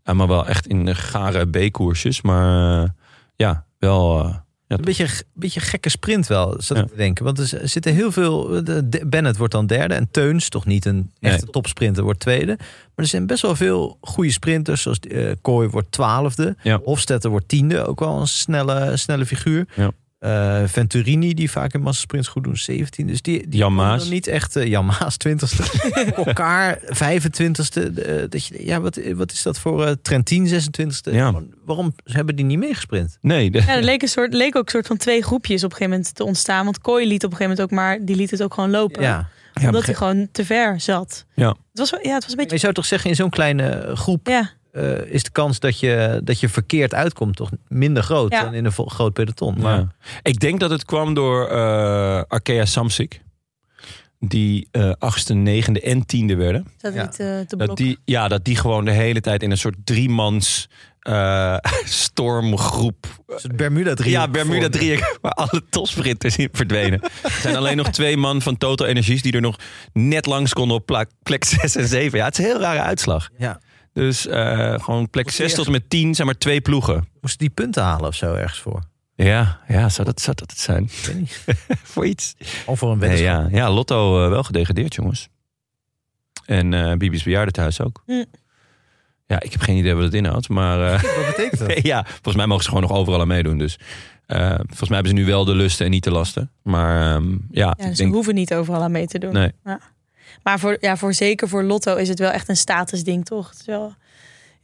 Speaker 1: Ja, maar wel echt in de gare B-koersjes. Maar eh, ja, wel... eh, ja,
Speaker 2: Een beetje, een beetje gekke sprint wel, zat
Speaker 1: Ja.
Speaker 2: ik te denken. Want er z- zitten heel veel... de- de- Bennett wordt dan derde en Teuns, toch niet een
Speaker 1: Nee.
Speaker 2: echte topsprinter, wordt tweede. Maar er zijn best wel veel goede sprinters. Zoals eh, Kooi wordt twaalfde.
Speaker 1: Ja.
Speaker 2: Hofstetter wordt tiende, ook wel een snelle, snelle figuur.
Speaker 1: Ja.
Speaker 2: Eh, Venturini, die vaak in massasprints goed doen, 17. Dus die, die
Speaker 1: Jan
Speaker 2: komen
Speaker 1: Maas.
Speaker 2: dan niet echt... eh, Jan Maas, 20ste. Elkaar, 25ste. eh, dat je, ja, wat, wat is dat voor eh, Trentin, 26ste?
Speaker 1: Ja.
Speaker 2: Gewoon, Waarom hebben die niet meegesprint?
Speaker 1: nee, de-
Speaker 3: Ja, er leek, een soort, leek ook een soort van twee groepjes op een gegeven moment te ontstaan. Want Kooi liet op een gegeven moment ook maar, die liet het ook gewoon lopen.
Speaker 2: ja.
Speaker 1: ja,
Speaker 3: omdat hij gewoon te ver zat.
Speaker 1: Ja.
Speaker 3: Het was, wel- ja, het was een beetje...
Speaker 2: Maar je zou toch zeggen, in zo'n kleine groep
Speaker 3: Ja,
Speaker 2: eh, is de kans dat je, dat je verkeerd uitkomt toch minder groot
Speaker 3: Ja.
Speaker 2: dan in een vo- groot peloton. Maar
Speaker 1: Ja. Ik denk dat het kwam door eh Arkea Samsic. Die eh, achtste, negende en tiende werden.
Speaker 3: zat
Speaker 2: Ja.
Speaker 3: niet eh, te
Speaker 1: Dat
Speaker 3: blokken.
Speaker 1: die, ja, dat die gewoon de hele tijd in een soort driemans eh, stormgroep.
Speaker 2: het is het Bermuda 3.
Speaker 1: Ja, Bermuda driehoek, waar alle topsprinters in verdwenen. Er zijn alleen nog twee man van Total Energies die er nog net langs konden op pla- plek 6 en 7. Ja, het is een heel rare uitslag.
Speaker 2: Ja.
Speaker 1: Dus eh, gewoon plek
Speaker 2: Moet
Speaker 1: 6
Speaker 2: je
Speaker 1: tot en met 10 zijn maar twee ploegen.
Speaker 2: Moesten die punten halen of zo ergens voor?
Speaker 1: Ja, ja zou, dat, zou dat het zijn?
Speaker 2: Ik weet niet.
Speaker 1: Voor iets.
Speaker 2: Of voor een
Speaker 1: Nee,
Speaker 2: wedstrijd.
Speaker 1: ja. ja, Lotto eh, wel gedegradeerd, jongens. En eh Bibi's bejaardentehuis ook.
Speaker 3: Hm.
Speaker 1: Ja, ik heb geen idee wat het inhoudt, maar... eh,
Speaker 2: Wat betekent dat?
Speaker 1: ja, volgens mij mogen ze gewoon nog overal aan meedoen. Dus eh, volgens mij hebben ze nu wel de lusten en niet de lasten. Maar ehm, ja,
Speaker 3: Ja,
Speaker 1: ik
Speaker 3: dus
Speaker 1: denk...
Speaker 3: we hoeven niet overal aan mee te doen.
Speaker 1: Nee.
Speaker 3: Ja. Maar voor, ja, voor zeker voor Lotto is het wel echt een statusding, toch? Het is wel-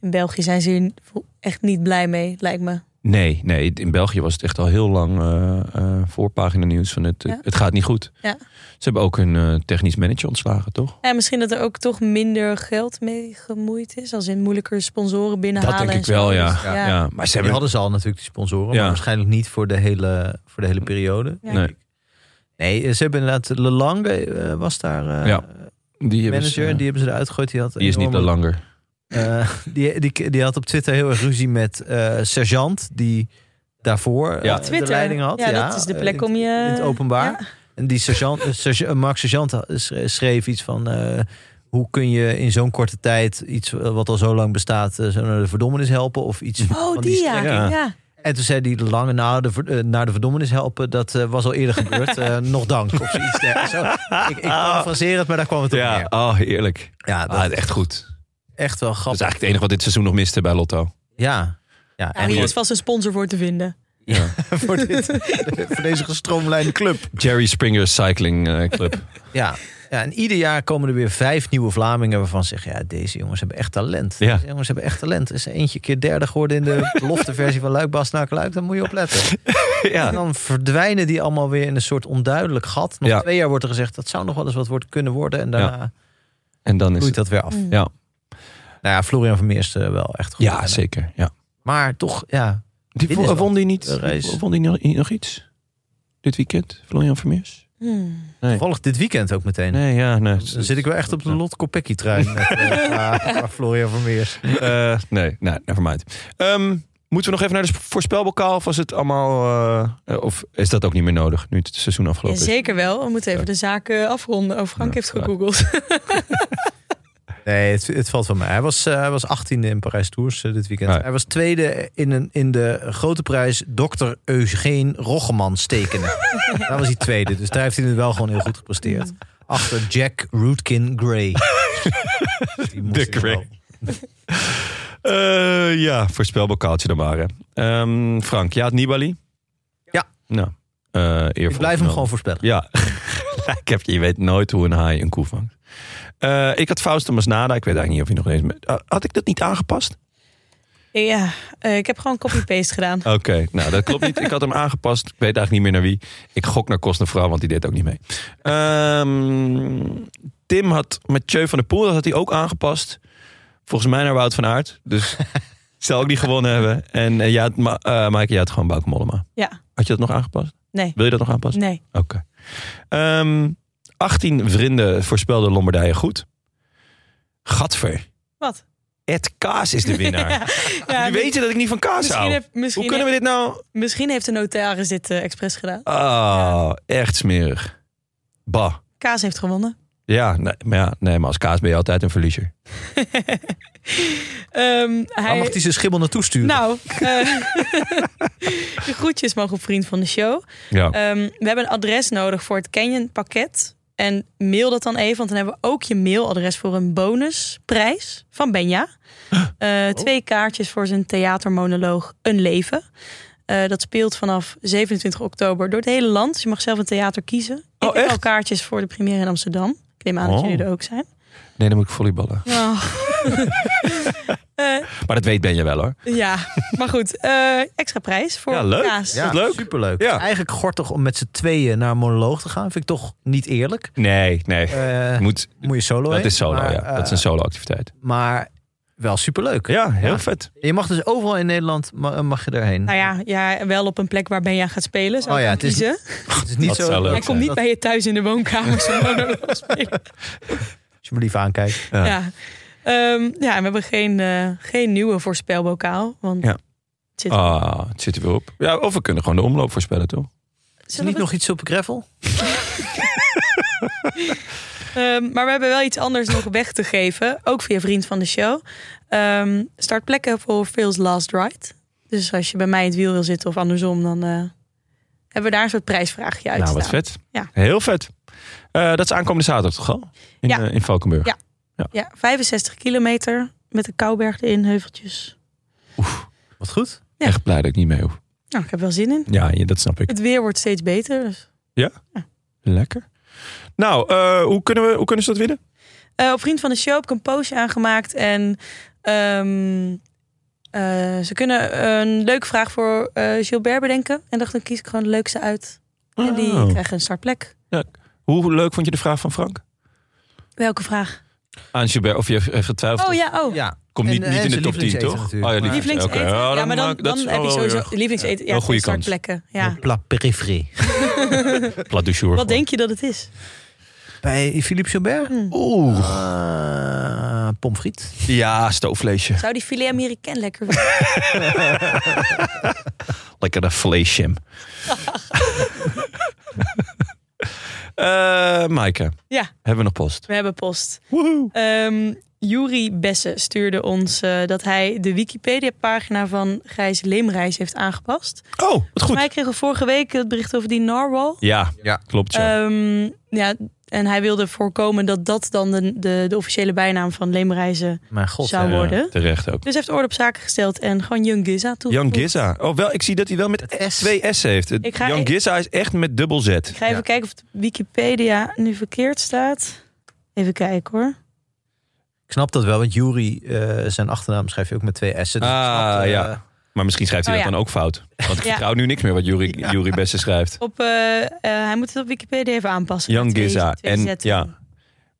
Speaker 3: in België zijn ze hier echt niet blij mee, lijkt me.
Speaker 1: Nee, nee, in België was het echt al heel lang eh, eh, voorpagina nieuws van het,
Speaker 3: Ja.
Speaker 1: het gaat niet goed.
Speaker 3: Ja.
Speaker 1: Ze hebben ook hun eh, technisch manager ontslagen, toch?
Speaker 3: En misschien dat er ook toch minder geld mee gemoeid is. Als in moeilijker sponsoren
Speaker 1: Dat
Speaker 3: binnenhalen.
Speaker 1: denk
Speaker 3: en
Speaker 1: ik
Speaker 3: zo.
Speaker 1: wel, Oh ja.
Speaker 3: Dus,
Speaker 1: ja. Maar ze
Speaker 2: Die
Speaker 1: hebben...
Speaker 2: hadden ze al natuurlijk, die sponsoren.
Speaker 1: Ja.
Speaker 2: Maar waarschijnlijk niet voor de hele, voor de hele periode.
Speaker 3: Ja.
Speaker 1: Nee,
Speaker 2: Nee, ze hebben inderdaad... Lelange eh, was daar eh,
Speaker 1: Ja, die hebben
Speaker 2: manager.
Speaker 1: ze-
Speaker 2: die hebben ze eruit gegooid. Die, had
Speaker 1: die is niet de
Speaker 2: enorme-
Speaker 1: langer.
Speaker 2: Eh, die, die, die had op Twitter heel erg ruzie met eh, Sergeant, die daarvoor eh,
Speaker 1: Ja.
Speaker 2: de
Speaker 3: Twitter.
Speaker 2: leiding had. eh,
Speaker 3: Ja, dat is de plek
Speaker 2: in-
Speaker 3: om je-
Speaker 2: In het openbaar.
Speaker 3: Ja.
Speaker 2: En die sergeant, eh, serge- eh, Mark Sergeant had- schre- schreef iets van... eh, hoe kun je in zo'n korte tijd iets eh, wat al zo lang bestaat... eh, zo naar de verdommenis helpen of iets
Speaker 3: Oh,
Speaker 2: van
Speaker 3: die ja.
Speaker 2: strekking.
Speaker 3: ja.
Speaker 2: En toen zei die de lange naar de, ver- eh, naar de verdommenis helpen... dat eh, was al eerder gebeurd, Eh, nog dank of zoiets. dergelijks. Zo, ik
Speaker 3: Ah.
Speaker 2: ik parafraseer het, maar daar kwam het op
Speaker 1: Ja,
Speaker 2: neer.
Speaker 1: oh, heerlijk.
Speaker 2: Ja, dat
Speaker 1: Ah, echt goed.
Speaker 2: echt wel
Speaker 1: Dat is
Speaker 2: grappig.
Speaker 3: Dus
Speaker 1: eigenlijk het enige wat dit seizoen nog miste bij Lotto.
Speaker 2: Ja. Ja,
Speaker 3: Nou, hier is vast een sponsor voor te vinden.
Speaker 2: voor, dit, voor deze gestroomlijnde club.
Speaker 1: Jerry Springer Cycling eh, Club.
Speaker 2: Ja. ja, en ieder jaar komen er weer vijf nieuwe Vlamingen waarvan ze zeggen... ja, deze jongens hebben echt talent.
Speaker 1: Ja.
Speaker 2: Deze jongens hebben echt talent. Er is eentje keer derde geworden in de belofteversie van Luik, Bas, Naak, Luik. Daar moet je op letten. En
Speaker 1: ja.
Speaker 2: dan verdwijnen die allemaal weer in een soort onduidelijk gat. Nog
Speaker 1: Ja.
Speaker 2: twee jaar wordt er gezegd, dat zou nog wel eens wat wordt, kunnen worden. En daarna
Speaker 1: En dan is het...
Speaker 2: groeit dat weer af.
Speaker 3: Mm.
Speaker 1: Ja.
Speaker 2: Nou ja, Florian Vermeers eh, wel echt goed.
Speaker 1: Ja,
Speaker 2: En, eh,
Speaker 1: zeker. Ja.
Speaker 2: Maar toch, ja.
Speaker 1: Die,
Speaker 2: Dit is
Speaker 1: vo-
Speaker 2: wel
Speaker 1: won die niet?
Speaker 2: een race.
Speaker 1: Won die nog, nog iets? Dit weekend? Florian Vermeers?
Speaker 3: Hmm.
Speaker 2: Toevallig dit weekend ook meteen.
Speaker 1: Nee, ja, nee.
Speaker 2: Dan zit ik wel echt op de Lot Kopecky trein. met, eh, qua- qua Florian Vermeers.
Speaker 1: Eh, nee, nou, nevermind. Ehm, moeten we nog even naar de sp- voorspelbokaal? Of was het allemaal... eh, eh, of is dat ook niet meer nodig, nu het seizoen
Speaker 3: Ja,
Speaker 1: afgelopen is?
Speaker 3: zeker wel. We moeten even
Speaker 1: Ja.
Speaker 3: de zaken afronden. Oh,
Speaker 1: Ja,
Speaker 3: Frank heeft
Speaker 1: ja.
Speaker 3: gegoogeld.
Speaker 2: Nee, het, het valt wel mee. Hij was, eh, hij was 18e in Parijs Tours eh, dit weekend.
Speaker 1: Ja.
Speaker 2: Hij was tweede in, een, in de grote prijs Dr. Eugene Roggeman stekenen. Daar was hij tweede. Dus daar heeft hij het wel gewoon heel goed gepresteerd. Achter Jack Rootkin Gray. Dus die moest
Speaker 1: De
Speaker 2: hij nog
Speaker 1: Grey.
Speaker 2: wel-
Speaker 1: Eh, ja, voorspelbokaaltje dan maar. hè. Ehm, Frank, ja, het Nibali?
Speaker 2: Ja.
Speaker 1: Nou, eh
Speaker 2: Ik blijf hem gewoon voorspellen.
Speaker 1: Ja, ik heb, je weet nooit hoe een haai een koe vangt. Eh, ik had Fausto Masnada. Ik weet eigenlijk niet of hij nog eens... met- Ah, Had ik dat niet aangepast?
Speaker 3: ja, eh, ik heb gewoon copy-paste gedaan.
Speaker 1: Oké, nou dat klopt niet. Ik had hem aangepast. Ik weet eigenlijk niet meer naar wie. Ik gok naar Kostnevrouw, want die deed ook niet mee. Ehm, Tim had Mathieu van der Poel, dat had hij ook aangepast. Volgens mij naar Wout van Aert. Dus zou ook niet gewonnen hebben. En eh, jij had, Ma eh, Maaike, jij had gewoon Bauke Mollema.
Speaker 3: Ja,
Speaker 1: Had je dat nog aangepast?
Speaker 3: nee.
Speaker 1: Wil je dat nog aanpassen?
Speaker 3: Nee.
Speaker 1: Oké. Ehm, 18 vrienden voorspelde Lombardije goed. Gadver.
Speaker 3: Wat?
Speaker 1: Ed Kaas is de winnaar.
Speaker 3: Ja,
Speaker 1: Jullie weten dat ik niet van kaas
Speaker 3: misschien,
Speaker 1: hou.
Speaker 3: heb,
Speaker 1: Hoe
Speaker 3: misschien,
Speaker 1: kunnen we dit nou...
Speaker 3: misschien heeft de notaris dit eh, expres gedaan.
Speaker 1: Ah, echt smerig. Bah.
Speaker 3: Kaas heeft gewonnen.
Speaker 1: Ja, nee, maar ja, nee, maar als kaas ben je altijd een verliezer.
Speaker 3: Ehm,
Speaker 2: Waar mag
Speaker 3: hij,
Speaker 2: hij zijn schimmel naartoe sturen?
Speaker 3: nou, eh, de groetjes mogen op vriend van de show.
Speaker 1: Ja.
Speaker 3: Ehm, we hebben een adres nodig voor het Canyon pakket. En mail dat dan even, want dan hebben we ook je mailadres voor een bonusprijs van Benja. Eh,
Speaker 1: Oh.
Speaker 3: Twee kaartjes voor zijn theatermonoloog Een Leven. Eh, dat speelt vanaf 27 oktober door het hele land. Dus je mag zelf een theater kiezen. Ik
Speaker 1: Oh,
Speaker 3: heb al
Speaker 1: echt?
Speaker 3: kaartjes voor de première in Amsterdam. Ik neem aan dat
Speaker 1: Oh.
Speaker 3: jullie er ook zijn.
Speaker 1: Nee, dan moet ik volleyballen.
Speaker 3: Eh,
Speaker 1: Maar dat weet ben je wel hoor.
Speaker 3: ja, maar goed. eh, extra prijs voor
Speaker 1: Ja, leuk.
Speaker 3: kaas.
Speaker 2: ja,
Speaker 1: dat leuk.
Speaker 2: superleuk.
Speaker 1: Ja.
Speaker 2: Eigenlijk gortig om met z'n tweeën naar een monoloog te gaan. Vind ik toch niet eerlijk.
Speaker 1: Nee, nee.
Speaker 2: Eh,
Speaker 1: moet,
Speaker 2: moet je solo
Speaker 1: dat
Speaker 2: heen.
Speaker 1: is solo,
Speaker 2: Maar,
Speaker 1: ja. Dat is
Speaker 2: eh,
Speaker 1: een solo activiteit.
Speaker 2: Maar wel superleuk.
Speaker 1: Ja, heel
Speaker 2: ja.
Speaker 1: vet.
Speaker 2: Je mag dus overal in Nederland ma- mag je daarheen.
Speaker 3: Nou ja, ja, wel op een plek waar Benja gaat spelen. Zou
Speaker 2: Oh
Speaker 3: ik
Speaker 2: ja,
Speaker 3: dan
Speaker 2: het is-
Speaker 3: kiezen.
Speaker 2: Het is niet
Speaker 1: Dat
Speaker 2: zo.
Speaker 1: zou leuk
Speaker 3: Hij
Speaker 1: zijn.
Speaker 3: komt niet
Speaker 2: Dat-
Speaker 3: bij je thuis in de woonkamer zo'n monoloog spelen.
Speaker 2: Als je me lief aankijkt.
Speaker 1: Ja.
Speaker 3: Ja. Ehm, ja, en we hebben geen, eh, geen nieuwe voorspelbokaal. Want
Speaker 1: Ja.
Speaker 3: het zit-
Speaker 1: Ah, het zit er weer op. Ja, of we kunnen gewoon de omloop voorspellen, toch?
Speaker 2: Is er
Speaker 3: Zullen
Speaker 2: niet
Speaker 3: we-
Speaker 2: nog iets op gravel?
Speaker 3: Ehm, maar we hebben wel iets anders nog weg te geven. Ook via vriend van de show. Ehm startplekken voor Phil's Last Ride. Dus als je bij mij in het wiel wil zitten of andersom, dan eh, hebben we daar een soort prijsvraagje uit.
Speaker 1: Nou, wat vet.
Speaker 3: Ja.
Speaker 1: Heel vet. Eh, dat is aankomende zaterdag toch al? In,
Speaker 3: Ja.
Speaker 1: eh, in Valkenburg.
Speaker 3: Ja. Ja, 65 kilometer met de Kouberg erin, heuveltjes.
Speaker 2: Wat goed.
Speaker 3: Ja.
Speaker 1: Echt blij dat ik niet mee hoef.
Speaker 3: Nou, ik heb wel zin in.
Speaker 1: Ja, ja, dat snap ik.
Speaker 3: Het weer wordt steeds beter. dus
Speaker 1: Lekker. Nou, eh, hoe, kunnen we, hoe kunnen ze dat winnen?
Speaker 3: Eh, op Vriend van de Show heb ik een postje aangemaakt. En ehm, eh, ze kunnen een leuke vraag voor eh, Gilbert bedenken. En dacht, dan kies ik gewoon de leukste uit. En die
Speaker 1: Oh.
Speaker 3: krijgen een startplek.
Speaker 1: Hoe leuk vond je de vraag van Frank?
Speaker 3: Welke vraag?
Speaker 1: Aan Gilbert, of je heeft getwijfeld.
Speaker 3: Oh ja, oh.
Speaker 2: Ja.
Speaker 1: Komt
Speaker 2: En-
Speaker 1: niet,
Speaker 2: en eh,
Speaker 1: niet in de
Speaker 2: zijn
Speaker 1: top 10,
Speaker 2: lievelingseten
Speaker 1: toch?
Speaker 2: natuurlijk.
Speaker 1: Oh, ja,
Speaker 2: Maar-
Speaker 3: Lievelingseten.
Speaker 1: Oké.
Speaker 3: Ja,
Speaker 1: Oh,
Speaker 3: maar dan,
Speaker 1: maakt- dat is
Speaker 3: dan heb je
Speaker 1: wel
Speaker 3: sowieso
Speaker 1: weer-
Speaker 3: lievelingseten.
Speaker 1: wel
Speaker 3: Ja,
Speaker 1: goede
Speaker 3: goede
Speaker 1: kans.
Speaker 3: startplekken. Ja.
Speaker 2: La périphérie.
Speaker 1: Plat du jour
Speaker 3: Wat
Speaker 1: gewoon.
Speaker 3: denk je dat het is?
Speaker 2: Bij Philippe Gilbert?
Speaker 1: Oeh.
Speaker 2: Uh, pomfriet.
Speaker 1: Ja, stoofvleesje.
Speaker 3: Zou die filet américain lekker vinden?
Speaker 1: Lekker dat vleesje. Eh Maaike,
Speaker 3: Ja,
Speaker 1: hebben we nog post?
Speaker 3: we hebben post.
Speaker 1: Woehoe.
Speaker 3: Ehm Juri Besse stuurde ons eh, dat hij de Wikipedia-pagina van Gijs Leemreis heeft aangepast.
Speaker 1: Oh, wat goed.
Speaker 3: Wij kregen vorige week het bericht over die narwhal.
Speaker 1: Ja, ja. klopt. Ja.
Speaker 3: Ehm, ja, en hij wilde voorkomen dat dat dan de, de, de officiële bijnaam van Leemreizen
Speaker 2: Mijn god.
Speaker 3: zou
Speaker 2: ja.
Speaker 3: worden.
Speaker 1: Ja, terecht ook.
Speaker 3: Dus hij heeft orde op zaken gesteld en gewoon Young Giza
Speaker 1: Jan
Speaker 3: toegevoegd.
Speaker 1: Giza. Oh, wel, ik zie dat hij wel met
Speaker 2: Het S.
Speaker 1: twee S heeft. Het-
Speaker 3: Ik ga-
Speaker 1: Jan
Speaker 3: ik-
Speaker 1: Giza is echt met dubbel Z.
Speaker 3: Ik ga even
Speaker 2: Ja.
Speaker 3: kijken of het Wikipedia nu verkeerd staat. Even kijken hoor.
Speaker 2: Ik snap dat wel, want Jury, eh, zijn achternaam schrijf je ook met twee S'en. Dus ik
Speaker 1: Ah,
Speaker 2: snap, eh,
Speaker 1: ja. Maar misschien schrijft hij
Speaker 3: Oh,
Speaker 1: dat
Speaker 3: ja.
Speaker 1: dan ook fout. Want ik
Speaker 3: Ja.
Speaker 1: vertrouw nu niks meer wat Jury, Jury Besse schrijft.
Speaker 3: Op, eh, eh, hij moet het op Wikipedia even aanpassen.
Speaker 1: Young
Speaker 3: Met twee-
Speaker 1: Giza
Speaker 3: twee
Speaker 1: en-
Speaker 3: zetten.
Speaker 1: ja.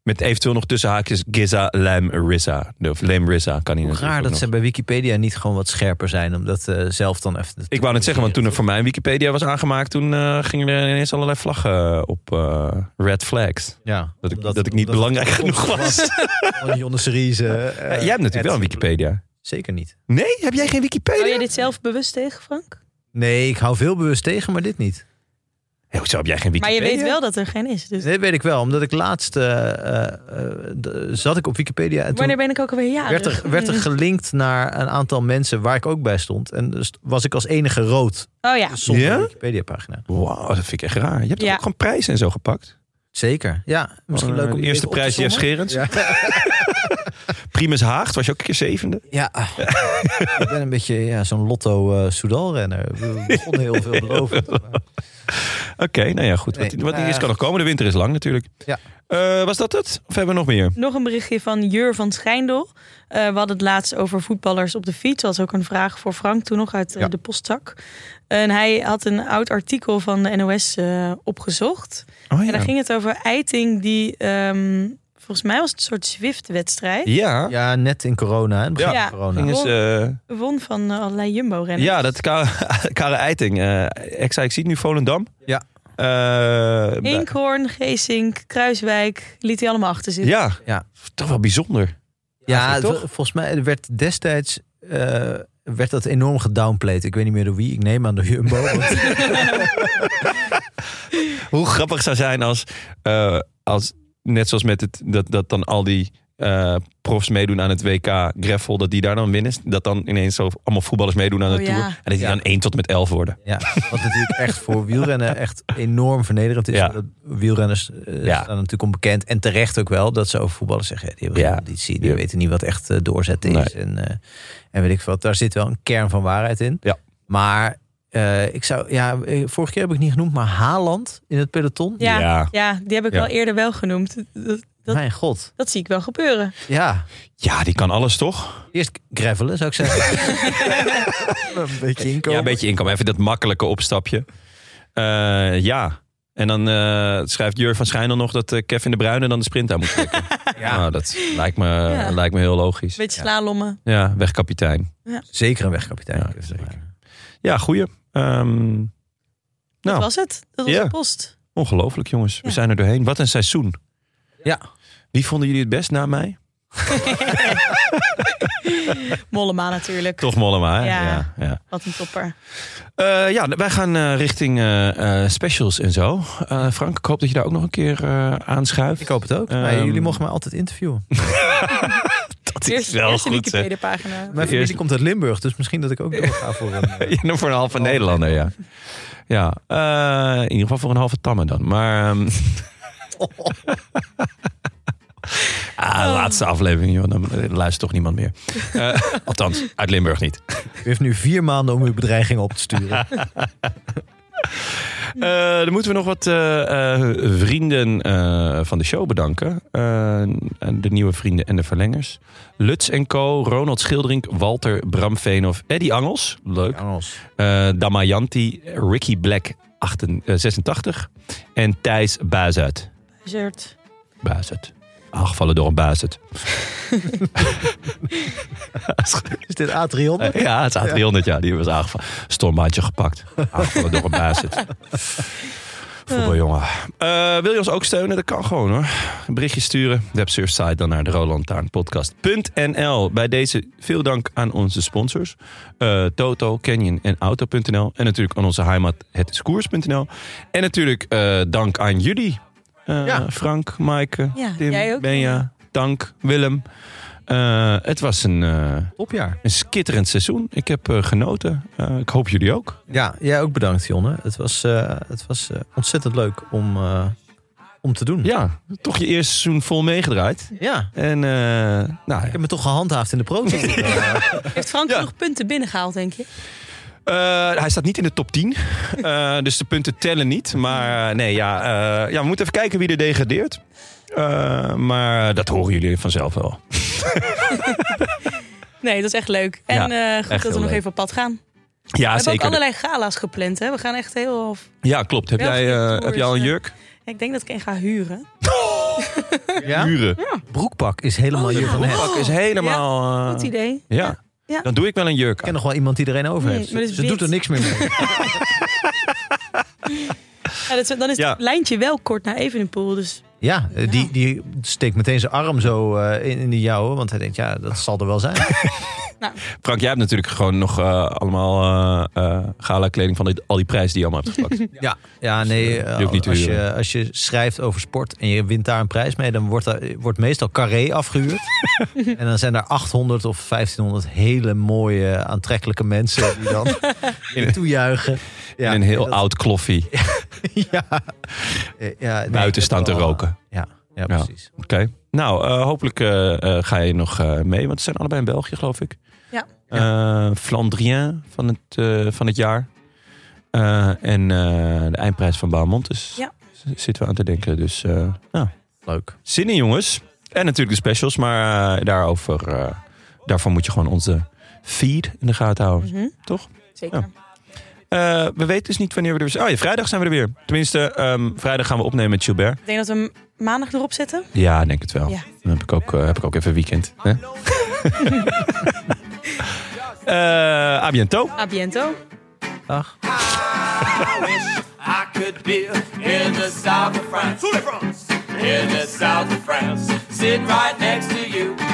Speaker 1: Met eventueel nog tussen haakjes Giza Lam Rissa. Of Lam Rissa kan hij
Speaker 2: Hoe
Speaker 1: natuurlijk
Speaker 2: raar
Speaker 1: ook
Speaker 2: dat
Speaker 1: nog.
Speaker 2: ze bij Wikipedia niet gewoon wat scherper zijn. Om dat eh, zelf dan even...
Speaker 1: Ik wou net zeggen, want toen er voor mij Wikipedia was aangemaakt... toen eh, gingen er ineens allerlei vlaggen op eh, red flags.
Speaker 2: Ja,
Speaker 1: Dat ik,
Speaker 2: omdat-
Speaker 1: dat ik niet
Speaker 2: omdat
Speaker 1: belangrijk
Speaker 2: het
Speaker 1: genoeg
Speaker 2: ons
Speaker 1: was.
Speaker 2: Van Jonne Series. eh, eh,
Speaker 1: Eh, jij hebt natuurlijk wel een
Speaker 2: het-
Speaker 1: Wikipedia.
Speaker 2: Zeker niet.
Speaker 1: Nee? Heb jij geen Wikipedia?
Speaker 3: Hou jij dit zelf bewust tegen, Frank?
Speaker 2: Nee, ik hou veel bewust tegen, maar dit niet.
Speaker 1: Hé, hoezo heb jij geen
Speaker 3: Maar je
Speaker 1: Wikipedia?
Speaker 3: weet wel dat er geen is. Dus.
Speaker 2: Nee, dat weet ik wel, omdat ik laatst eh, eh, eh, d- zat ik op Wikipedia en toen
Speaker 3: Wanneer ben ik ook alweer jarig?
Speaker 2: werd er, werd er gelinkt naar een aantal mensen waar ik ook bij stond. En dus was ik als enige rood
Speaker 3: Oh ja.
Speaker 2: zonder
Speaker 1: Ja?
Speaker 2: Wikipedia pagina.
Speaker 1: Wauw, dat vind ik echt raar. Je hebt toch
Speaker 3: Ja.
Speaker 1: ook gewoon prijzen en zo gepakt?
Speaker 2: Zeker. Ja, misschien
Speaker 1: Eh,
Speaker 2: leuk om
Speaker 1: de
Speaker 2: die
Speaker 1: eerste
Speaker 2: even op te
Speaker 1: prijs Jeff
Speaker 2: sommen.
Speaker 1: Scherens.
Speaker 2: Ja.
Speaker 1: Primus Haag, was je ook een keer zevende?
Speaker 2: Ja, ik ben een beetje ja, zo'n Lotto eh Soudal renner. We begonnen heel veel beloven.
Speaker 1: Oké, nou ja, goed. Wat,
Speaker 2: Nee,
Speaker 1: wat niet
Speaker 2: eh,
Speaker 1: is kan nog komen. De winter is lang natuurlijk.
Speaker 2: Ja.
Speaker 1: Eh, was dat het? Of hebben we nog meer?
Speaker 3: Nog een berichtje van Jur van Schijndel. Eh, we hadden het laatst over voetballers op de fiets. Dat was ook een vraag voor Frank toen nog uit eh,
Speaker 2: Ja.
Speaker 3: de postzak. En hij had een oud artikel van de NOS eh, opgezocht.
Speaker 1: Oh
Speaker 3: En daar
Speaker 1: ja.
Speaker 3: ging het over eiting die... ehm, volgens mij was het een soort Zwift-wedstrijd.
Speaker 1: Ja.
Speaker 2: Ja, net in corona. hè, in het begin
Speaker 3: Ja.
Speaker 2: van corona.
Speaker 1: Gingen
Speaker 3: Oh.
Speaker 1: ze,
Speaker 3: Won van eh, allerlei Jumbo-renners.
Speaker 1: ja, dat Kare, Kare Eiting. eh, ik zei, ik zie het nu Volendam.
Speaker 2: Ja.
Speaker 1: Eh, bij-
Speaker 3: Eekhoorn, Geesink, Kruiswijk liet hij allemaal achter zich.
Speaker 1: ja.
Speaker 2: Ja.
Speaker 1: Toch wel bijzonder.
Speaker 2: Ja,
Speaker 1: Eigenlijk,
Speaker 2: het- volgens mij werd destijds eh, werd dat enorm gedownplayed. Ik weet niet meer door wie. Ik neem aan door Jumbo. want-
Speaker 1: Hoe grappig zou zijn als, eh, als net zoals met het, dat, dat dan al die eh, profs meedoen aan het WK Greffel, dat die daar dan winnen. Dat dan ineens zo allemaal voetballers meedoen aan de
Speaker 3: Oh, ja.
Speaker 1: Tour. En dat die
Speaker 2: Ja.
Speaker 1: dan 1 tot met 11 worden.
Speaker 2: ja, wat natuurlijk echt voor wielrennen echt enorm vernederend is.
Speaker 1: Ja.
Speaker 2: Dat Wielrenners eh,
Speaker 1: Ja.
Speaker 2: staan natuurlijk onbekend. En terecht ook wel dat ze over voetballers zeggen. ja, Die hebben
Speaker 1: Ja.
Speaker 2: geen conditie. Die
Speaker 1: Ja.
Speaker 2: weten niet wat echt eh, doorzetten is. En, eh, en weet ik wat. Daar zit wel een kern van waarheid in.
Speaker 1: Ja.
Speaker 2: Maar eh, ik zou... Ja, eh, vorige keer heb ik niet genoemd. Maar Haaland in het peloton.
Speaker 3: Ja,
Speaker 1: Ja.
Speaker 3: ja. die heb ik
Speaker 1: Ja.
Speaker 3: wel eerder wel genoemd. Dat, dat,
Speaker 2: Mijn god.
Speaker 3: dat zie ik wel gebeuren.
Speaker 2: Ja.
Speaker 1: Ja, die kan alles toch?
Speaker 2: Eerst gravelen, zou ik zeggen. een beetje inkomen.
Speaker 1: Ja, een beetje inkomen. Even dat makkelijke opstapje. Eh, ja. En dan eh, schrijft Jur van Schijndel nog dat eh, Kevin de Bruyne dan de sprint aan moet trekken. ja.
Speaker 2: Ah,
Speaker 1: Nou, dat lijkt me,
Speaker 3: Ja.
Speaker 1: lijkt me heel logisch.
Speaker 3: Beetje slalommen.
Speaker 1: Ja, wegkapitein.
Speaker 2: Zeker een wegkapitein.
Speaker 1: Ja, zeker. Ja, goeie. Ehm,
Speaker 3: Dat
Speaker 1: Nou.
Speaker 3: was het. Dat was
Speaker 1: Ja.
Speaker 3: de post.
Speaker 1: Ongelooflijk, jongens. We
Speaker 3: Ja.
Speaker 1: zijn er doorheen. Wat een seizoen.
Speaker 2: Ja.
Speaker 1: Wie vonden jullie het best na mij?
Speaker 3: Mollema natuurlijk.
Speaker 1: Toch Mollema, hè?
Speaker 3: Ja.
Speaker 1: Ja, ja.
Speaker 3: Wat een topper.
Speaker 1: Eh, ja, wij gaan eh, richting eh, eh, specials en zo. Eh, Frank, ik hoop dat je daar ook nog een keer eh aanschuift.
Speaker 2: Ik hoop het ook.
Speaker 1: Ehm,
Speaker 2: maar jullie mogen mij altijd interviewen.
Speaker 1: Dat
Speaker 3: Eerst, eerst de Wikipedia-pagina.
Speaker 2: Mijn familie
Speaker 1: eerst-
Speaker 2: komt uit Limburg, dus misschien dat ik ook doorga voor een... eh,
Speaker 1: Ja, voor een halve Nederlander, ja. Ja, eh, in ieder geval voor een halve tamme dan. Maar... ehm, ah, laatste aflevering, joh. Dan luistert toch niemand meer. Eh, althans, uit Limburg niet.
Speaker 2: U heeft nu vier maanden om uw bedreiging op te sturen.
Speaker 1: Eh, dan moeten we nog wat eh, eh, vrienden eh, van de show bedanken. Eh, de nieuwe vrienden en de verlengers. Luts en Co, Ronald Schilderink, Walter Bramveenhoff, Eddie Angels. Leuk.
Speaker 2: Engels.
Speaker 1: Eh, Damayanti, Ricky Black 88, eh, 86. En Thijs Bazuit.
Speaker 3: Zert.
Speaker 1: Bazuit. Aangevallen door een Bazuit.
Speaker 2: Is dit A300?
Speaker 1: Ja, het is A300, ja. Die was aangevallen. Stormbaantje gepakt. Aangevallen door een baas. Voetbaljongen. Eh, wil je ons ook steunen? Dat kan gewoon hoor. Een berichtje sturen. Websurfsite dan naar de rolandtaarnpodcast.nl. Bij deze veel dank aan onze sponsors. eh, Toto, Canyon en Auto.nl. En natuurlijk aan onze heimat hetiskoers.nl. En natuurlijk eh, dank aan jullie. Eh,
Speaker 2: Ja.
Speaker 1: Frank, Maaike,
Speaker 3: Ja,
Speaker 1: Tim,
Speaker 3: jij ook.
Speaker 1: Benja, Dank, Willem. Eh, het was een... eh,
Speaker 2: Topjaar.
Speaker 1: een skitterend seizoen. Ik heb eh, genoten. Eh, ik hoop jullie ook.
Speaker 2: Ja, jij ook bedankt, Jonne. Het was, eh, het was eh, ontzettend leuk om, eh, om te doen.
Speaker 1: Ja, toch je eerste seizoen vol meegedraaid.
Speaker 2: Ja.
Speaker 1: En eh, nou ja.
Speaker 2: Ik heb me toch gehandhaafd in de proto.
Speaker 3: Heeft Frank
Speaker 1: Ja.
Speaker 3: nog punten binnengehaald, denk je?
Speaker 1: Eh, hij staat niet in de top 10. Eh, dus de punten tellen niet. Maar eh, nee, ja, eh, ja, we moeten even kijken wie er degradeert. Eh, maar dat horen jullie vanzelf wel.
Speaker 3: Nee, dat is echt leuk. En eh, goed
Speaker 1: echt
Speaker 3: dat we
Speaker 1: heel
Speaker 3: nog
Speaker 1: leuk.
Speaker 3: even op pad gaan. We
Speaker 1: Ja,
Speaker 3: hebben ook
Speaker 1: zeker.
Speaker 3: allerlei gala's gepland. Hè? We gaan echt heel...
Speaker 1: Ja, klopt. Heb jij,
Speaker 3: Belgische
Speaker 1: eh,
Speaker 3: tours,
Speaker 1: heb jij al een
Speaker 3: eh.
Speaker 1: jurk?
Speaker 3: Ik denk dat ik een ga huren. eh.
Speaker 2: Ja?
Speaker 1: Uren.
Speaker 2: Broekpak is
Speaker 3: Oh,
Speaker 2: helemaal je van het.
Speaker 1: Broekpak is helemaal... eh,
Speaker 3: Goed idee.
Speaker 1: Ja.
Speaker 3: Ja.
Speaker 1: Dan doe ik wel een jurk
Speaker 2: Ik
Speaker 1: aan.
Speaker 2: ken nog wel iemand die er een over
Speaker 3: Nee,
Speaker 2: heeft.
Speaker 3: maar dat is
Speaker 2: Ze
Speaker 3: wit.
Speaker 2: doet er niks meer mee.
Speaker 3: Ja, dat, is- dan is
Speaker 1: Ja.
Speaker 3: het lijntje wel kort naar Evenepoel. Dus
Speaker 2: Ja, eh, die, die steekt meteen zijn arm zo eh, in, in de jouwe. Want hij denkt, ja, dat zal er wel zijn.
Speaker 3: Nou,
Speaker 1: Frank, jij hebt natuurlijk gewoon nog eh, allemaal eh gala kleding van dit- al die prijzen die je allemaal hebt gepakt.
Speaker 2: Ja, ja nee. eh,
Speaker 1: die hoeft niet te
Speaker 2: als, je,
Speaker 1: huren.
Speaker 2: als je schrijft over sport en je wint daar een prijs mee, dan wordt, daar, wordt meestal carré afgehuurd. en dan zijn daar 800 of 1500 hele mooie, aantrekkelijke mensen die dan je toejuichen. Ja,
Speaker 1: in een heel
Speaker 2: dat-
Speaker 1: oud kloffie.
Speaker 2: Ja, Eh, ja nee,
Speaker 1: buiten
Speaker 2: ik
Speaker 1: staan te
Speaker 2: heb wel, eh,
Speaker 1: roken.
Speaker 2: Ja, ja,
Speaker 1: Ja.
Speaker 2: precies.
Speaker 1: Oké. Nou, eh, hopelijk eh, eh, ga je nog eh, mee, want ze zijn allebei in België, geloof ik.
Speaker 3: Ja.
Speaker 1: Eh, Flandrien van het, eh, van het jaar. Eh, en eh, de eindprijs van Baumont. Dus
Speaker 3: Ja.
Speaker 1: z- zitten we aan te denken. Dus eh, ja.
Speaker 2: Leuk.
Speaker 1: zin in, jongens. En natuurlijk de specials, maar eh, daarover, eh, daarvoor moet je gewoon onze feed in de gaten houden.
Speaker 3: mhm.
Speaker 1: Toch?
Speaker 3: Zeker.
Speaker 1: Ja. Eh, we weten dus niet wanneer we er weer zijn. Oh ja, vrijdag zijn we er weer. Tenminste, ehm, vrijdag gaan we opnemen met Gilbert.
Speaker 3: Ik denk dat we hem maandag erop zetten.
Speaker 1: Ja, denk het wel.
Speaker 3: Ja.
Speaker 1: Dan heb ik ook, eh, heb ik ook even weekend. Hè? Eh, à bientôt.
Speaker 3: A biento.
Speaker 2: Dag.
Speaker 4: I wish I could be in the south of France. In the south of France. Sitting right next to you.